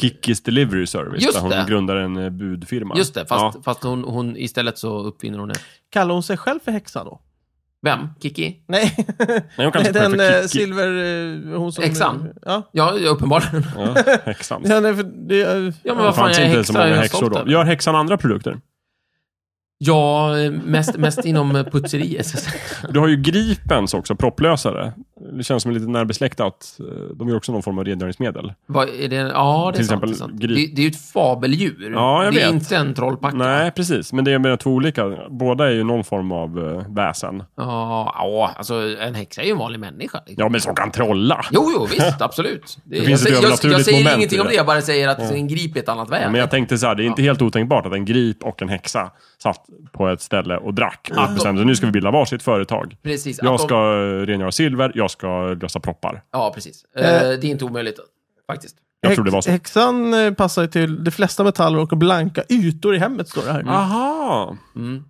[SPEAKER 4] Kickis Delivery Service,
[SPEAKER 2] Just
[SPEAKER 4] där hon
[SPEAKER 2] det.
[SPEAKER 4] grundar en eh, budfirma.
[SPEAKER 2] Just det, fast,
[SPEAKER 4] Ja.
[SPEAKER 2] fast hon, hon, istället så uppfinner hon det.
[SPEAKER 1] Kallar hon sig själv för häxa då?
[SPEAKER 2] Vem? Kiki?
[SPEAKER 1] Nej,
[SPEAKER 4] Nej, hon
[SPEAKER 1] Nej
[SPEAKER 4] kallas
[SPEAKER 1] den
[SPEAKER 4] för
[SPEAKER 1] eh,
[SPEAKER 4] Kiki.
[SPEAKER 1] silver... eh, Hon som,
[SPEAKER 2] Häxan?
[SPEAKER 1] Ja.
[SPEAKER 2] Ja, ja, uppenbarligen.
[SPEAKER 4] Ja, häxan.
[SPEAKER 1] ja nej, för det, eh,
[SPEAKER 2] Ja, men
[SPEAKER 4] Det
[SPEAKER 2] vad fan,
[SPEAKER 4] fanns
[SPEAKER 2] jag är
[SPEAKER 4] inte
[SPEAKER 2] häxa.
[SPEAKER 4] så många
[SPEAKER 2] Jag är
[SPEAKER 4] häxor
[SPEAKER 2] stolt
[SPEAKER 4] då.
[SPEAKER 2] över.
[SPEAKER 4] Gör häxan andra produkter?
[SPEAKER 2] Ja, eh, mest, mest inom eh, putserier. så att säga.
[SPEAKER 4] Du har ju Gripens också, propplösare. Det känns som lite närbesläktat. Eh, De gör också någon form av rengöringsmedel.
[SPEAKER 2] Vad är det? Ja, det är
[SPEAKER 4] Till
[SPEAKER 2] sant.
[SPEAKER 4] exempel
[SPEAKER 2] Det är, sant. Det,
[SPEAKER 4] gris.
[SPEAKER 2] det är ju ett fabeldjur.
[SPEAKER 4] Ja, jag
[SPEAKER 2] det är
[SPEAKER 4] vet.
[SPEAKER 2] inte en trollpacka.
[SPEAKER 4] Nej, precis. Men det är med två olika. Båda är ju någon form av eh, väsen.
[SPEAKER 2] Ja, ja, alltså en häxa är ju en vanlig människa. liksom.
[SPEAKER 4] Ja, men som kan trolla.
[SPEAKER 2] Jo, jo, visst, absolut. Det,
[SPEAKER 4] finns ett
[SPEAKER 2] jag, säger- jag,
[SPEAKER 4] övernaturligt
[SPEAKER 2] jag säger
[SPEAKER 4] moment i
[SPEAKER 2] ingenting om
[SPEAKER 4] det.
[SPEAKER 2] det, jag bara säger att en grip är ett annat
[SPEAKER 4] Ja,
[SPEAKER 2] väder.
[SPEAKER 4] Men jag tänkte så här, det är inte helt otänkbart att en grip och en häxa satt på ett ställe och drack och bestämde sig, nu ska vi bilda varsitt företag.
[SPEAKER 2] Precis. att
[SPEAKER 4] Jag
[SPEAKER 2] de-
[SPEAKER 4] ska eh, rengöra silver, jag ska lösa proppar.
[SPEAKER 2] Ja, precis. Eh, det är inte omöjligt, faktiskt.
[SPEAKER 4] Jag tror det var så.
[SPEAKER 1] Häxan eh, passar ju till de flesta metaller och blanka ytor i hemmet, står det här.
[SPEAKER 4] Aha.
[SPEAKER 2] Mm.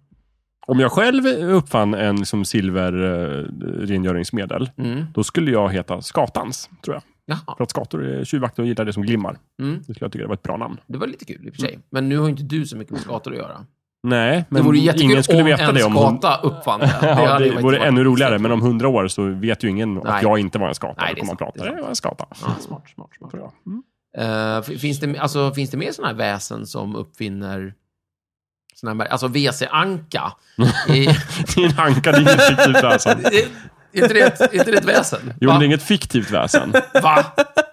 [SPEAKER 4] Om jag själv uppfann en liksom, silverrengöringsmedel,
[SPEAKER 2] Mm.
[SPEAKER 4] då skulle jag heta Skatans, tror jag.
[SPEAKER 2] Jaha,
[SPEAKER 4] För att skator är tjuvakter och gillar det som glimmar.
[SPEAKER 2] Mm.
[SPEAKER 4] Det skulle jag tycka det var ett bra namn.
[SPEAKER 2] det var lite kul i och för
[SPEAKER 4] Mm.
[SPEAKER 2] sig. Men nu har ju inte du så mycket med skator att göra.
[SPEAKER 4] Nej,
[SPEAKER 2] det vore
[SPEAKER 4] men
[SPEAKER 2] ju jättekul
[SPEAKER 4] ingen skulle
[SPEAKER 2] om
[SPEAKER 4] veta
[SPEAKER 2] en
[SPEAKER 4] det om hon...
[SPEAKER 2] skata uppfann det.
[SPEAKER 4] Ja,
[SPEAKER 2] hade ju
[SPEAKER 4] det
[SPEAKER 2] varit-
[SPEAKER 4] vore ännu roligare, men om hundra år så vet ju ingen att
[SPEAKER 2] Nej.
[SPEAKER 4] jag inte var en skata.
[SPEAKER 2] Nej,
[SPEAKER 4] Nej,
[SPEAKER 2] det
[SPEAKER 4] det
[SPEAKER 2] är
[SPEAKER 4] kommer man
[SPEAKER 2] sant, det
[SPEAKER 4] prata.
[SPEAKER 2] är
[SPEAKER 4] Jag var en skata.
[SPEAKER 2] Ja, smart, smart, smart.
[SPEAKER 4] Tror jag.
[SPEAKER 2] Eh, f- finns, det, alltså, finns det mer sådana här väsen som uppfinner såna här, alltså WC-anka? I-
[SPEAKER 4] Din anka, det är inget fiktivt väsen.
[SPEAKER 2] Är inte det ett- är inte det ett väsen?
[SPEAKER 4] Jo,
[SPEAKER 2] Va?
[SPEAKER 4] men det är inget fiktivt väsen.
[SPEAKER 2] Va?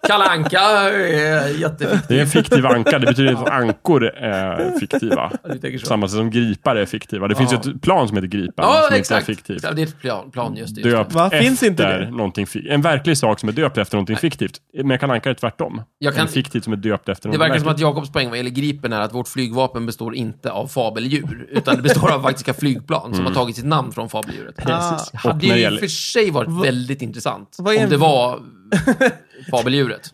[SPEAKER 2] Kalle Anka är jätteviktig.
[SPEAKER 4] Det är en fiktiv anka. Det betyder inte att ankor är fiktiva.
[SPEAKER 2] Du tänker så.
[SPEAKER 4] Samma sätt som gripar är fiktiva. Det finns ju ett plan som heter Gripan
[SPEAKER 2] Ja,
[SPEAKER 4] som
[SPEAKER 2] exakt.
[SPEAKER 4] inte är fiktivt.
[SPEAKER 2] Ja, det är ett plan, plan just det. Just det.
[SPEAKER 4] Döpt
[SPEAKER 1] Va?
[SPEAKER 4] efter
[SPEAKER 1] Finns inte det?
[SPEAKER 4] någonting fi- En verklig sak som är döpt efter någonting fiktivt. Men Kalle Anka är tvärtom.
[SPEAKER 2] Jag kan-
[SPEAKER 4] En fiktiv som är döpt efter
[SPEAKER 2] Det
[SPEAKER 4] någonting
[SPEAKER 2] verkar som att
[SPEAKER 4] verkligt.
[SPEAKER 2] Jakobs poäng vad gäller Gripen är att vårt flygvapen består inte av fabeldjur, utan det består av faktiska flygplan som har tagit sitt namn från fabeldjuret.
[SPEAKER 1] Mm. Precis.
[SPEAKER 2] Det
[SPEAKER 4] Och
[SPEAKER 2] hade
[SPEAKER 4] när det
[SPEAKER 2] ju i
[SPEAKER 4] gäller-
[SPEAKER 2] och för sig varit väldigt intressant
[SPEAKER 1] vad är
[SPEAKER 2] om
[SPEAKER 1] en-
[SPEAKER 2] det var fabeldjuret.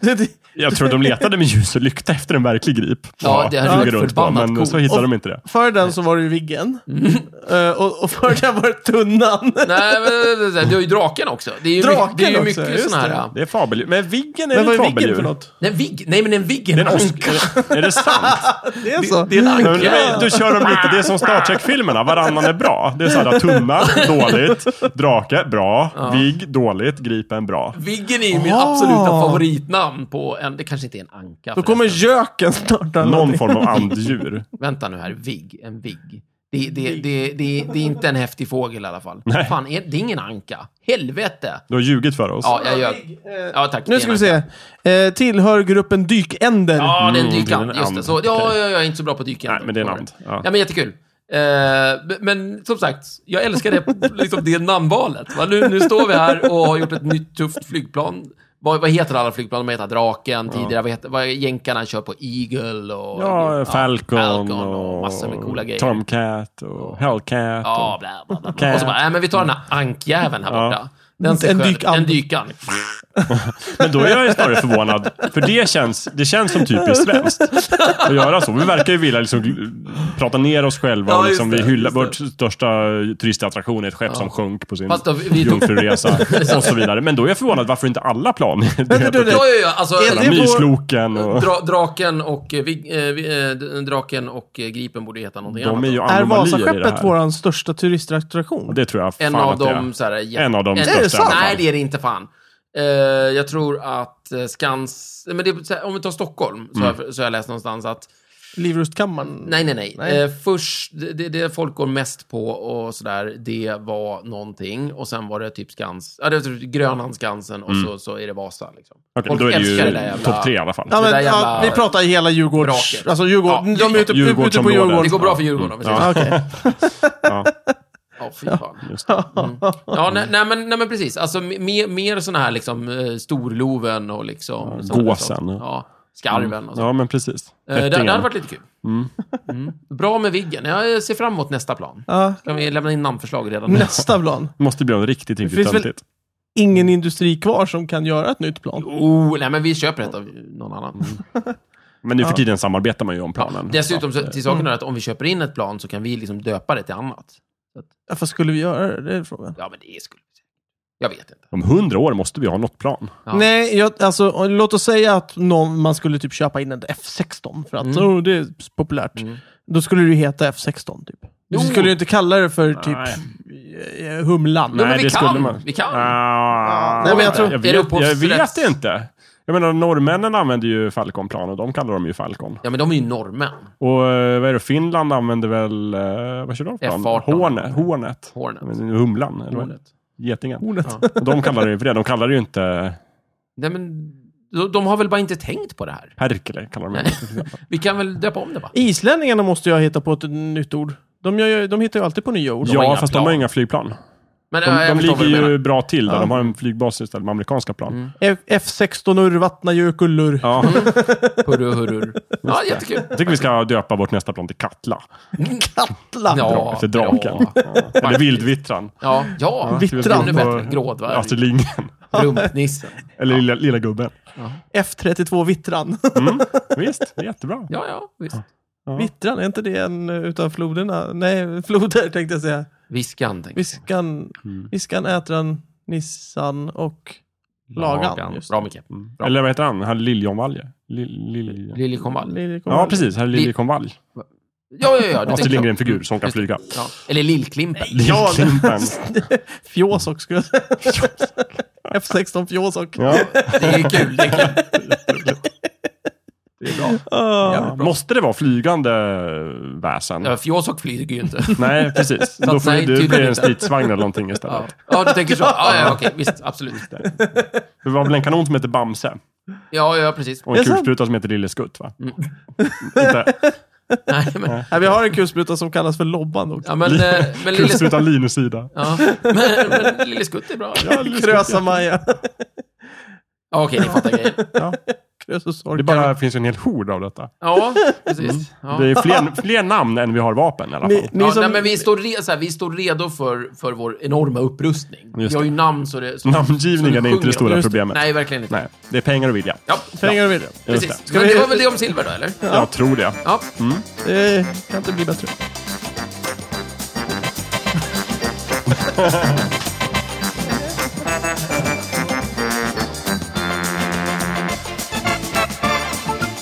[SPEAKER 4] Jag tror de letade med ljus och lykta efter en verklig grip.
[SPEAKER 2] Ja, det hade
[SPEAKER 4] flyga
[SPEAKER 2] varit
[SPEAKER 4] runt på,
[SPEAKER 2] förbannat
[SPEAKER 4] Men
[SPEAKER 2] coolt.
[SPEAKER 4] så hittade
[SPEAKER 1] Och-
[SPEAKER 4] de inte det.
[SPEAKER 1] Före den så var det ju Viggen.
[SPEAKER 2] Mm.
[SPEAKER 1] Eh, och, och före den var det Tunnan.
[SPEAKER 2] Nej, men det är ju draken också. Det är ju,
[SPEAKER 1] Draken
[SPEAKER 2] mycket- det är ju
[SPEAKER 1] också,
[SPEAKER 2] mycket
[SPEAKER 1] just
[SPEAKER 2] sån här...
[SPEAKER 4] Det är fabeldjur. Men Viggen är
[SPEAKER 1] Men vad
[SPEAKER 4] väl
[SPEAKER 1] är Viggen för
[SPEAKER 4] fabeldjur?
[SPEAKER 1] något?
[SPEAKER 2] Nej, vig, nej, men en Viggen.
[SPEAKER 4] Det är, en
[SPEAKER 2] Anka.
[SPEAKER 4] Oscar. är det sant?
[SPEAKER 1] Det är så? Mm.
[SPEAKER 2] Det är en anka.
[SPEAKER 4] Men, men, då kör de lite, det är som Star Trek-filmerna, varannan är bra. Det är såhär, tunna, dåligt, drake, bra, vigg, dåligt, gripen, bra.
[SPEAKER 2] Viggen är ju min
[SPEAKER 1] Ah.
[SPEAKER 2] absoluta favoritnamn på en... Det kanske inte är en anka.
[SPEAKER 1] Då kommer
[SPEAKER 2] förresten.
[SPEAKER 1] göken snart. eller
[SPEAKER 4] Någon
[SPEAKER 1] någonting.
[SPEAKER 4] form av anddjur.
[SPEAKER 2] Vänta nu här, vigg. En vigg. Det, det, det, det, det är inte en häftig fågel i alla fall. Fan, är, det är ingen anka. Helvete!
[SPEAKER 4] Du har ljugit för oss.
[SPEAKER 2] Ja, jag gör...
[SPEAKER 1] Eh,
[SPEAKER 2] Ja, tack.
[SPEAKER 1] Nu ska vi se. Eh, tillhör gruppen dykänder.
[SPEAKER 2] Ja, det är en
[SPEAKER 4] Mm,
[SPEAKER 2] dykant.
[SPEAKER 4] det är en
[SPEAKER 2] Just det.
[SPEAKER 4] and.
[SPEAKER 2] Så, ja,
[SPEAKER 4] Okej.
[SPEAKER 2] ja, jag är inte så bra på dykänder.
[SPEAKER 4] Nej, men det är en
[SPEAKER 2] Sorry.
[SPEAKER 4] and. Ja.
[SPEAKER 2] Ja, men jättekul. Eh, men som sagt, jag älskar det, liksom det namnvalet. Va? Nu, nu står vi här och har gjort ett nytt tufft flygplan. Vad, vad heter alla flygplan? De heter Draken, tidigare, vad heter, vad, jänkarna kör på Eagle och...
[SPEAKER 4] Ja, Falcon,
[SPEAKER 2] och massor med coola grejer.
[SPEAKER 4] Tomcat och Hellcat.
[SPEAKER 2] Ja,
[SPEAKER 4] Och...
[SPEAKER 2] bla, bla, bla.
[SPEAKER 4] Okej.
[SPEAKER 2] Och så bara, nej men vi tar den här ankjäveln här
[SPEAKER 4] Mm. Ja.
[SPEAKER 2] borta. Den ser
[SPEAKER 1] En
[SPEAKER 2] skön-
[SPEAKER 1] dykan.
[SPEAKER 2] En dykan.
[SPEAKER 4] Men då är jag ju snarare förvånad. För det känns, det känns som typiskt svenskt att göra så. Vi verkar ju vilja liksom gl- prata ner oss själva.
[SPEAKER 2] Ja,
[SPEAKER 4] och
[SPEAKER 2] just
[SPEAKER 4] liksom, vi
[SPEAKER 2] det,
[SPEAKER 4] hyllar,
[SPEAKER 2] just det.
[SPEAKER 4] vårt största turistattraktion är ett skepp som sjönk på sin
[SPEAKER 2] Fast då, vi tog...
[SPEAKER 4] jungfruresa och så vidare. Men då är jag förvånad varför inte alla plan
[SPEAKER 1] Vänta, du,
[SPEAKER 2] Ja,
[SPEAKER 1] du.
[SPEAKER 2] ja, ja, alltså...
[SPEAKER 1] Är det-
[SPEAKER 4] typ Mysloken och...
[SPEAKER 2] Dra, draken och, eh, vig, eh, vi- eh, d- draken och eh, Gripen borde heta någonting
[SPEAKER 4] De är
[SPEAKER 2] annat.
[SPEAKER 4] ju
[SPEAKER 2] då.
[SPEAKER 1] Är
[SPEAKER 4] anomalier i det
[SPEAKER 1] Vasaskeppet
[SPEAKER 4] här.
[SPEAKER 1] vår största turistattraktion?
[SPEAKER 4] Det tror jag
[SPEAKER 2] En
[SPEAKER 4] fan
[SPEAKER 2] av
[SPEAKER 4] att det
[SPEAKER 2] dem
[SPEAKER 4] är.
[SPEAKER 2] så här, jätte-
[SPEAKER 4] En av
[SPEAKER 2] en-
[SPEAKER 4] de största
[SPEAKER 1] det sant?
[SPEAKER 4] i alla fall.
[SPEAKER 2] Nej, det är det inte fan. Eh, jag tror att eh, Skans... Men det, är så här, om vi tar Stockholm, så,
[SPEAKER 4] Mm.
[SPEAKER 2] har, jag- så har jag läst någonstans att...
[SPEAKER 1] Livrustkammaren?
[SPEAKER 2] Nej, nej, nej.
[SPEAKER 1] Nej.
[SPEAKER 2] Eh, först, det, det folk går mest på och sådär, det var någonting. Och sen var det typ Skans... Ja, det var typ Grönland, Skansen och så, så är det Vasa. Liksom.
[SPEAKER 4] Mm. Okej, men då är det
[SPEAKER 2] älskar
[SPEAKER 4] ju
[SPEAKER 2] där jävla-
[SPEAKER 4] topp tre i alla fall.
[SPEAKER 1] Ja, men,
[SPEAKER 2] Det där
[SPEAKER 1] ja,
[SPEAKER 2] jävla-
[SPEAKER 1] vi pratar i hela Djurgårds...
[SPEAKER 2] Vraket.
[SPEAKER 1] Alltså Djurgården.
[SPEAKER 2] Ja,
[SPEAKER 1] de är ute, ute på
[SPEAKER 4] Djurgårdsområdet.
[SPEAKER 2] Det
[SPEAKER 1] Djurgården.
[SPEAKER 2] går bra för Djurgården, om vi säger så.
[SPEAKER 1] Ja, okej.
[SPEAKER 4] Mm. Ja,
[SPEAKER 2] Ja, fy fan.
[SPEAKER 4] just det.
[SPEAKER 2] Mm. Ja, nej, nej, men, nej, men precis. Alltså, me- mer, mer såna här liksom eh, storloven och liksom...
[SPEAKER 4] Ja,
[SPEAKER 2] sådana
[SPEAKER 4] gåsen.
[SPEAKER 2] saker. Ja, skarven och så.
[SPEAKER 4] Ja, men precis.
[SPEAKER 2] Eh, det, det hade
[SPEAKER 4] Ättingen.
[SPEAKER 2] varit lite kul. Mm. Bra med Viggen. Jag ser fram emot nästa plan.
[SPEAKER 1] Ja.
[SPEAKER 2] Kan vi lämna in namnförslag redan nu?
[SPEAKER 1] Nästa plan.
[SPEAKER 4] Måste bli något riktigt, riktigt
[SPEAKER 1] finns väl-
[SPEAKER 4] töntigt.
[SPEAKER 1] Ingen industri kvar som kan göra ett nytt plan.
[SPEAKER 2] Oh, nej, men vi köper ett av någon annan.
[SPEAKER 4] Men nu för tiden samarbetar man ju om planen.
[SPEAKER 2] Dessutom, så, till
[SPEAKER 4] Mm.
[SPEAKER 2] saken är att om vi köper in ett plan så kan vi liksom döpa det till annat.
[SPEAKER 1] Ja, fast skulle vi göra det? Det är frågan.
[SPEAKER 2] Ja, men det skulle vi säkert. Jag vet inte.
[SPEAKER 4] Om hundra år måste vi ha något plan.
[SPEAKER 2] Ja.
[SPEAKER 1] Nej, jag, alltså, låt oss säga att någon, man skulle typ köpa in ett F16 för att
[SPEAKER 2] Mm.
[SPEAKER 1] oh, det är populärt.
[SPEAKER 2] Mm.
[SPEAKER 1] Då skulle det ju heta F16 typ. Du
[SPEAKER 2] Jo.
[SPEAKER 1] skulle ju inte kalla det för typ eh, Humlan.
[SPEAKER 2] Jo, men
[SPEAKER 4] Nej,
[SPEAKER 2] vi
[SPEAKER 4] det
[SPEAKER 2] kan.
[SPEAKER 4] skulle man-
[SPEAKER 2] Vi kan.
[SPEAKER 4] Ah,
[SPEAKER 1] Nej, men jag tror-
[SPEAKER 2] Är
[SPEAKER 4] jag,
[SPEAKER 2] det
[SPEAKER 4] vet, jag
[SPEAKER 2] upphovsrätts-
[SPEAKER 4] vet inte. Jag menar, norrmännen använder ju Falcon-plan och de kallar dem ju Falcon.
[SPEAKER 2] Ja, men de är ju norrmän.
[SPEAKER 4] Och eh, vad är det, Finland använder väl, eh, vad kör de för plan?
[SPEAKER 2] F18.
[SPEAKER 4] Hornet. Hornet.
[SPEAKER 2] Hornet.
[SPEAKER 4] Men Humlan, eller vad?
[SPEAKER 2] Hornet.
[SPEAKER 4] Getingen.
[SPEAKER 1] Hornet.
[SPEAKER 2] Ja.
[SPEAKER 4] Och De kallar det ju för det. De kallar det ju inte
[SPEAKER 2] Nej, men de, de har väl bara inte tänkt på det här.
[SPEAKER 4] Herkele. Kallar de det.
[SPEAKER 2] Vi kan väl döpa om det, va?
[SPEAKER 1] Islänningarna måste ju ha hittat på ett nytt ord. De, gör, ju- de hittar ju alltid på nya ord.
[SPEAKER 2] har
[SPEAKER 4] ja,
[SPEAKER 2] inga
[SPEAKER 4] fast
[SPEAKER 2] plan.
[SPEAKER 4] de har inga flygplan.
[SPEAKER 2] Men,
[SPEAKER 4] De,
[SPEAKER 2] ja, jag
[SPEAKER 4] de
[SPEAKER 2] förstår vad du
[SPEAKER 4] ligger
[SPEAKER 2] menar. Mm.
[SPEAKER 4] ju bra till där.
[SPEAKER 1] Ja.
[SPEAKER 4] De har en flygbas istället med amerikanska plan.
[SPEAKER 1] F- F16 urvattnar ju kullor.
[SPEAKER 4] Ja,
[SPEAKER 2] Hurru, hurru. Ja, jättekul.
[SPEAKER 4] jag tycker vi ska döpa vårt nästa plan till Katla.
[SPEAKER 1] Kattland.
[SPEAKER 2] Ja.
[SPEAKER 4] Dra, efter draken.
[SPEAKER 2] bra.
[SPEAKER 4] Ja. Eller Vildvittran.
[SPEAKER 2] Ja, ja.
[SPEAKER 1] Vittran.
[SPEAKER 2] Ännu bättre. Grådvärg.
[SPEAKER 4] Astrid Lindgren.
[SPEAKER 2] Rumpnissen.
[SPEAKER 4] Eller lilla, lilla gubben.
[SPEAKER 1] F32 Vittran.
[SPEAKER 4] Mm. Visst, det är jättebra.
[SPEAKER 2] Ja, ja, visst.
[SPEAKER 1] Vittran, är inte det en eh, utav floderna? Nej, floder tänkte jag säga.
[SPEAKER 2] Viskan, tänkte
[SPEAKER 1] Viskan,
[SPEAKER 2] Mm.
[SPEAKER 1] Viskan Ätran, Nissan och
[SPEAKER 2] jag.
[SPEAKER 1] Lagan, just det.
[SPEAKER 2] Bra, Micke. Bra.
[SPEAKER 4] Eller vad heter han? Han Liljekonvalje. Lil- Lilje-
[SPEAKER 2] Liljekonvalj.
[SPEAKER 1] Liljekonvalj.
[SPEAKER 4] Ja, precis. Han Liljekonvalj.
[SPEAKER 2] Ja, ja, ja. du
[SPEAKER 4] Astrid
[SPEAKER 2] tänker-
[SPEAKER 4] Lindgren-figur som kan
[SPEAKER 2] Just det.
[SPEAKER 4] flyga.
[SPEAKER 2] Ja. Eller Lillklimpen.
[SPEAKER 1] Ja,
[SPEAKER 4] Lillklimpen.
[SPEAKER 1] Fjåsok skulle jag säga. F16 Fjåsok.
[SPEAKER 4] Ja.
[SPEAKER 2] Det är ju kul. Det är kul.
[SPEAKER 4] Det är bra.
[SPEAKER 1] Ah.
[SPEAKER 4] Ja. Måste det vara flygande väsen?
[SPEAKER 2] Ja, Fjåsok flyger ju inte.
[SPEAKER 4] Nej, precis. Då får
[SPEAKER 2] nej,
[SPEAKER 4] det
[SPEAKER 2] tydligen
[SPEAKER 4] bli en
[SPEAKER 2] inte.
[SPEAKER 4] stridsvagn eller någonting
[SPEAKER 2] Ja,
[SPEAKER 4] istället.
[SPEAKER 2] ja du tänker så. Ja, ja, okej. Visst, absolut.
[SPEAKER 4] Det var väl en kanon som hette Bamse?
[SPEAKER 2] Ja, ja, precis.
[SPEAKER 4] Och
[SPEAKER 1] Är
[SPEAKER 4] en
[SPEAKER 1] det sant?
[SPEAKER 4] kulspruta som heter Lille Skutt, va?
[SPEAKER 2] Mm.
[SPEAKER 4] Inte
[SPEAKER 2] Nej, men,
[SPEAKER 1] Nej, vi har en kulspruta som kallas för Lobban också.
[SPEAKER 2] ja, men, eh, men, lille,
[SPEAKER 4] kulsprutan Linus-sida.
[SPEAKER 2] ja, men, men Lille Skutt är bra. Ja,
[SPEAKER 1] Krösa-Maja.
[SPEAKER 2] Okej, ni fattar grejen.
[SPEAKER 4] Ja. Det
[SPEAKER 1] Krösus-Orkan.
[SPEAKER 4] bara finns ju en hel hord av detta.
[SPEAKER 2] Ja, precis. Ja.
[SPEAKER 4] Det är fler, fler namn än vi har vapen i alla fall.
[SPEAKER 1] Ni, ni
[SPEAKER 2] Ja,
[SPEAKER 1] som...
[SPEAKER 2] nej, men vi, står re, så här, vi står redo för, för vår enorma upprustning.
[SPEAKER 4] Just
[SPEAKER 2] vi har ju namn så det... Så, så
[SPEAKER 4] Namngivningen
[SPEAKER 2] det
[SPEAKER 4] är inte
[SPEAKER 2] sjunger
[SPEAKER 4] det stora
[SPEAKER 2] om.
[SPEAKER 1] Just det.
[SPEAKER 4] problemet. Nej.
[SPEAKER 2] Nej, verkligen inte.
[SPEAKER 4] det är pengar och vilja.
[SPEAKER 2] Ja,
[SPEAKER 1] Pengar och vilja.
[SPEAKER 4] Just
[SPEAKER 2] precis.
[SPEAKER 4] det.
[SPEAKER 1] Ska
[SPEAKER 2] Men
[SPEAKER 1] vi-
[SPEAKER 2] det var väl det om silver då, eller?
[SPEAKER 4] Jag tror det.
[SPEAKER 2] Ja.
[SPEAKER 1] Det kan inte bli bättre.